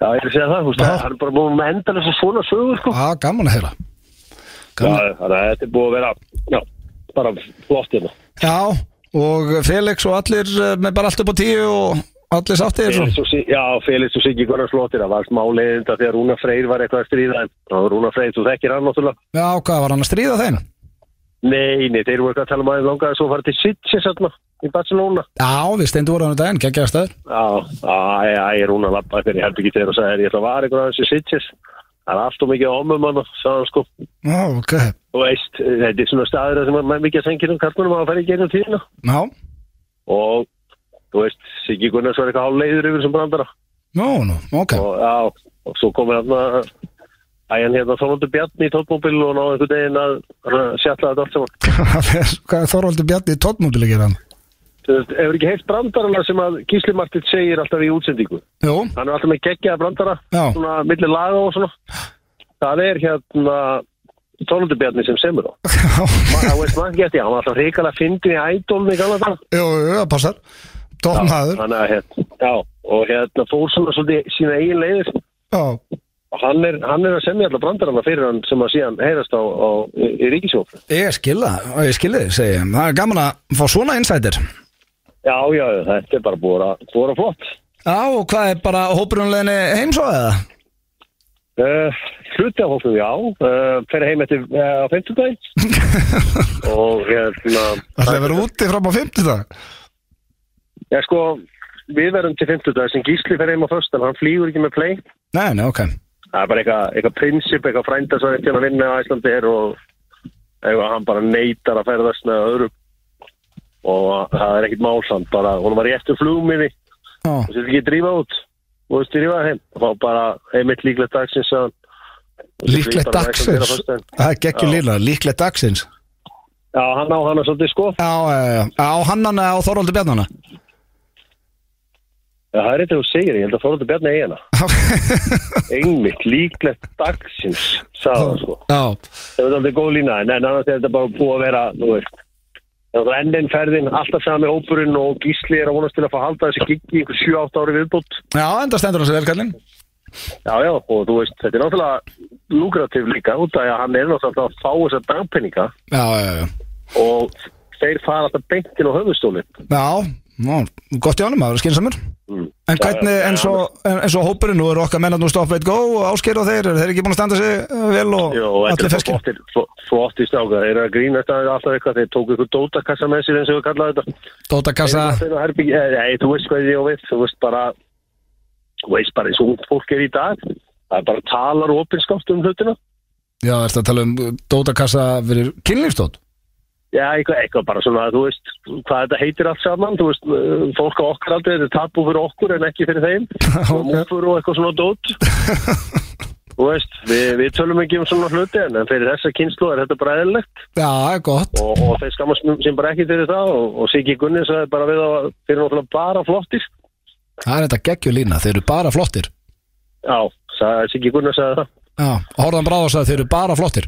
G: Já, ég er að segja það, þú veist,
A: Já.
G: hann er bara búin með endalega svona sögur sko
A: Já, gaman að heyra
G: Já,
A: gaman.
G: þannig að þetta er búið að vera já, bara flott hérna
A: Já, og Felix og allir eh, með bara allt upp á tíu og allir sáttir
G: Felix og Sig- Já, Felix og Siggi Gunnar flottir það var smá leiðinda þegar Rúna Freyr var eitthvað að stríða en þá var Rúna Freyr, þú þekkir hann náttúrulega
A: Já, hvað var hann að stríða þeim?
G: Nei, nei, þeir voru eitthvað að tala um aðeins langaði svo að fara til Sitges hérna í Barcelona.
A: Já, við steindu voru á hennu daginn, geggjaða staður
G: Já, æ, æ, ég er hún að lappa fyrir herbyggi þeirra og sagði "Herri, ég ætla að vara ykkur aðeins í Sitges. Það er allt og mikið ámum hann, sagði hann sko.
A: Já, ok
G: Þú veist, þetta er svona staður þar sem maður er mikið að sengja um karlunum að fara í gegnum tíðina.
A: Já,
G: Og, þú veist, Siggi Gunnars var eitthvað hálfleiður yfir sem brandara.
A: nú, nú, ok [LAUGHS]
G: Og, já, og svo komur hann að... Æjan hérna Þorvaldur Bjarni í tóttmóbil og náðu einhvern veginn að að sjalla þetta allt saman.
A: Hvað er hvað er Þorvaldur Bjarni í tóttmóbili að gera hann?
G: Þú veist, hefur ekki heilt brandarana sem að Gísli Martins segir alltaf í útsendingu
A: Jú,
G: hann er alltaf með geggjaða brandara
A: Já.
G: svona milli laga og svona það er hérna tónundubjarni sem semur
A: [LAUGHS]
G: á það veist maður ekki eftir, hann var alltaf hrikalega fyndin í ædólni í gamla dag
A: jú, jú, það passar Tóttmæður,
G: Þannig að, hérna, já, og hérna fór svona svolítið sína eigin leiðir
A: já,
G: og hann er, hann er að semja alltaf brandarana fyrir hann sem að síðan heyrast á, á í, í ríkisjóf
A: ég skilða, ég skilði þið, segi ég Það er gaman að fá svona insider
G: já, já, þetta er bara búið að, búið að flott
A: Já, og hvað er bara hópurunleginni heimsóðið það?
G: Uh, hluti af hófum, já uh, fer heim eftir uh, á 50
A: [LAUGHS]
G: og hérna
A: Það er verið úti fram á 50 dag
G: ég sko, við verðum til 50 sem Gísli fer heim á föst hann flýgur ekki með play
A: Nei, nei, ok
G: það er bara eitthvað eitthva prinsip, eitthvað frænda sem ekki hann að vinna á Íslandi er og eitthvað, hann bara neytar að ferðast með öðrum og það er ekkit mál hann bara, hún var í eftir flugminni
A: Já.
G: og sér ekki drífa út og þú veist, drífa heim og þá bara heimitt líklegt dagsins sagði hann.
A: Líklegt
G: Bara á Iceland er á
A: dagsins
G: föstudaginn.
A: Það er geggjur líla, líklegt dagsins
G: Já, hann á hana svolítið sko
A: Já, já, já, á hannan á Þorvaldur Bjarnana
G: Já, það er eitthvað þú segir, ég held að Þorvaldur
A: [LAUGHS]
G: Bjarni eigi hana. Einmitt, líklegt dagsins, sagði hann sko.
A: Já,
G: Það er aldrei góð lína, en en annars er þetta bara búið að vera, þú veist. Það er enn einn ferðin, alltaf sami hópurinn og Gísli er að vonast til að fá að halda þessi giggi í einhver 7-8 ári viðbútt.
A: já, enda stendur hans velkallin
G: Já, já, og þú veist, þetta er náttúrulega lukrativ líka, út af því að hann er náttúrulega að fá þessa dagpenninga
A: Já, já, já
G: og þeir fara alltaf beintin á höfustólinn.
A: Já, já, gott í honum, það verður skinsamur En hvernig,
G: Mm. Já, já,
A: en svo, en, en svo hópurinn, nú eru okkar mennarnir stopp veit góð og áskeir og þeir, eru þeir ekki búin að standa sig eh, vel og
G: Jó, og
A: allir
G: þetta er
A: ferskir?
G: flottir, fl- flottir strákar, þeir eru að grína þetta alltaf eitthvað, þeir tóku ykkur dótakassa með sér eins og við kallaði þetta.
A: Dótakassa,
G: Þeir eru að herbyggi- eh, Nei, þú veist hvað ég á við, þú veist bara, þú veist bara eins og ungt fólk er í dag, það er bara talar og opinskátt um hlutina.
A: já, ertu að tala um eh, dótakassa fyrir kynlífstótt?
G: Já, eitthvað, eitthvað bara svona, þú veist, hvað þetta heitir allt saman, þú veist, eh, fólk á okkar aldrei, þetta er tabu fyrir okkur en ekki fyrir þeim,
A: [LAUGHS]
G: og múfur og eitthvað svona dót. Þú veist, við, við tölum ekki um svona hluti en en fyrir þessa kynslu er þetta bara eðlilegt.
A: Já, það er gott,
G: og, og þeir skammast sem bara ekki fyrir það og, og Siggi Gunnins sagði bara við að þeir eru náttúrulega bara flottir
A: það er þetta geggjulína, þeir eru bara flottir
G: já, sagði, Siggi Gunnins sagði það
A: Já, og horfðan bráðast að þeir eru bara flottir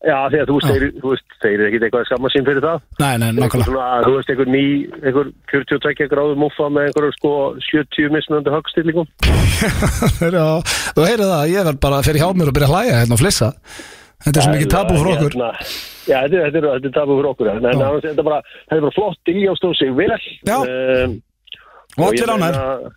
G: já, því að þú veist, þeir, þú veist, þeir eru ekkit eitthvað skammast sín fyrir það
A: Nei, nei,
G: Einhver
A: nákvæmlega
G: svona, þú veist, einhver ný, einhver 42 gráðu múfa með einhverjum sko 70 mismunandi högstillingum
A: [LAUGHS] Já, Þú heyrið það, ég verð bara fyrir hjá mér og byrja að hlæja hérna og flissa Þetta er svo mikið tabu fyrir okkur
G: Hérna, já, þetta er, þetta er, þetta er tabu fyrir okkur hérna. en en
A: Já.
G: annars er þetta bara, þetta er bara flott í og stóð sig vel
A: Já.
G: um,
A: Og allir ánægðir.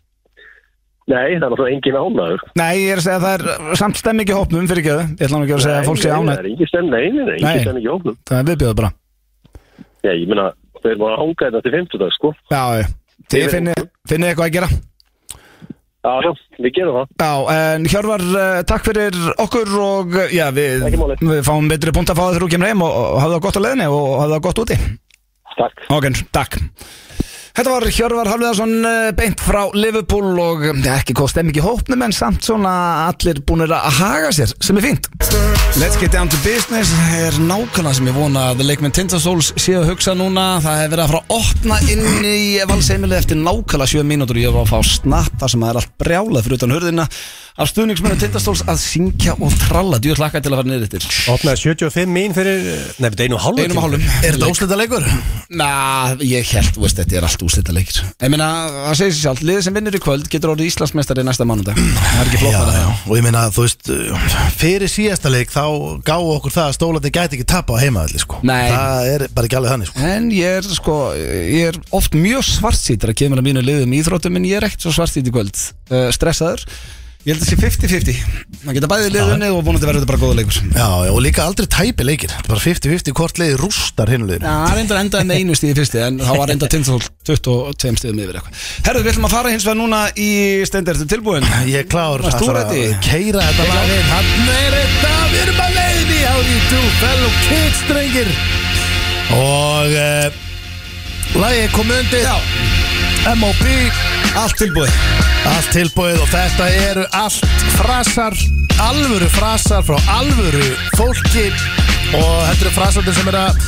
G: Nei, það er náttúrulega engin ánæður
A: Nei, ég er að segja að það er samt stemming í hópnum fyrir ekki Ég ætla nú ekki að segja að fólk sé
G: Nei,
A: ánægt
G: það er engin stemn, nei, nei, nei,
A: Nei.
G: engin stemn í hóknum
A: Það er viðbjöðu bara
G: Já, ég meina, þeir voru að hanga þetta til 50 dag, sko
A: Já, já. þið finni, finni eitthvað að gera
G: Já, já, við gerum það
A: Já, en Hjörvar, eh, takk fyrir okkur og eh, já, við,
G: Ekki máli.
A: við fáum betri punkt að fá það þegar þú kemur heim og, og hafðu það gott á leiðinni og hafðu það gott úti
G: Takk
A: Ok, takk Þetta var Hjörvar Hafliðarsson eh, beint frá Liverpool og eh, ekki kost ekki hópnum en samt svona allir búinir að haga sér sem er fínt Let's get down to business er nákvæmlega sem ég vona að leikmenn Tindasóls séu að hugsa núna það hefur verið að fara að opna inn í valseimili eftir nákvæmlega 7 mínútur ég var að fá snapp þar sem það er allt brjálað fyrir utan hurðina af stuðningsmennu Tindasóls að syngja og tralla djúr hlakka til að fara niður eftir
C: Opnaði 75 mín fyrir, nei, við einu og hálfum
A: Einum og hálfum
B: Er þetta óslita leikur?
A: Na, ég held, þú veist, þetta er allt úrslita leikir Ég meina, það segir sér sjálf, liðið sem vinnur í kvöld getur orðið Íslandsmeistari næsta mánudag Það er ekki
B: Já,
A: flott að
B: já,
A: það
B: og ég meina, þú veist Fyrir síðasta leik þá gáðu okkur það að stólandi gæti ekki tapa á heimaðalli, sko
A: Nei.
B: Það er bara ekki alveg þannig, sko
A: En ég er, sko, ég er um oft mjög svartsýtur að kemur að mínu liðum í íþróttum en ég er ekkert svo svartsýt í kvöld uh, Eh, Stressaður Ég held að það sé 50-50 Man geta bæðið liðunni og vonandi verður þetta bara góða leikur
B: Já, já, og líka aldrei tæpi leikir Þetta er bara 50-50 hvort leiði rústar hinu liðinu
A: Já, hann reyndar endaði með einu stíði fyrsti en þá var reyndar Tindasól 22 stíðum yfir eitthvað Herðu, við ætlum að fara hins vegar núna í steindir Þetta tilbúin
B: Ég er klár
A: Varst þú
B: ætlar að
A: ready?
B: Keira þetta lag inn Hann er þetta, við erum að leiðinni á YouTube Fellow Kids, drengir Og uh, Lagi kom undir
A: Já.
B: M.O.P.
A: Allt tilbúið
B: Allt tilbúið og þetta eru allt frasar Alvöru frasar frá alvöru fólki Og þetta eru frasarnir sem eru að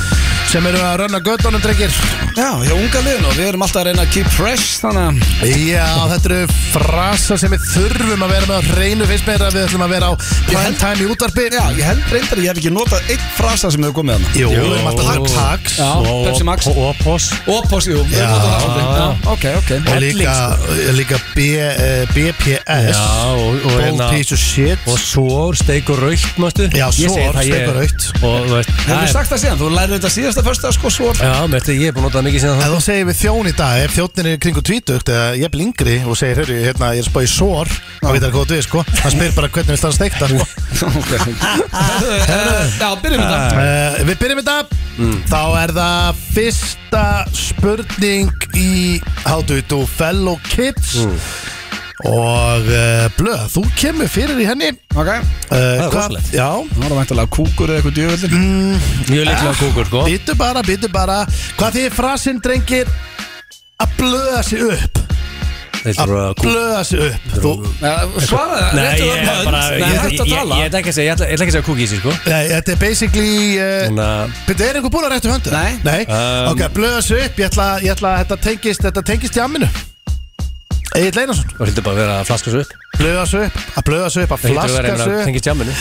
B: sem eru að rönna göttunum, drengir
A: Já, hjá unga liðun og við erum alltaf að reyna að keep fresh Þannig að
B: Já, þetta eru frasar sem við þurfum að vera með á reynu fyrst meira Við ætlum að vera á prime time í útvarpi
A: Já, ég held reyndar að ég hef ekki notað einn frasa sem hefur komið hana
B: Jú, við erum alltaf að taka tax
A: Já, Pepsi Max
C: Og Ah. opos
A: Og Posse, jú, við
B: Já.
A: erum notað það aldrei Já, Ok, ok
B: Og líka, líka B, uh, BPS
C: Já, og- og
B: Bold
C: hérna-
B: piece of shit
C: Og sór, steik og raukt, mástu
B: Já,
C: Ég segi
B: sór,
C: það, ég-
B: steik og raukt.
C: Og þú veist
A: Hefur þú
C: það er-
A: sagt það síðan? Þú lærið þetta síðasta fyrsta sko svo
C: [LAUGHS] Já, mérstu, ég er búin að nota það mikið síðan
B: En
C: það
B: þú segir við þjón í dag, ef þjóttin er kringu tvítugt eða ég er yngri og segir, heyrðu, hérna, ég er spáð í sór þá veit það hvað þú er, sko hann spyr bara hvernig vil það steikta, sko
A: Herðu, eh, Já, byrjum við þetta
B: uh, Við byrjum þetta
C: Mm.
B: Þá er það fyrsta spurning í How do you do fellow kids
C: Mm.
B: og uh, blöð, þú kemur fyrir í henni
A: Ok,
B: uh,
C: er rosalegt.
B: Já,
A: það var væntalega kúkur eða eitthvað djöfullin
B: Mm.
C: Mjög
A: Ah.
C: líklega kúkur, sko
B: býtu bara, býtu bara Hvað því frasinn drengir að blöða sig upp
C: Þetta
B: að
C: er
A: Ah.
C: uh, kúkur
B: blöða sig upp þú,
A: Svaraði það,
C: Nei,
A: réttu
C: ég
A: það
C: er bara
A: Nei,
C: Ég ég-
A: hættu að
C: ég-
A: tala
C: ég ætla ekki að segja- ég ætla- ég ætla ekki að segja kúk í sig, sko
B: nei, Þetta er basically uh,
C: Þannig að
B: Þetta er einhver búin að réttu höndu?
A: Nei.
C: Um,
B: Ok, blöða sig upp Ég ætla, ég ætla að þetta tengist, þetta tengist í amminu Egil Einarsson
C: Það hlutur bara að vera að flaska svo upp
B: Blöða svo upp, að blöða svo upp, að
C: Það hlutur að
B: flaska
C: vera
B: svo
C: að
B: upp
C: tengja tjáminu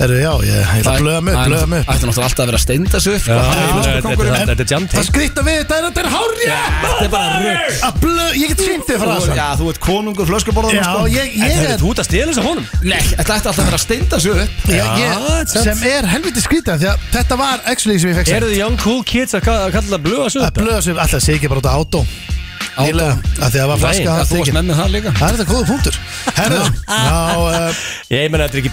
B: Herru, já, ég ætla að blöða mig upp, blöða mig upp
A: Ætti náttúrulega alltaf að vera að steinda sig upp sko. Æ,
C: Þetta
A: kóngurinn.
C: þetta- þetta er
B: eh. Það
C: jamteng
B: skrýtta við þetta er að þetta er hárja
C: Þetta er bara rugg
B: Að blöða, ég get sínt þig frá
A: Þú-
B: það
A: Já, þú ert konungur flöskuborðan
B: Já, ég, ég
C: Þetta er
B: er
C: þú út að stela þess að honum
A: Nei, þetta ætti alltaf að vera að steinda sig upp
B: Já,
C: Já,
B: ég,
C: þetta-
B: sem er helviti skrýta því að þetta var actually sem ég fekk
C: Eru
B: sagt.
C: þið young cool kids að ka- að kalla það blöða svo
B: að
C: upp?
B: blöða sig upp, alltaf sé ekki bara út á átó nýlega, að því að það var
C: Nei,
B: flaska
A: Já,
B: það
A: þú varst
B: þykir.
A: með með það líka
B: það er þetta góða punktur herru, já, uh,
C: Ég meina þetta er ekki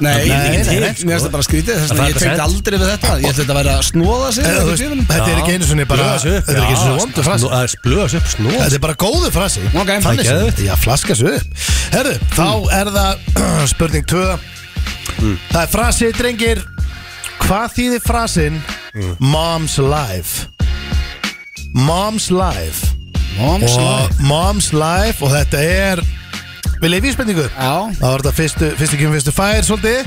A: Nei,
B: nei,
A: nei,
B: nei,
A: nei,
B: nei,
A: mér finnst það bara skrítið þess
C: sko. Það
A: vegna ég
C: er bara
A: tengt
C: sent.
A: aldrei við þetta Ég ætti þetta að vera að snóða sig
B: eða,
A: eða eitthvað
B: eh, þú
A: í
B: veist,
A: djöfunum.
B: þetta er ekki einu sinni bara þetta er ekki einu sinni vondur frasi
C: Blöða eh, svo upp snó
B: þetta er bara góðu frasi
A: eh. Ok.
B: þannig
C: Það er
B: sem, já, flaska svo upp herru, þá
A: Mm.
B: er það [CLEARS THROAT] spurning 2 það er frasi, drengir hvað þýðir frasin
A: Mm.
B: mom's life mom's life
A: Moms
B: og mom's life og þetta er við leifum í spurningu
A: Já,
B: Það var þetta fyrstu, fyrstu kemur, fyrstu fær svolítið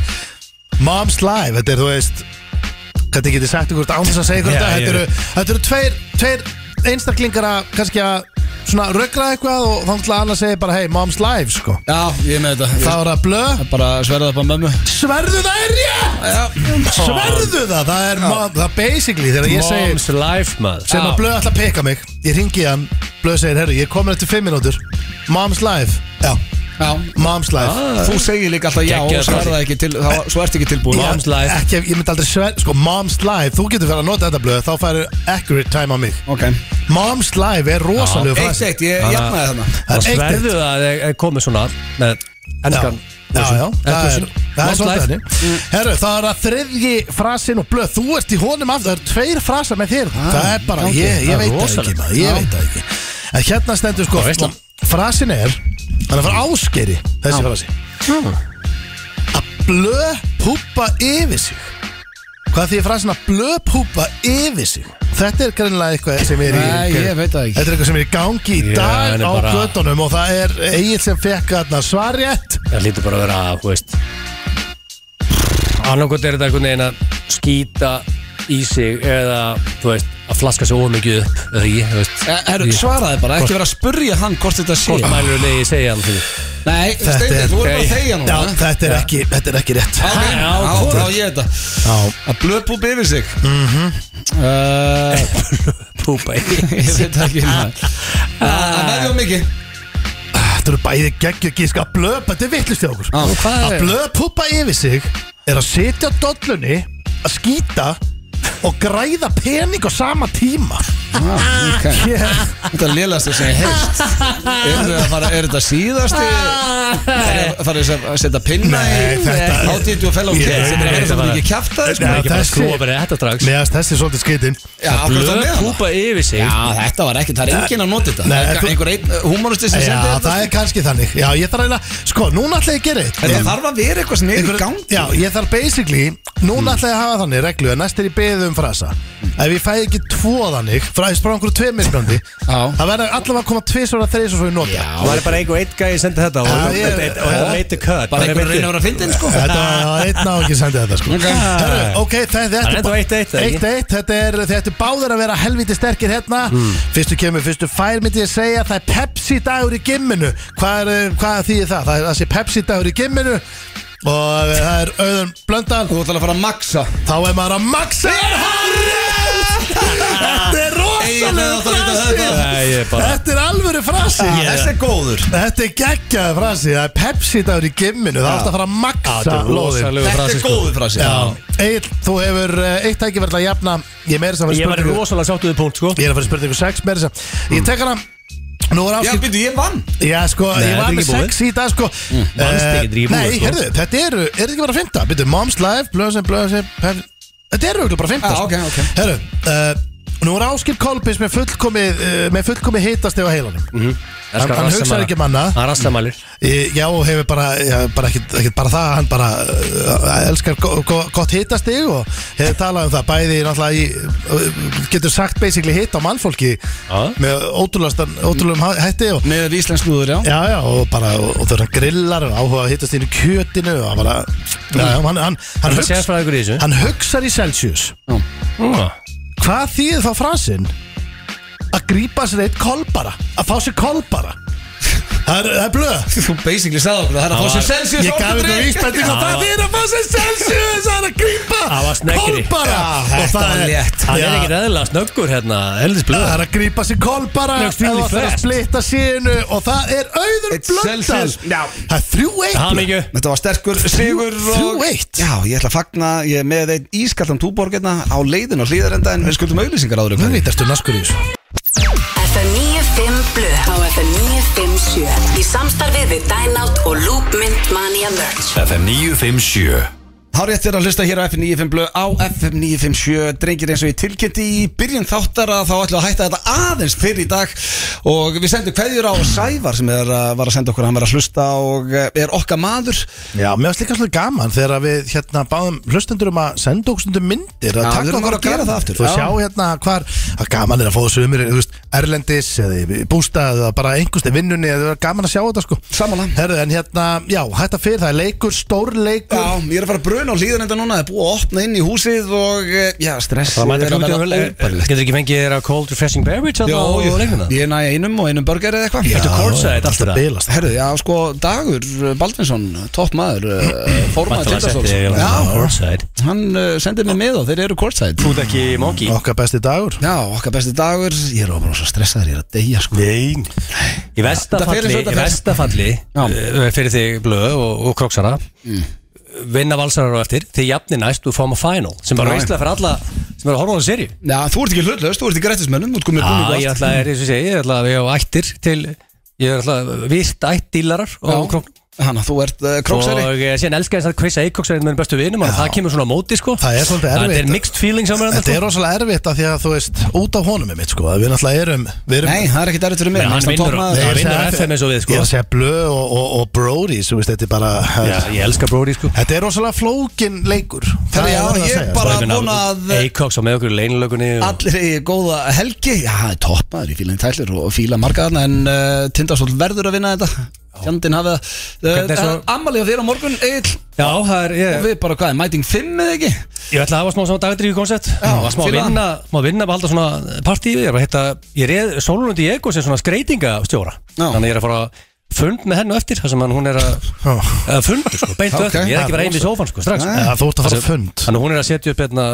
B: Mom's Life, þetta er þú veist Þetta getið sagt ykkur án þess að segja ykkur
C: Já,
B: þetta
C: ég
B: Þetta eru,
C: veit.
B: þetta eru tveir, tveir einstaklingar að kannski að svona röggra eitthvað og þá ætla annar að segja bara hey, Mom's Life sko
A: já, ég er með þetta
B: Það var að blö
A: Ég bara sverða upp á mömmu
B: Sverðu það er ég! Sverðu það, það er mom, það basically þegar ég segi
C: Mom's life maður
B: sem að blöð ætla að peka mig Ég ringi hann, blöð segir herru, ég er komin eftir 5 minútur Mom's Life, já,
A: Já,
B: Mom's
C: Ah.
B: Life
A: þú segir líka alltaf já og
C: Geggjaður
A: sverða ekki til þá- Svo ertu ekki tilbúin
B: Já,
C: Mom's Life.
B: ekki, Ég myndi aldrei sver, sko, Mom's Life Þú getur fyrir að nota þetta blöð, þá færi accurate time á mig
A: Ok,
B: Mom's Life er rosalega
A: eitt
B: frasi
A: eitt, ég jafnaði þarna
B: Það
C: Það
B: er eitt
C: sverðu það að þeir komið svona með ennskan
B: Já, já, það er,
C: version.
B: það er
C: Mom's
B: svolítið
C: Life.
B: henni
C: Mm.
B: Herru, það er að þriðji frasin og blöð Þú ert í honum aftur, það eru tveir frasar með þér Það er bara,
C: gangi.
B: ég,
C: Ah, Það
B: ég
C: er
B: veit það ekki
C: rosalegt.
B: maður, Ég veit það ekki En hérna stendur sko
C: Það er veisla.
B: Frasin er, hann er frá áskeri Þessi frasi Að blöð púpa yfir sig Hvað því frasin að blöð púpa yfir sig Þetta er greinlega eitthvað sem er í
A: Nei, ég veit það ekki.
B: Þetta er eitthvað sem er í gangi í
C: Já,
B: dag
C: en er
B: á
C: bara-
B: göttunum og það er Egil sem fekk þarna svarjætt
C: Það lítur bara að vera, þú veist Annarkot er þetta einhvern veginn að skýta í sig eða, þú veist, að flaska svo mikið upp eða ekki, þú veist
A: Eh, herru, Svaraði bara, ekki vera að spurja hann hvort þetta sé
C: Hvort mælur leiði segja hann fyrir
A: Nei, Steindi,
B: er-
A: þú er bara
C: Nei.
A: að þegja
B: Já,
A: núna
B: þetta er ekki, þetta er ekki rétt
A: Ok,
C: Já,
A: Já,
C: hvort?
A: þá ég þetta
B: Já, Mhm.
A: Að blöðbúb yfir sig mm
C: Púpa í
A: Ég veit það ekki
B: [LAUGHS]
A: maður. Að veðja um mikið
B: þetta eru bæði geggju gíska að blöpa, þetta er vittlust í okkur
A: Já, hvað
B: Að blöpuppa yfir sig er að sitja á dollunni að skýta og græða pening á sama tíma
A: okay. [LAUGHS] Þetta er lélast að segja heist Er þetta að fara, er þetta síðasti Er það að setja pinna
B: Ah. Nei,
A: í
B: þetta-
A: Hátítu og fellow
B: Ég-
A: kids Þetta er að vera
C: þetta
A: svo
C: var-
A: mikið kjæft að
C: Má
A: sko
C: ekki bara
B: þessi-
C: skrúa bara í þetta strax
B: Mér aðast þessi svolítið skeitin
A: Já, akkurat á
C: Blöð
A: meðan.
C: púpa yfir sig
A: Já, þetta var ekkert, það er enginn að nota þetta
B: Nei,
A: Það er
B: þú-
A: Einhver einn humoristi sem sendi
B: Já,
A: þetta sko.
B: það er kannski þannig Já, ég þarf að reyna Sko, núna ætla ég að gera eitt
A: Þetta þarf að vera eitthvað sem er í gangi
B: Já, ég þarf basically
C: Mm.
B: Núna ætla ég að hafa þannig reglu að næst er ég beðið um frasa Ef ég fæ ekki tvo þannig Fræðist bara einhverju tveir misbrandi Það verður allavega að koma tvisvar að þreisvar svo ég nota
C: Það var bara einhver eitt gæði sendið þetta og
B: Já,
C: og-
B: ég-
C: og- og það made the cut
A: Bara
C: Það
A: einhver reynir að vera að finna þetta sko
B: Þetta var einn á ekki að senda þetta sko Herru, Ok, það- þetta
C: Það er ennþá
B: bara-
C: 1-1, eða ekki?
B: 1-1, þetta er Þetta er báður að vera helviti sterkir hérna
C: Mm.
B: Fyrstu kemur, fyrstu fær myndi ég segja Það er Pepsi dagur í gimminu Hvað, er, hvað þýðir það? Það er þessi Pepsi dagur í gimminu Og eh, það er auðan blöndal
A: Þú ætlar að fara að maksa
B: Þá er maður að maxa Þetta er
A: Eiginlega átti að
B: rosalega
A: vita það
B: frasi
A: bara.
C: Nei, ég bara-
B: Þetta er alvöru frasi
A: Ah, Þessi er góður
B: Þetta er geggjaði frasi Það er Pepsi dagur í gimminu Það átti að fara að maxa lóðin
C: Rosalegu
A: Þetta
C: frasi,
A: er
C: sko.
A: góður frá
B: Já, Egil, þú hefur eh, eitt tæki verið að jafna Ég meira þess að fara
C: Ég var
B: spurningu
C: rosalega sáttuðið punkt sko
B: Ég er að fara spurningu 6 meira þess að Ég tek hana Nú er
A: Já,
B: afskipt
A: byrju, ég vann
B: Já, sko, ég
C: þetta er
B: var með
C: ekki búið.
B: 6 í dag, sko
C: vannst
B: Eh,
C: ekki, þetta er ekki búið,
B: Nei,
C: sko.
B: herðu, þetta eru, er þetta ekki bara að fynda? Byrju, Mom's Life, Blöðsinn, Blöðsinn, Pepsi Þetta eru auðvitað bara að
C: Ah,
B: sko. fynda
A: Já, Ah, ok, ok.
B: Herru, uh, nú er áskipt Kolbis með fullkomi, uh, með fullkomi hitasteg á heilanum Hann, hann hugsaði ekki um manna
C: Hann rastamælir
B: Ég- Eh, Já, og hefur bara, já, bara ekkit, ekkit bara það, hann bara uh, elskar go, go, gott hitastig og hefur talað um það, bæði náttúrulega í, uh, getur sagt basically hitt á mannfólki
C: Já.
B: með ótrúlastan, ótrúlum hætti og
A: Með íslensk núður, já
B: Já, já, og bara, og, og þegar hann grillar og áhuga að hittast í kjötinu og hann bara, já, já, hann, hann, hann,
C: Hann
B: hugs,
C: segja frá ykkur í þessu
B: hann hugsar í Celsius Hvað þýðir þá frasinn? Að grípa sér eitt kolbara, að fá sér kolbara Það er, það er blöð
A: Þú basically sagði okkur að það er að fá sér Celsius
B: Ég gaf ykkur vísbending og það er að fá sér Celsius Það er að grípa
C: Það var snekkri.
B: Kolbara
A: Já,
B: Og
A: þetta
B: það
A: var
B: er-
A: létt.
B: Já,
C: Hann er ekki reðilega snöggur hérna Eldis blöð
B: Það er að grípa sér kolbara
C: Next really
B: og það er að
C: fast.
B: splitta sínu og það er auður
A: It's
B: blöndal
A: Celsius. Já.
B: Það er þrjú
C: Hann
B: eitt
C: ekki
A: Þetta var sterkur sigur og...
B: þrjú eitt?
A: Já, ég ætla að fagna, ég er með einn ískallan túborgarna á leiðin og hlýðarenda en við skuldum auðlýsingar áður um
B: Nú vítastu naskur í þessu
F: FM 95 Blu á FM 957 í samstarfið við Dynout og Loopmynd Mania Merch
H: FM 957
A: Hárétt er að hlusta hér á FM 95 blöð á FM 957 Drengir eins og ég tilkynnti í byrjun þáttar að þá ætla að hætta þetta aðeins fyrir í dag og við sendum kveðjur á Sævar sem er að, var að senda okkur, hann var að hlusta og eh, er okkar maður
B: Já, mér varst líka svolítið gaman þegar við hérna báðum hlustendur um að senda okkur stundum myndir
A: Já,
B: að
A: við
B: taka
A: þurfum
B: okkur
A: bara að gera það aftur.
B: og
A: Já.
B: sjá hérna hvar að gaman er að fóða sömur þú veist, Erlendis eða í bústað eða bara einhverst í vinnunni eða það er gaman að sjá þetta sko
A: Sammála.
B: Herðu, en hérna, já, hætta fyrir það er leikur, stór leikur
A: Já, ég er að fara að bruna á hlýðarenda núna, það er búið að opna inn í húsið og eh, já, stress
C: Það mæta klúti Eh, Getur ekki fengið þér að cold refreshing beverage
A: Já,
C: Þannig á
A: ég-
C: leikuna
A: ég næ einum og einum burger eða eitthvað
C: Þetta er courtside, allt
B: alltaf
C: þetta.
B: bilast
A: Herðu, já, sko, Dagur Baldvinsson, topp maður, eh, formaður
C: Mættalega
A: Tindastóls
C: setti ég
A: Já,
C: Outside
A: hann eh, sendið mér með og þeir eru courtside
C: Þú ert ekki móki
B: Okkar besti dagur
A: Já, okkar besti Dagur, ég er ofan og svo stressaður, ég er að deyja, sko
C: Nei Í
A: Þetta fer eins og
C: vestafalli
A: þetta
C: Í
A: fer.
C: vestafalli
A: Já.
C: eh, Fyrir þig blöð og, og kroksara Vinna valsarar á eftir Þið jafni næst og fáum að final Sem bara
A: Já.
C: veistlega fyrir alla Sem eru að horfa á þessu serju
A: Já, þú ert ekki hlutlaust, þú ert ekki réttismönnum, þú ert komið búin
C: Já,
A: í
C: ég ætla að, er, eins og ég segi, ég ætla að við á ættir til, ég ætla að virt ætt dílarar
A: Já.
C: og króknum.
A: Hanna, þú ert uh, króksæri
C: Og eh, síðan elskar ég þess að kvissa eikóksarinn með bestu vinum og það kemur svona á móti sko.
B: Það er svolítið
C: Þetta
B: erfitt.
C: er mixed feelings á mér
B: Þetta er rosalega erfitt að því að þú veist út af honum er mitt sko að Við náttúrulega erum, við erum
A: Nei, það er ekkert erfitt fyrir mig
C: Nei, hann
A: hann
C: vinnur-
A: toppmaður.
B: Ég er að
C: Nei, vinnur
B: segja-
C: FM eins og við, sko.
B: Ég er að segja Blö og, og, og Brody Svo veist þetta er bara
C: Já, ég elskar Brody sko.
B: Þetta er rosalega flókin leikur
A: Herri, já,
B: verður að
A: ég
B: segja.
A: bara- vona að-
C: Eikóks á með okkur í leinilögunni og
A: Allir eigi góða helgi Já, það er toppmaður í fílan tælir og fíla margaðarna En uh, Tindastól verður að vinna þetta Fjandinn hafið það
C: Hvernig er
A: uh,
C: svo- Eh.
A: Amalí á þér á morgun, Egil
C: Já, það er,
A: Og
C: ég,
A: við bara hvað, er mæting 5 eða ekki?
C: ég ætla að hafa smá svona dagdrýju koncept og smá
A: fíla það.
C: vinna, smá vinna bara halda svona partí við, ég er bara að hitta, ég reð Sólundi Eikóks er svona skreitingastjóra
A: Já.
C: þannig að ég er að fara að fund með hennu eftir þar sem hann, hún er að
B: Já.
C: að fundur sko, beint okay.
A: Ok.
C: eftir, ég er ekki bara einn í sófan sko, strax
B: Eða, þú ert að fara á fund.
C: Þannig að hún er að setja upp hérna,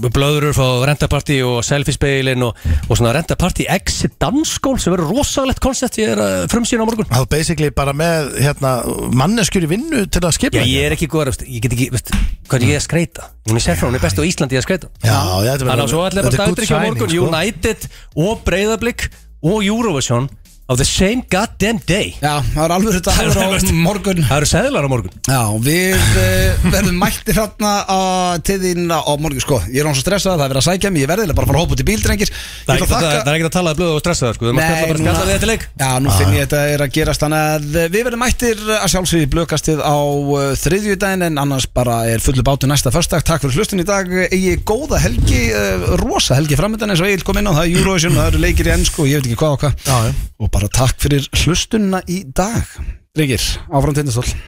C: uh, blöðurur frá rentapartí og selfie-speilin og, og svona rentapartí exit dansskól sem verður rosalegt koncept ég er að frumsýna á morgun
B: Það er basically bara með hérna, manneskjur í vinnu til að
C: Já,
B: skipa
C: ég er ekki góður, veist, ég get ekki, veist, hvað er ég að skreita? Hún er sérfrá, hún er best á Íslandi í að skreita
B: Já, já, þetta verður-
C: Þannig að svo ætlaði
B: þetta
C: bara
B: er good
C: dagdrykki á morgun
B: signing, sko.
C: United og Breiðablík og Eurovision á the same goddamn day
A: Já, það er alveg þetta
C: Það er
A: aðra á
C: veist-
A: morgun
C: Það eru seðlar á morgun
A: Já, við uh, verðum mættir hérna á tíðin á morgun sko Ég er án svo stressað, það er verið að sækja mig, ég verðilega bara að fara að hópa út í bíl, drengir Ég ætla
C: Það er ekkert
A: að
C: að-
A: þakka-
C: það er ekkert að tala um blöð og stressa það sko Það er
A: Nei,
C: bara að
A: núna-
C: skalla við þetta leik Ah.
A: Já, nú finn ég þetta er að gerast Þannig að eh, við verðum mættir að sjálfsögðu í blökastið á uh, þriðjudaginn En annars bara er fullu bátu næsta förstak Takk fyrir hlustin í dag Ég góða helgi, uh, rosa helgi framöndan eins og Egil kom inn á það er Eurovision og það eru leikir í ennsku og ég veit ekki hvað og hvað
B: Já, já.
A: Og bara takk fyrir hlustunna í dag Ríkir, áfram tindastól